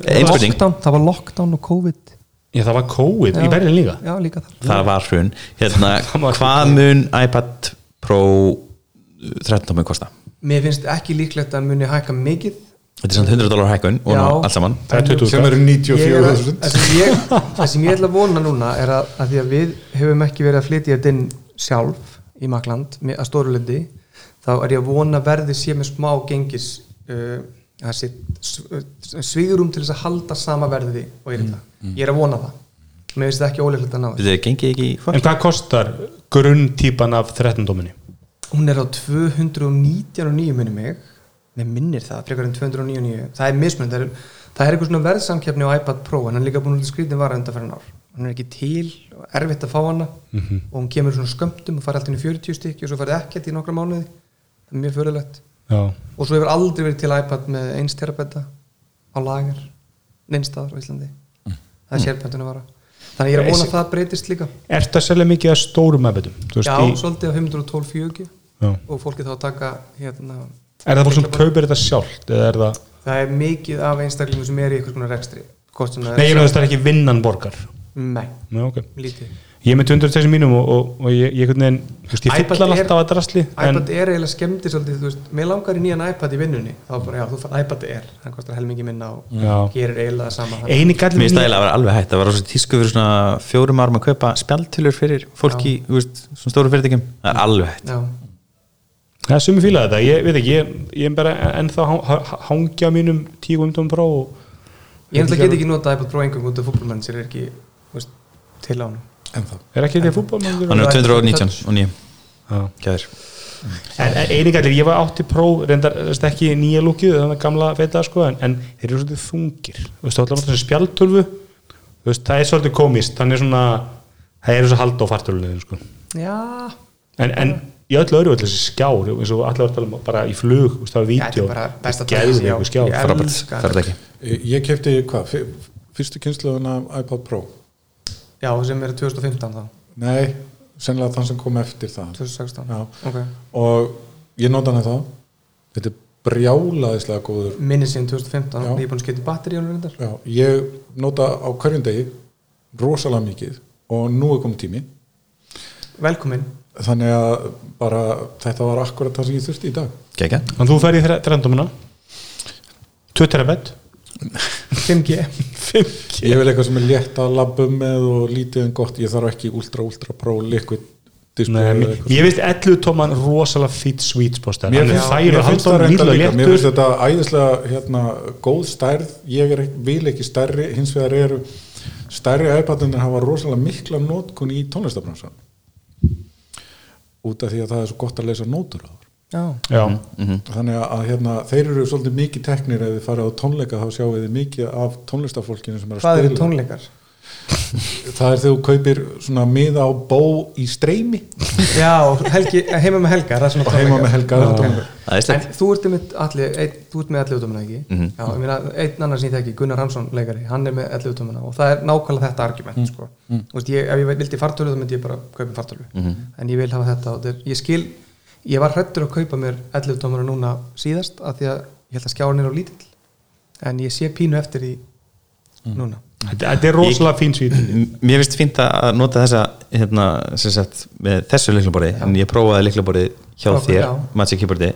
Speaker 3: Ein spurning,
Speaker 4: Lockdown, það var lockdown og COVID
Speaker 2: Já, það var COVID í Berlín líka
Speaker 4: já, líka þar
Speaker 3: það var hrun hérna,
Speaker 2: Það var
Speaker 3: Hvað mun iPad Pro 13 mun kosta?
Speaker 4: mér finnst ekki líklegt að muni hækka mikið
Speaker 3: Þetta er samt 100 dólar hækkun og ná
Speaker 4: Já.
Speaker 3: allt saman
Speaker 2: Það er 20
Speaker 5: sem eru
Speaker 4: Ég er að-
Speaker 5: 94.000
Speaker 4: það sem ég- það sem ég ætla að vona núna er að, að því að við höfum ekki verið að flytja þetta inn sjálf í Makland með- að stóru lundi þá er ég að vona verði sé með smá gengis uh, að sé sviðurum til þess að halda sama verði og er þetta ég er að vona það mér finnst það ekki óleiklegt að ná því
Speaker 3: Þetta gengið ekki í hvað?
Speaker 2: En hvað kostar grunntýpan af 13 dóminni?
Speaker 4: hún er á 299 minni mig með minnir það, frekar en 299 það er mismunum, það er, það er eitthvað svona verðsamkeppni á iPad Pro en hann er líka búin út í skrítin vara undanferðan ár hann er ekki til, og erfitt að fá hana og hún kemur í svona skömmtum og farið allt inn í 40 stykki og svo farið ekkert í nokkra mánuði það er mjög fyrirlegt
Speaker 2: Já,
Speaker 4: og svo hefur aldrei verið til iPad með eins terabetta á lagar neinstaðar á Íslandi það er sérpentunum vara þannig ég er að vona að það breytist líka
Speaker 2: Ertu að selja mikið að stórum aðbætum?
Speaker 4: já, svolítið á 512 4G
Speaker 2: Já.
Speaker 4: og fólkið þá að taka hérna
Speaker 2: Er það fólk sem kaupir þetta sjálft? Eða er það...
Speaker 4: það er mikið af einstaklingum sem er í eitthvað svona rekstri hvort sem það
Speaker 2: Nei, ég meðast það er ekki vinnan borgar
Speaker 4: nei,
Speaker 2: Nei, ok
Speaker 4: lítið
Speaker 2: Ég er með 206 mínum og, og, og ég, ég, veginn, þú veist, ég
Speaker 4: iPad
Speaker 2: fyllan
Speaker 4: er-
Speaker 2: alltaf að drasli en,
Speaker 4: iPad Air er eiginlega skemmti svolítið, þú veist, mér langar í nýjan iPad í vinnunni þá bara, já, þú fær iPad Air hann kostar helmingi minna og
Speaker 2: Já.
Speaker 4: gerir eiginlega það sama Þannig-
Speaker 2: Eini
Speaker 3: Mér
Speaker 2: gallin
Speaker 3: stæla að vera alveg hægt, það var rosa tísku fyrir svona fjórum árum að kaupa spjaldtölur fyrir fólki, þú veist, svona stóru fyrirtækjum það er alveg hægt
Speaker 4: já,
Speaker 2: Það er sumi fílaði þetta, ég veit ekki Ég, ég er bara ennþá hang- ha- hangja á mínum 10 umtum pró og,
Speaker 4: ég náttúrulega get ekki nota iPad Pro engum út af fútbolmenn sér er ekki, þú veist, til á hann
Speaker 5: en það
Speaker 2: Er ekki þetta fútbolmengur?
Speaker 3: Þannig að 219 og nýja,
Speaker 2: Já.
Speaker 3: gæðir
Speaker 2: En, en eini gallin, ég var átti pró reyndar þú veist, ekki nýja lúkið, þannig gamla feita sko, en, en þeir eru svolítið þungir Þú veist, þá allan þessi spjaldtölvu Þú veist, það er svolítið komist, þannig svona það er þess að halda á fartölvunni sko.
Speaker 4: já,
Speaker 2: en, en í öllu öðru öllu þessi skjár eins og allir var að tala um bara í flug þú veist, það var
Speaker 4: þetta
Speaker 2: vídeo,
Speaker 4: er bara besta
Speaker 2: geðveikur
Speaker 4: dæmi sem
Speaker 2: skjár
Speaker 4: ég á.
Speaker 3: frábært,
Speaker 4: Elskar.
Speaker 3: það er þetta ekki
Speaker 5: Eh, Ég kefti hvað, fyr- fyrstu kynsluðun af iPod Pro?
Speaker 4: já, sem er 2015 þá,
Speaker 5: Nei, sennilega þann sem kom eftir það
Speaker 4: 2016
Speaker 5: Já.
Speaker 4: ok,
Speaker 5: og ég nota hana þá þetta er brjálaðislega góður
Speaker 4: minni síðan 2015
Speaker 5: Já.
Speaker 4: ég er búin að skipta batteri á hann reyndar
Speaker 5: Já, ég nota á hverjum degi rosalega mikið og nú er komið tími
Speaker 4: velkomin
Speaker 5: þannig að bara þetta var akkurat það sem ég þurfti í dag
Speaker 3: Gækja,
Speaker 2: en þú ferði í þrendumuna 2 terabett
Speaker 4: 5G
Speaker 2: 5G
Speaker 5: ég vil eitthvað sem er létt að labba um með og lítið en gott, ég þarf ekki ultra ultra pro liquid
Speaker 2: Nei,
Speaker 5: display sko, eða
Speaker 2: mér-
Speaker 5: eitthvað.
Speaker 2: ég veist 11 tóman rosalega fýtt sweet spot
Speaker 5: Mér
Speaker 2: hann er
Speaker 5: finnst-
Speaker 2: færi
Speaker 5: mér
Speaker 2: að
Speaker 5: finnst
Speaker 2: halda hann
Speaker 5: það reyndar
Speaker 2: nýla
Speaker 5: líka, mér finnst
Speaker 2: léttur
Speaker 5: þetta æðislega hérna, góð stærð ég er, ekki- vil ekki stærri, hins vegar eru stærri iPadunir hafa rosalega mikla nótkun í tónlistabransan út af því að það er svo gott að leysa nótur á þar
Speaker 4: já
Speaker 2: já,
Speaker 3: Mhm.
Speaker 5: þannig að, að hérna, þeir eru svolítið mikið teknir ef þið farið á tónleika þá sjáu þið mikið af tónlistafólkinu sem er að
Speaker 4: Hvað eru
Speaker 5: spila
Speaker 4: tónleikar?
Speaker 5: það er þegar þú kaupir svona miða á bó í streymi
Speaker 4: Já, helgi, heima með helga, það er svona
Speaker 5: og
Speaker 4: tónleikar.
Speaker 5: heima með helga aðra tónleika.
Speaker 3: það er
Speaker 4: En
Speaker 3: slegt
Speaker 4: þú ert með allir, ein, þú ert með allir utumina ekki?
Speaker 5: Mhm.
Speaker 4: Já, ég meina, einn annar sem ég þekki, Gunnar Hansson leikari, hann er með allir utumina og það er nákvæmlega þetta argument,
Speaker 5: Mhm.
Speaker 4: sko. Þú veist, ég, ef ég vildi fartölu þá myndi ég bara kaupa fartölu,
Speaker 5: Mhm.
Speaker 4: en ég vil hafa þetta og þetta er, ég skil, ég var hrættur að kaupa mér allir utumina núna síðast af því að ég held að skjárin er á lítill, en ég sé pínu eftir því
Speaker 5: Mhm.
Speaker 4: núna.
Speaker 2: þetta þetta er rosalega fín sweet
Speaker 3: M- Mér finnst fínt að nota þessa hérna, sem sagt, með þessu liklaborði en ég prófaði liklaborði hjá
Speaker 4: Já,
Speaker 3: þér,
Speaker 4: já.
Speaker 3: Magic Keyboardi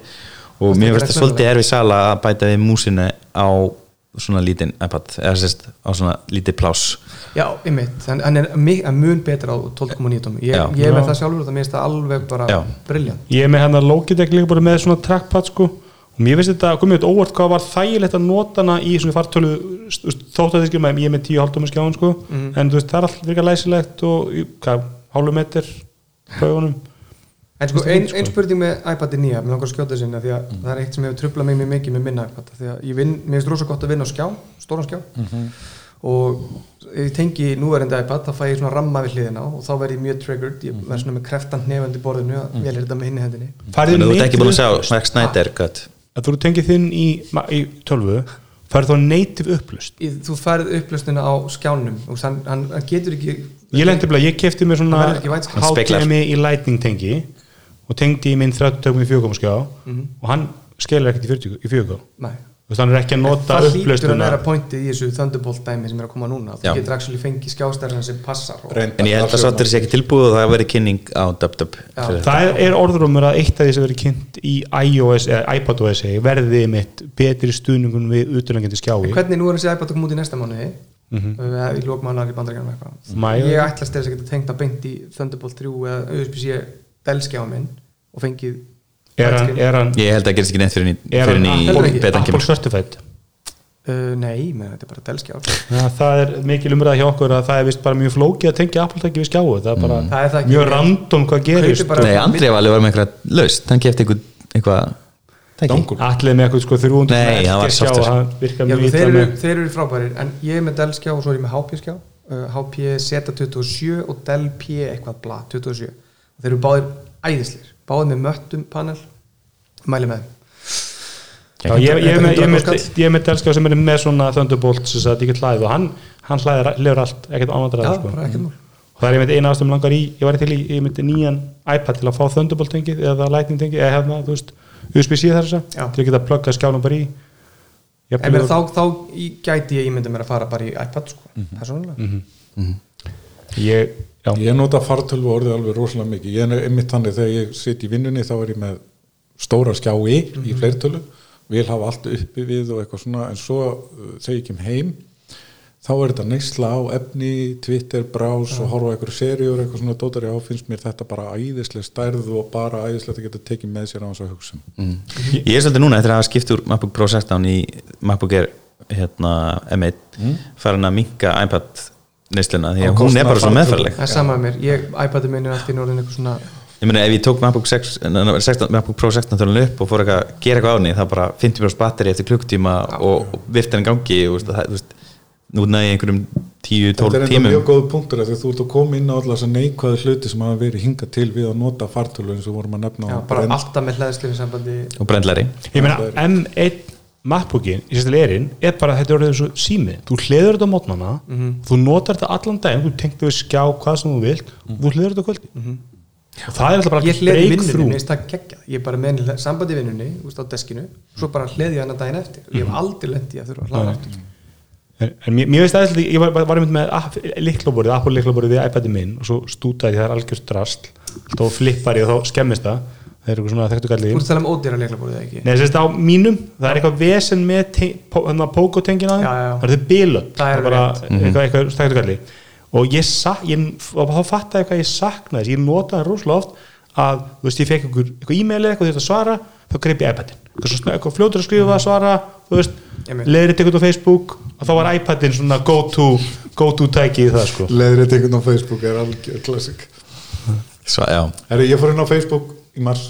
Speaker 3: og mér finnst það
Speaker 4: Varstu að gera
Speaker 3: svolítið erfið sala að bæta við músinu á svona lítinn iPad eða sérst á svona lítið plás
Speaker 4: Já, einmitt, hann, hann er mi- hann mun betra á 12,9 tómi ég,
Speaker 3: Já.
Speaker 4: ég er
Speaker 2: Já.
Speaker 4: með það sjálfur og það minnst það alveg bara
Speaker 3: Já.
Speaker 4: briljant
Speaker 2: ég er með hann að Logitech líka bara með svona trackpad sko og mér finnst þetta, komið þetta óvart hvað var þægilegt að nota hana í svona fartölu þótt að þið skilma, ég er með E 10 hálftómi skjáðan sko
Speaker 3: Mhm.
Speaker 2: en þú veist, það er alltaf líka læsilegt og í- hvað, hálfu metur pröfunum,
Speaker 3: Mhm.
Speaker 4: En sko, ein, ein spurning með iPad-i nýja, mér langar að skjóta sinna því að það er eitt sem hefur tröflað mig mjög mikið með minna iPad, því að ég vinn, mér finnst rosa gott að vinna á skjá, stóran skjá og ef ég tengi núverandi iPad þá fæ ég svona ramma við hliðina á og þá verð ég mjög triggered, ég verð svona með kreftan hnefandi borðinu að mm -hmm. þetta með hinni hendinni
Speaker 3: þannig
Speaker 2: farið
Speaker 3: að þú ert ekki búin að
Speaker 2: native-
Speaker 3: sjá Zack Snyder cut
Speaker 2: að þú eru tengið þinn í, ma- í tölvu, farið þá native upplust
Speaker 4: Í- Þú færð upplöstina á skjánum og hann, hann, hann getur ekki
Speaker 2: ég lendi bara, ég kefti mér svona
Speaker 4: Það verður ekki widescreen.
Speaker 3: Hann speglar.
Speaker 2: HDMI í lightning tengi og tengdi í minn 30.4 skjá
Speaker 3: Mhm.
Speaker 2: og hann skelur ekkert í 40 í 4K
Speaker 4: Nei.
Speaker 2: þú veist, hann er ekki að nota
Speaker 4: Það hlýtur að
Speaker 2: upplustuna
Speaker 4: vera pointið í þessu Thunderbolt dæmi sem er að koma núna, þú
Speaker 3: Já.
Speaker 4: getur actually fengið skjástærðan sem passar og
Speaker 5: Reyndar,
Speaker 3: en ég held að sáttur sé ekki tilbúið og það verið kynning á DubDub
Speaker 4: Já.
Speaker 3: fyrir þetta.
Speaker 2: Það er orðrumur að eitt af því sem verið kynnt í iOS eða iPadOS verði mitt betri stuðningun við utanlengjandi skjái
Speaker 4: hvernig nú er þessi iPad að koma út í næsta mánuði
Speaker 2: Mhm.
Speaker 4: eða í lókmánar í bandaríkjanum eitthvað
Speaker 2: Maí.
Speaker 4: ég ætlast þess að geta tengt að beint í Thunderbolt 3 eða USB-C delskjá minn og fengið
Speaker 2: Er hann,
Speaker 4: widescreen.
Speaker 2: er hann,
Speaker 3: ég held að gerist ekki neitt fyrir ný,
Speaker 2: er
Speaker 3: fyrir
Speaker 2: hann
Speaker 3: ný
Speaker 4: heldur ekki.
Speaker 2: Apple,
Speaker 3: betan
Speaker 2: Apple
Speaker 3: kemur
Speaker 2: Certified
Speaker 4: Uh, nei, menn þetta er bara delskjá
Speaker 2: ja, Það er mikil umræða hjá okkur að það er vist bara mjög flókið að tengja Apple tæki við skjáu það er bara
Speaker 4: Það er það ekki.
Speaker 2: mjög random hvað gerist
Speaker 4: Kaupir bara-
Speaker 3: nei, Andrið var alveg var með eitthvað laust hann kefti eitthvað, eitthvað tæki.
Speaker 2: Allir með eitthvað sko 300
Speaker 3: Nei, það var
Speaker 2: skjá
Speaker 3: software.
Speaker 2: það virkar
Speaker 4: Já,
Speaker 2: mjög
Speaker 4: þeir,
Speaker 2: ítla
Speaker 4: eru,
Speaker 2: með
Speaker 4: þeir eru frábærir en ég er með Dell skjá og svo er ég með HP skjá uh, HP Z27 og Dell P eitthvað bla 27 og þeir eru báðir æðislir báðir með möttum panel mæli með þeim
Speaker 2: Já, ég, ég, er með- ég, er með-
Speaker 4: Þetta er
Speaker 2: ég er með delskjá sem er með svona Thunderbolt sem sagt, ég get hlaðið og hann, hann hlaðir, hlaðir allt, ekkert
Speaker 4: Já,
Speaker 2: ánvandræði sko.
Speaker 4: bara ekkert mál
Speaker 2: og það er einmitt eina ástæðum langar í ég var til í, ég myndi nýjan iPad til að fá Thunderbolt tengið eða Lightning tengið eða hefna, þú veist, USB-C þar þess
Speaker 4: Já.
Speaker 2: að til að geta pluggað skjánum bara í
Speaker 4: En mér,
Speaker 2: Jafnvel-
Speaker 4: þá, þá í- gæti ég ímyndið mér að fara bara í iPad sko, persónulega
Speaker 2: ég, já,
Speaker 5: Ég nota fartölvu orðið alveg rosalega mikið ég er einmitt þannig þegar ég sitt í vinnunni þá er ég með stóra skjái í
Speaker 4: Mhm.
Speaker 5: fleirtölu, vil hafa allt uppi við og eitthvað svona, en svo uh, þegar ég kem heim, þá er þetta neysla á efni, Twitter, brás og horfa á einhverju seriur, eitthvað svona dótari á finnst mér þetta bara æðislega stærð og bara æðislega að geta tekið með sér á hans að hugsa um.
Speaker 3: ég er svolítið núna eftir að hafa skipt úr MacBook Pro 16 í MacBook Air hérna, M1 farin að minka iPad neysluna því
Speaker 5: Mm.
Speaker 3: að
Speaker 5: Á
Speaker 3: hún
Speaker 5: kostnað
Speaker 3: er bara svo
Speaker 5: fartölvu.
Speaker 3: meðferðarleg
Speaker 4: Það er sama með mér, ég, iPad-i minn er alltaf í norðin eitthvað svona
Speaker 3: ég meina ef ég tók MacBook, 6, nei, nei, 16, MacBook Pro 16 tölun upp og fór eitthvað að gera eitthvað á henni það bara 50% batteri eftir klukkutíma og, og virti hann í gangi og, veist, það, þú veist, núna í einhverjum
Speaker 5: Þetta
Speaker 3: 10-12
Speaker 5: er enda
Speaker 3: tímum
Speaker 5: mjög góð punktur af því að þú ert að koma inn á allar þessar neikvæðu hluti sem hafa verið hingað til við að nota fartölu eins og vorum að nefna á
Speaker 4: já, bara
Speaker 5: brenn-
Speaker 4: alltaf með hlæðslifu sambandi
Speaker 3: og brendlari
Speaker 2: ég meina M1 MacBookin, í sérstæli erinn, er bara að þetta er orðið eins og sími, þú hliður þetta á mótnana
Speaker 4: Mhm.
Speaker 2: þú notar þetta allan daginn, þú tengt við skjá hvað sem þú vilt, þú hliður þetta á kvöldi og það er alltaf bara
Speaker 4: Mhm. Ég hleði
Speaker 2: breakthrough.
Speaker 4: vinnunni, minnst það geggjað Ég er bara með hla- sambandi í vinnunni, úst á deskinu Svo bara hleði ég hana daginn eftir Ég hef aldrei lendið að þurfa að hlaða aftur
Speaker 2: En, en mér, mér veist aðeins, líka- ég var, var, var einmitt með app- lyklaborðið, Apple lyklaborðið við iPadin minn og svo stútaði því það er algjörst drast þá flippar ég og þá skemmist það það er eitthvað svona þekktu
Speaker 4: Þú
Speaker 2: gallið
Speaker 4: ert að tala um ódýra leiklaborðið ekki
Speaker 2: Nei, þess að á mínum, það er eitthvað vesen með te- pó- hérna, pókotengina
Speaker 4: Já, já, já.
Speaker 2: það er þau bilöp,
Speaker 4: Það er
Speaker 2: bara
Speaker 4: rétt.
Speaker 2: eitthvað, eitthvað þekktu gallið og ég, sa, ég og þá fattaði ég hvað ég saknaði þess, ég notaði hann rosalega oft að, þú veist, ég fekk einhver eitthvað e-mail eða eitthvað þú veist að svara, þá greip ég iPadin eitthvað, svona- eitthvað fljótur að skrifa, svara þú veist,
Speaker 4: Einmitt.
Speaker 2: leiðir þetta eitthvað á Facebook og þá var iPadin svona go to go to tæki í það sko
Speaker 5: Leðrið einhvern á Facebook er algjör klassik
Speaker 3: svo, já,
Speaker 5: Herri, ég fór inn á Facebook í mars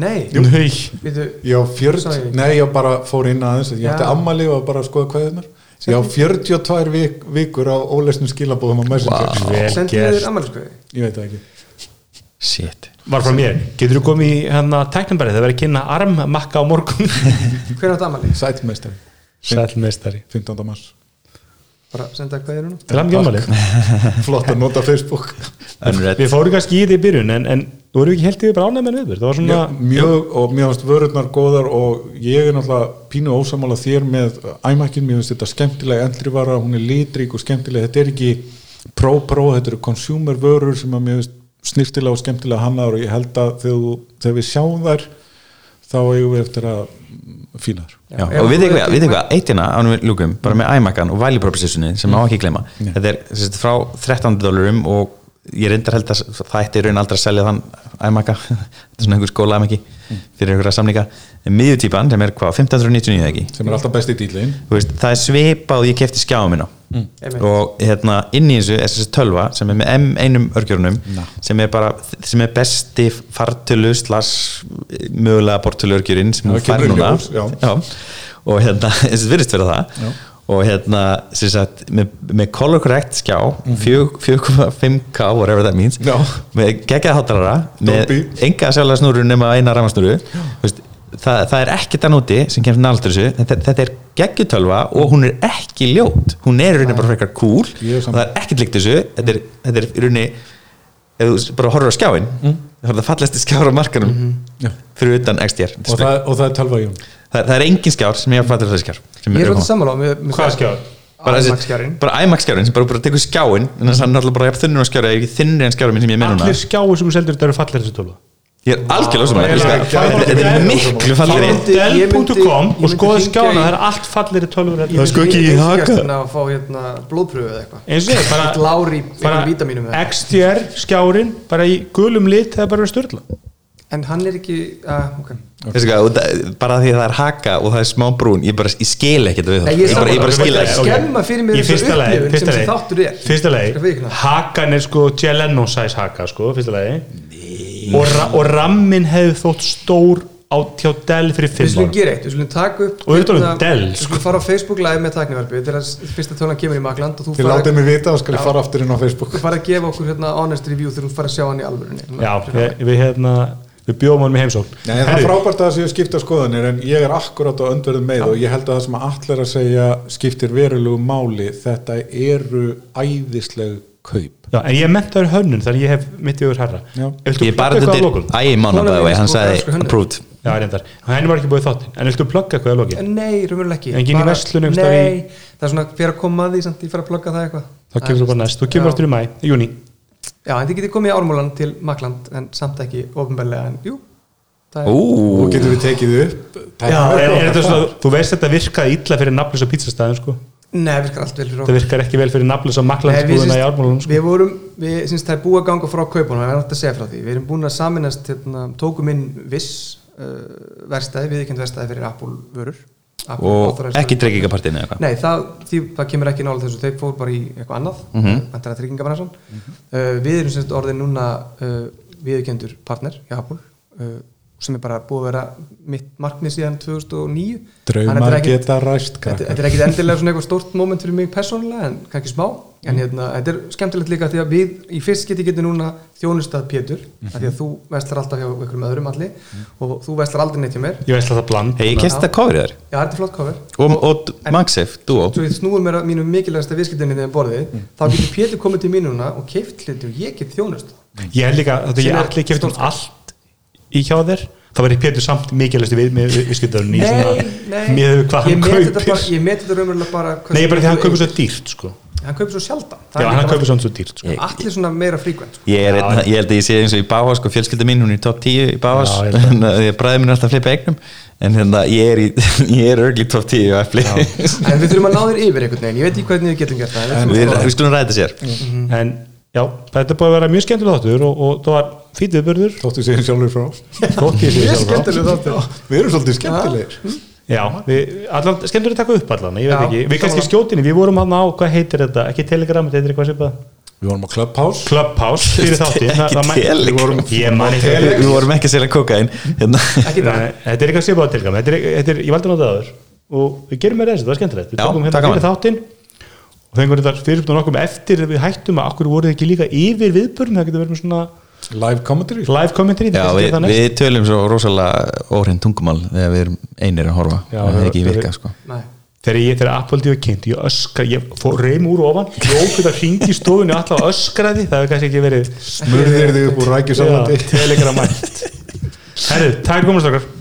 Speaker 4: Nei,
Speaker 2: Nei,
Speaker 4: Veitu,
Speaker 5: Ég á 40,
Speaker 4: Sorry.
Speaker 5: nei ég bara fór inn aðeins Ég
Speaker 4: Já.
Speaker 5: átti ammali og var bara að skoða kveðunar Ég á 42 vik, vikur á ólesnum skilabóðum á Messenger
Speaker 2: vel
Speaker 4: sendi ég þér
Speaker 2: gert
Speaker 4: ammæliskveði
Speaker 5: Ég veit það ekki
Speaker 3: shit
Speaker 2: var frá mér, getur þú komið í hérna tæknumberið, það verið að kynna armmakka á morgun
Speaker 4: Hver átt ammæli?
Speaker 5: Sætmeistari,
Speaker 2: sælmeistari
Speaker 5: 15. mars
Speaker 4: Bara senda kveðið núna
Speaker 2: Til hamingju afmælið.
Speaker 5: Flott að nota Facebook
Speaker 3: önnur rétt
Speaker 2: Við fórum kannski í því í byrjun en, en þú eru ekki held yfir bránað með nöður Það var svona,
Speaker 5: Já, Mjög, og mér finnst vörurnar góðar og ég er náttúrulega pínu ósamála þér með æmakkin, mér finnst þetta skemmtilega endrivara, hún er litrík og skemmtilega þetta er ekki pró-pró, þetta eru consumer vörur sem að mér finnst snirtilega og skemmtilega hannaður og ég held að þegar, þú- þegar við sjáum þær þá eigum við eftir að fínar
Speaker 3: Já,
Speaker 4: Ef
Speaker 3: og við
Speaker 4: þú
Speaker 3: eitthvað,
Speaker 4: ert
Speaker 3: við
Speaker 4: í-
Speaker 3: eitthvað, eittina ánum við lúkum, bara með iMac-an og value propositioni sem má ekki gleyma þetta er sem sagt, frá 13 dólarum og ég reyndar held að það ætti í raun aldrei að selja þann iMac-a, þetta er svona einhver skóla iMac-i fyrir einhverja samlinga miðjutýpan sem er hvað, 1599 eða ekki
Speaker 5: sem er alltaf besti dýlin
Speaker 3: Þú veist, það er svipað og ég kefti skjáum minna
Speaker 5: Mm.
Speaker 4: Einmitt.
Speaker 3: og hérna inn í þessu SS12 sem er með M1 örgjörnum sem er bara, sem er besti fartölu slags mögulega bortölu örgjörinn sem
Speaker 5: Já,
Speaker 3: hún fær
Speaker 5: kemur í
Speaker 3: núna
Speaker 5: ljós, já.
Speaker 3: og hérna, þessi virðist vera það og hérna, sem sagt með, með color correct skjá 4.5k, whatever that means
Speaker 5: Mhm. Já.
Speaker 3: með geggjað hátalara með
Speaker 5: Dolby.
Speaker 3: enga sjálflega snúru nema eina ramasnúru veist, það, það er ekkert að núti sem kemst náldur þessu þetta, þetta er geggjutölva og hún er ekki ljót hún er í rauninni bara frekar cool
Speaker 5: Ég er
Speaker 3: og
Speaker 5: sammála.
Speaker 3: það er ekkert líkt þessu þetta er, þetta er í rauninni ef þú s- bara horfur á skjáin þá er það fallast í skjár á markanum
Speaker 5: Já.
Speaker 3: fyrir utan XDR það,
Speaker 5: og það, og það er talvægjum
Speaker 3: það, það er engin skjár sem ég hef fattur þessi skjár sem
Speaker 4: Ég er
Speaker 3: eru
Speaker 4: svolítið
Speaker 3: koma.
Speaker 4: sammála mér- mér-
Speaker 2: Hvað skjáður?
Speaker 3: bara,
Speaker 4: IMAX
Speaker 3: þessi,
Speaker 4: skjárinn.
Speaker 3: bara IMAX skjárin sem bara, bara tekur skjáin en það er náttúrulega bara jafn þunnur á skjári eða ekki þunnri en skjári minn sem ég menn
Speaker 2: Allir skjáir sem þú seldur þetta eru fallir þessi tölva
Speaker 3: Ég er algjörlega sem hann
Speaker 5: Ég er algjörlega
Speaker 3: Þetta er miklu fallir
Speaker 4: Ég myndi- ég myndi-
Speaker 2: Dell.com
Speaker 4: ég
Speaker 2: og
Speaker 4: myndi
Speaker 2: skoða
Speaker 4: hringja
Speaker 2: skjána,
Speaker 4: í-
Speaker 2: það er allt hérna. fallir tölvur
Speaker 4: Ég
Speaker 2: eins
Speaker 4: vil-
Speaker 3: ekki
Speaker 4: ég vil
Speaker 3: í haka.
Speaker 4: skjárstuna að fá hérna blóðpröfu eða eitthvað
Speaker 2: og ég, bara,
Speaker 4: Glár í einhverjum vítamínum hérna.
Speaker 2: bara
Speaker 4: eða
Speaker 2: XDR skjárin bara í gulum lit það er bara styrla
Speaker 4: en hann er ekki uh, okay.
Speaker 3: Veistu hvað, og það- bara því að það er haka og það er smá brún ég bara ég skil ekkert við það
Speaker 4: Nei, ég
Speaker 3: ég bara, ég bara
Speaker 4: sammála.
Speaker 3: skil
Speaker 4: Ég
Speaker 3: ekkert
Speaker 4: skemma fyrir mér
Speaker 2: Í
Speaker 4: þessa
Speaker 2: fyrsta lagi-
Speaker 4: upplifun sem
Speaker 2: fyrsta
Speaker 4: þessi
Speaker 2: lagi-
Speaker 4: þáttur er.
Speaker 2: fyrsta
Speaker 4: Skal
Speaker 2: lagi,
Speaker 4: viðurkenna.
Speaker 2: hakan er sko Jeleno size haka sko, fyrsta lagi og, ra og rammin hefði þótt stór á tjá Dell fyrir
Speaker 4: við
Speaker 2: fimm
Speaker 4: skulum
Speaker 2: ára
Speaker 4: gera eitt, við skulum taka upp
Speaker 2: Og við erum talað um
Speaker 4: hérna,
Speaker 2: Dell,
Speaker 4: við skulum fara á Facebook live með taknivarpi þetta er að fyrsta tónan kemur í Magland og þú
Speaker 5: þið
Speaker 4: fara-
Speaker 5: látið mig vita og skal ég
Speaker 4: Já.
Speaker 5: fara aftur inn á Facebook
Speaker 4: þú fara að gefa okkur hérna honest review þegar þú fara að sjá hann í alvörunni
Speaker 2: já, ég, við hérna við bjóðum hann með heimsókn
Speaker 5: Nei, það er
Speaker 2: Herri,
Speaker 5: frábært að það séu skipta skoðanir en ég er akkurát á öndverðum með og ég held að það sem allir að segja skiptir verulegu máli þetta eru æðisleg kaup
Speaker 2: já, en ég mentaður hönnun þar ég hef mitt yfir herra
Speaker 5: Já.
Speaker 2: Viltu
Speaker 3: ég
Speaker 2: plugga
Speaker 3: bara
Speaker 2: eitthvað
Speaker 3: þetta
Speaker 2: að lokum?
Speaker 3: er æg mánu
Speaker 4: Konan mín
Speaker 3: bæði
Speaker 4: er
Speaker 3: hann
Speaker 4: sko
Speaker 3: sagði
Speaker 4: franskur hönnur.
Speaker 3: approved
Speaker 2: Já, reyndar. Henni var ekki búið þáttinn. En viltu plugga eitthvað að loki?
Speaker 4: En nei, raunverulega ekki
Speaker 2: Engin í
Speaker 4: Bara-
Speaker 2: verslun einhvers staðar í-
Speaker 4: nei, það er svona fyrir að koma að því samt ég fara að plugga það eitthvað
Speaker 2: Þá kemur þú bara næst. Þú kemur
Speaker 4: Já.
Speaker 2: aftur í mæ, í júni.
Speaker 4: já, en þið getið komið í ármúlan til Magland en samt ekki ofnbæðlega en jú það er-
Speaker 5: og
Speaker 3: Ú,
Speaker 5: getum við tekið upp
Speaker 4: Já,
Speaker 2: Er,
Speaker 4: er-
Speaker 2: er þetta svona, þú veist þetta virkaði illa fyrir nafnlis og pizzastæðin, sko.
Speaker 4: nei, virkar allt vel fyrir
Speaker 2: Þetta virkar ekki vel fyrir nafnlis og
Speaker 4: Nei, við
Speaker 2: maklandsbúðina í ármálunum, sko.
Speaker 4: við vorum, við syns það er búið að ganga frá kaupunum, það er náttúrulega að segja frá því við erum búin að saminast, hérna, tókum inn viss uh, verstaði, viðkjönd verstaði fyrir Apple vörur Apple
Speaker 3: og
Speaker 4: authorized-
Speaker 3: ekki dreikingapartin eða eitthvað
Speaker 4: Nei, það, því, það kemur ekki nála þessu, þeir fór bara í eitthvað annað
Speaker 3: Mhm.
Speaker 4: mm -hmm. að tryggingabransan uh, við erum semst orðin núna uh, viðurkendur partner í Apple uh, sem er bara búið að vera mitt markmið síðan 2009 Þannig að þetta er
Speaker 5: draumar
Speaker 4: ekkit-
Speaker 5: geta ræst
Speaker 4: þetta,
Speaker 5: krakkar
Speaker 4: þetta er ekkit endilega svona eitthvað stórt moment fyrir mig persónulega en kannski smá
Speaker 2: Mm.
Speaker 4: en hérna, þetta er skemmtilegt líka því að við í fyrst geti getur núna þjónustað Pétur af
Speaker 2: Mhm.
Speaker 4: því að þú vestlar alltaf hjá einhverjum öðrum allir
Speaker 2: Mm.
Speaker 4: og þú vestlar aldrei neitt hjá mér
Speaker 2: Ég veist að það bland.
Speaker 3: hei, ég kemst þetta coverið þar
Speaker 4: Já, þetta er flott cover
Speaker 3: og, og MagSafe, Duo
Speaker 4: svo ég snúið mér að mínum mikilvægasta viðskiptunni þegar borðið,
Speaker 2: Mm.
Speaker 4: þá getur Pétur komið til mín núna og keift hluti og ég get þjónust
Speaker 2: Ég er líka, þetta ég
Speaker 4: Sem er
Speaker 2: allir kefti um
Speaker 4: stórt.
Speaker 2: allt í hjá þér. Það var í Pétur samt mikilvægst við, með viðskiptarinn í svona, með hvað
Speaker 4: ég
Speaker 2: hann
Speaker 4: met þetta bara,
Speaker 2: kaupir.
Speaker 4: ég met þetta raunverulega bara hversu
Speaker 2: Nei, ég bara því að hann kaupir
Speaker 4: miklu-
Speaker 2: svo dýrt, sko.
Speaker 4: hann kaupir svo sjaldan Það
Speaker 2: Já,
Speaker 4: er
Speaker 2: hann
Speaker 4: líka
Speaker 2: kaupir
Speaker 4: vandamál.
Speaker 2: samt svo dýrt, sko.
Speaker 4: allir svona meira fríkvæmt
Speaker 3: Ég, er, einn- ég held að ég sé eins og í Báhás sko, fjölskylda mín, hún er í top 10 í Báhás
Speaker 2: Já, ég held að.
Speaker 3: þannig að bræði mín er alltaf að flipa eignum en hérna, ég er, í, ég er örgli top 10 í Apple
Speaker 4: sko. en við þurfum að ná þér yfir einhvern veginn ég veit ekki hvernig við getum gert það en
Speaker 3: við,
Speaker 4: við þurfum að-
Speaker 3: við skulum ræða þetta sér
Speaker 2: Mm. Mhm. En já, þetta er búið að vera mjög skemmtilega þáttur og, og það var fítið börður.
Speaker 5: þóttu séu sjálfur frá oss.
Speaker 2: Þótt ég sé
Speaker 4: Mjög
Speaker 2: sjálf á.
Speaker 4: skemmtileg þáttur.
Speaker 5: við erum svolítið skemmtilegir
Speaker 2: Já, við, allan, skemmtur að taka upp allan, ég veit
Speaker 4: Já,
Speaker 2: ekki, við
Speaker 4: sammála.
Speaker 2: kannski skjótinni, við vorum hann á, hvað heitir þetta, ekki Telegram, þetta heitir eitthvað sem bara
Speaker 5: við vorum á Clubhouse
Speaker 2: Clubhouse fyrir þátti
Speaker 3: Ekki Telegram.
Speaker 2: Ég man ekki
Speaker 5: Telegram.
Speaker 3: við vorum ekki að selja kokain hérna.
Speaker 4: ekki það
Speaker 2: Nei, Þetta er eitthvað sem bara Telegram, þetta er, þetta er, ég valdi að nota það áður og við gerum með þessu, það var skemmtilegt Við
Speaker 3: Já,
Speaker 2: tókum hérna
Speaker 3: taka
Speaker 2: fyrir
Speaker 3: hann.
Speaker 2: þáttin og fengum þetta fyrirspunum okkur eftir að við hættum að okkur voruð ekki líka yfir viðbörn, það getur verið með svona
Speaker 5: live commentary
Speaker 2: live commentary,
Speaker 3: Já,
Speaker 2: kannski
Speaker 3: við,
Speaker 2: gerum það næst.
Speaker 3: við tölum svo rosalega óhrein tungumál þegar við erum einir að horfa
Speaker 2: Já,
Speaker 3: það er ekki
Speaker 2: við-
Speaker 3: virka sko.
Speaker 4: Nei.
Speaker 2: þegar ég, þegar Apple TV kynnt, ég öskra ég fór reym úr ofan, ljók þetta hringi í stofunni alltaf öskraði, það hefur kannski ekki verið
Speaker 5: smurðir þig upp úr rækjusalandi
Speaker 2: telegramætt Herru, takk komast okkar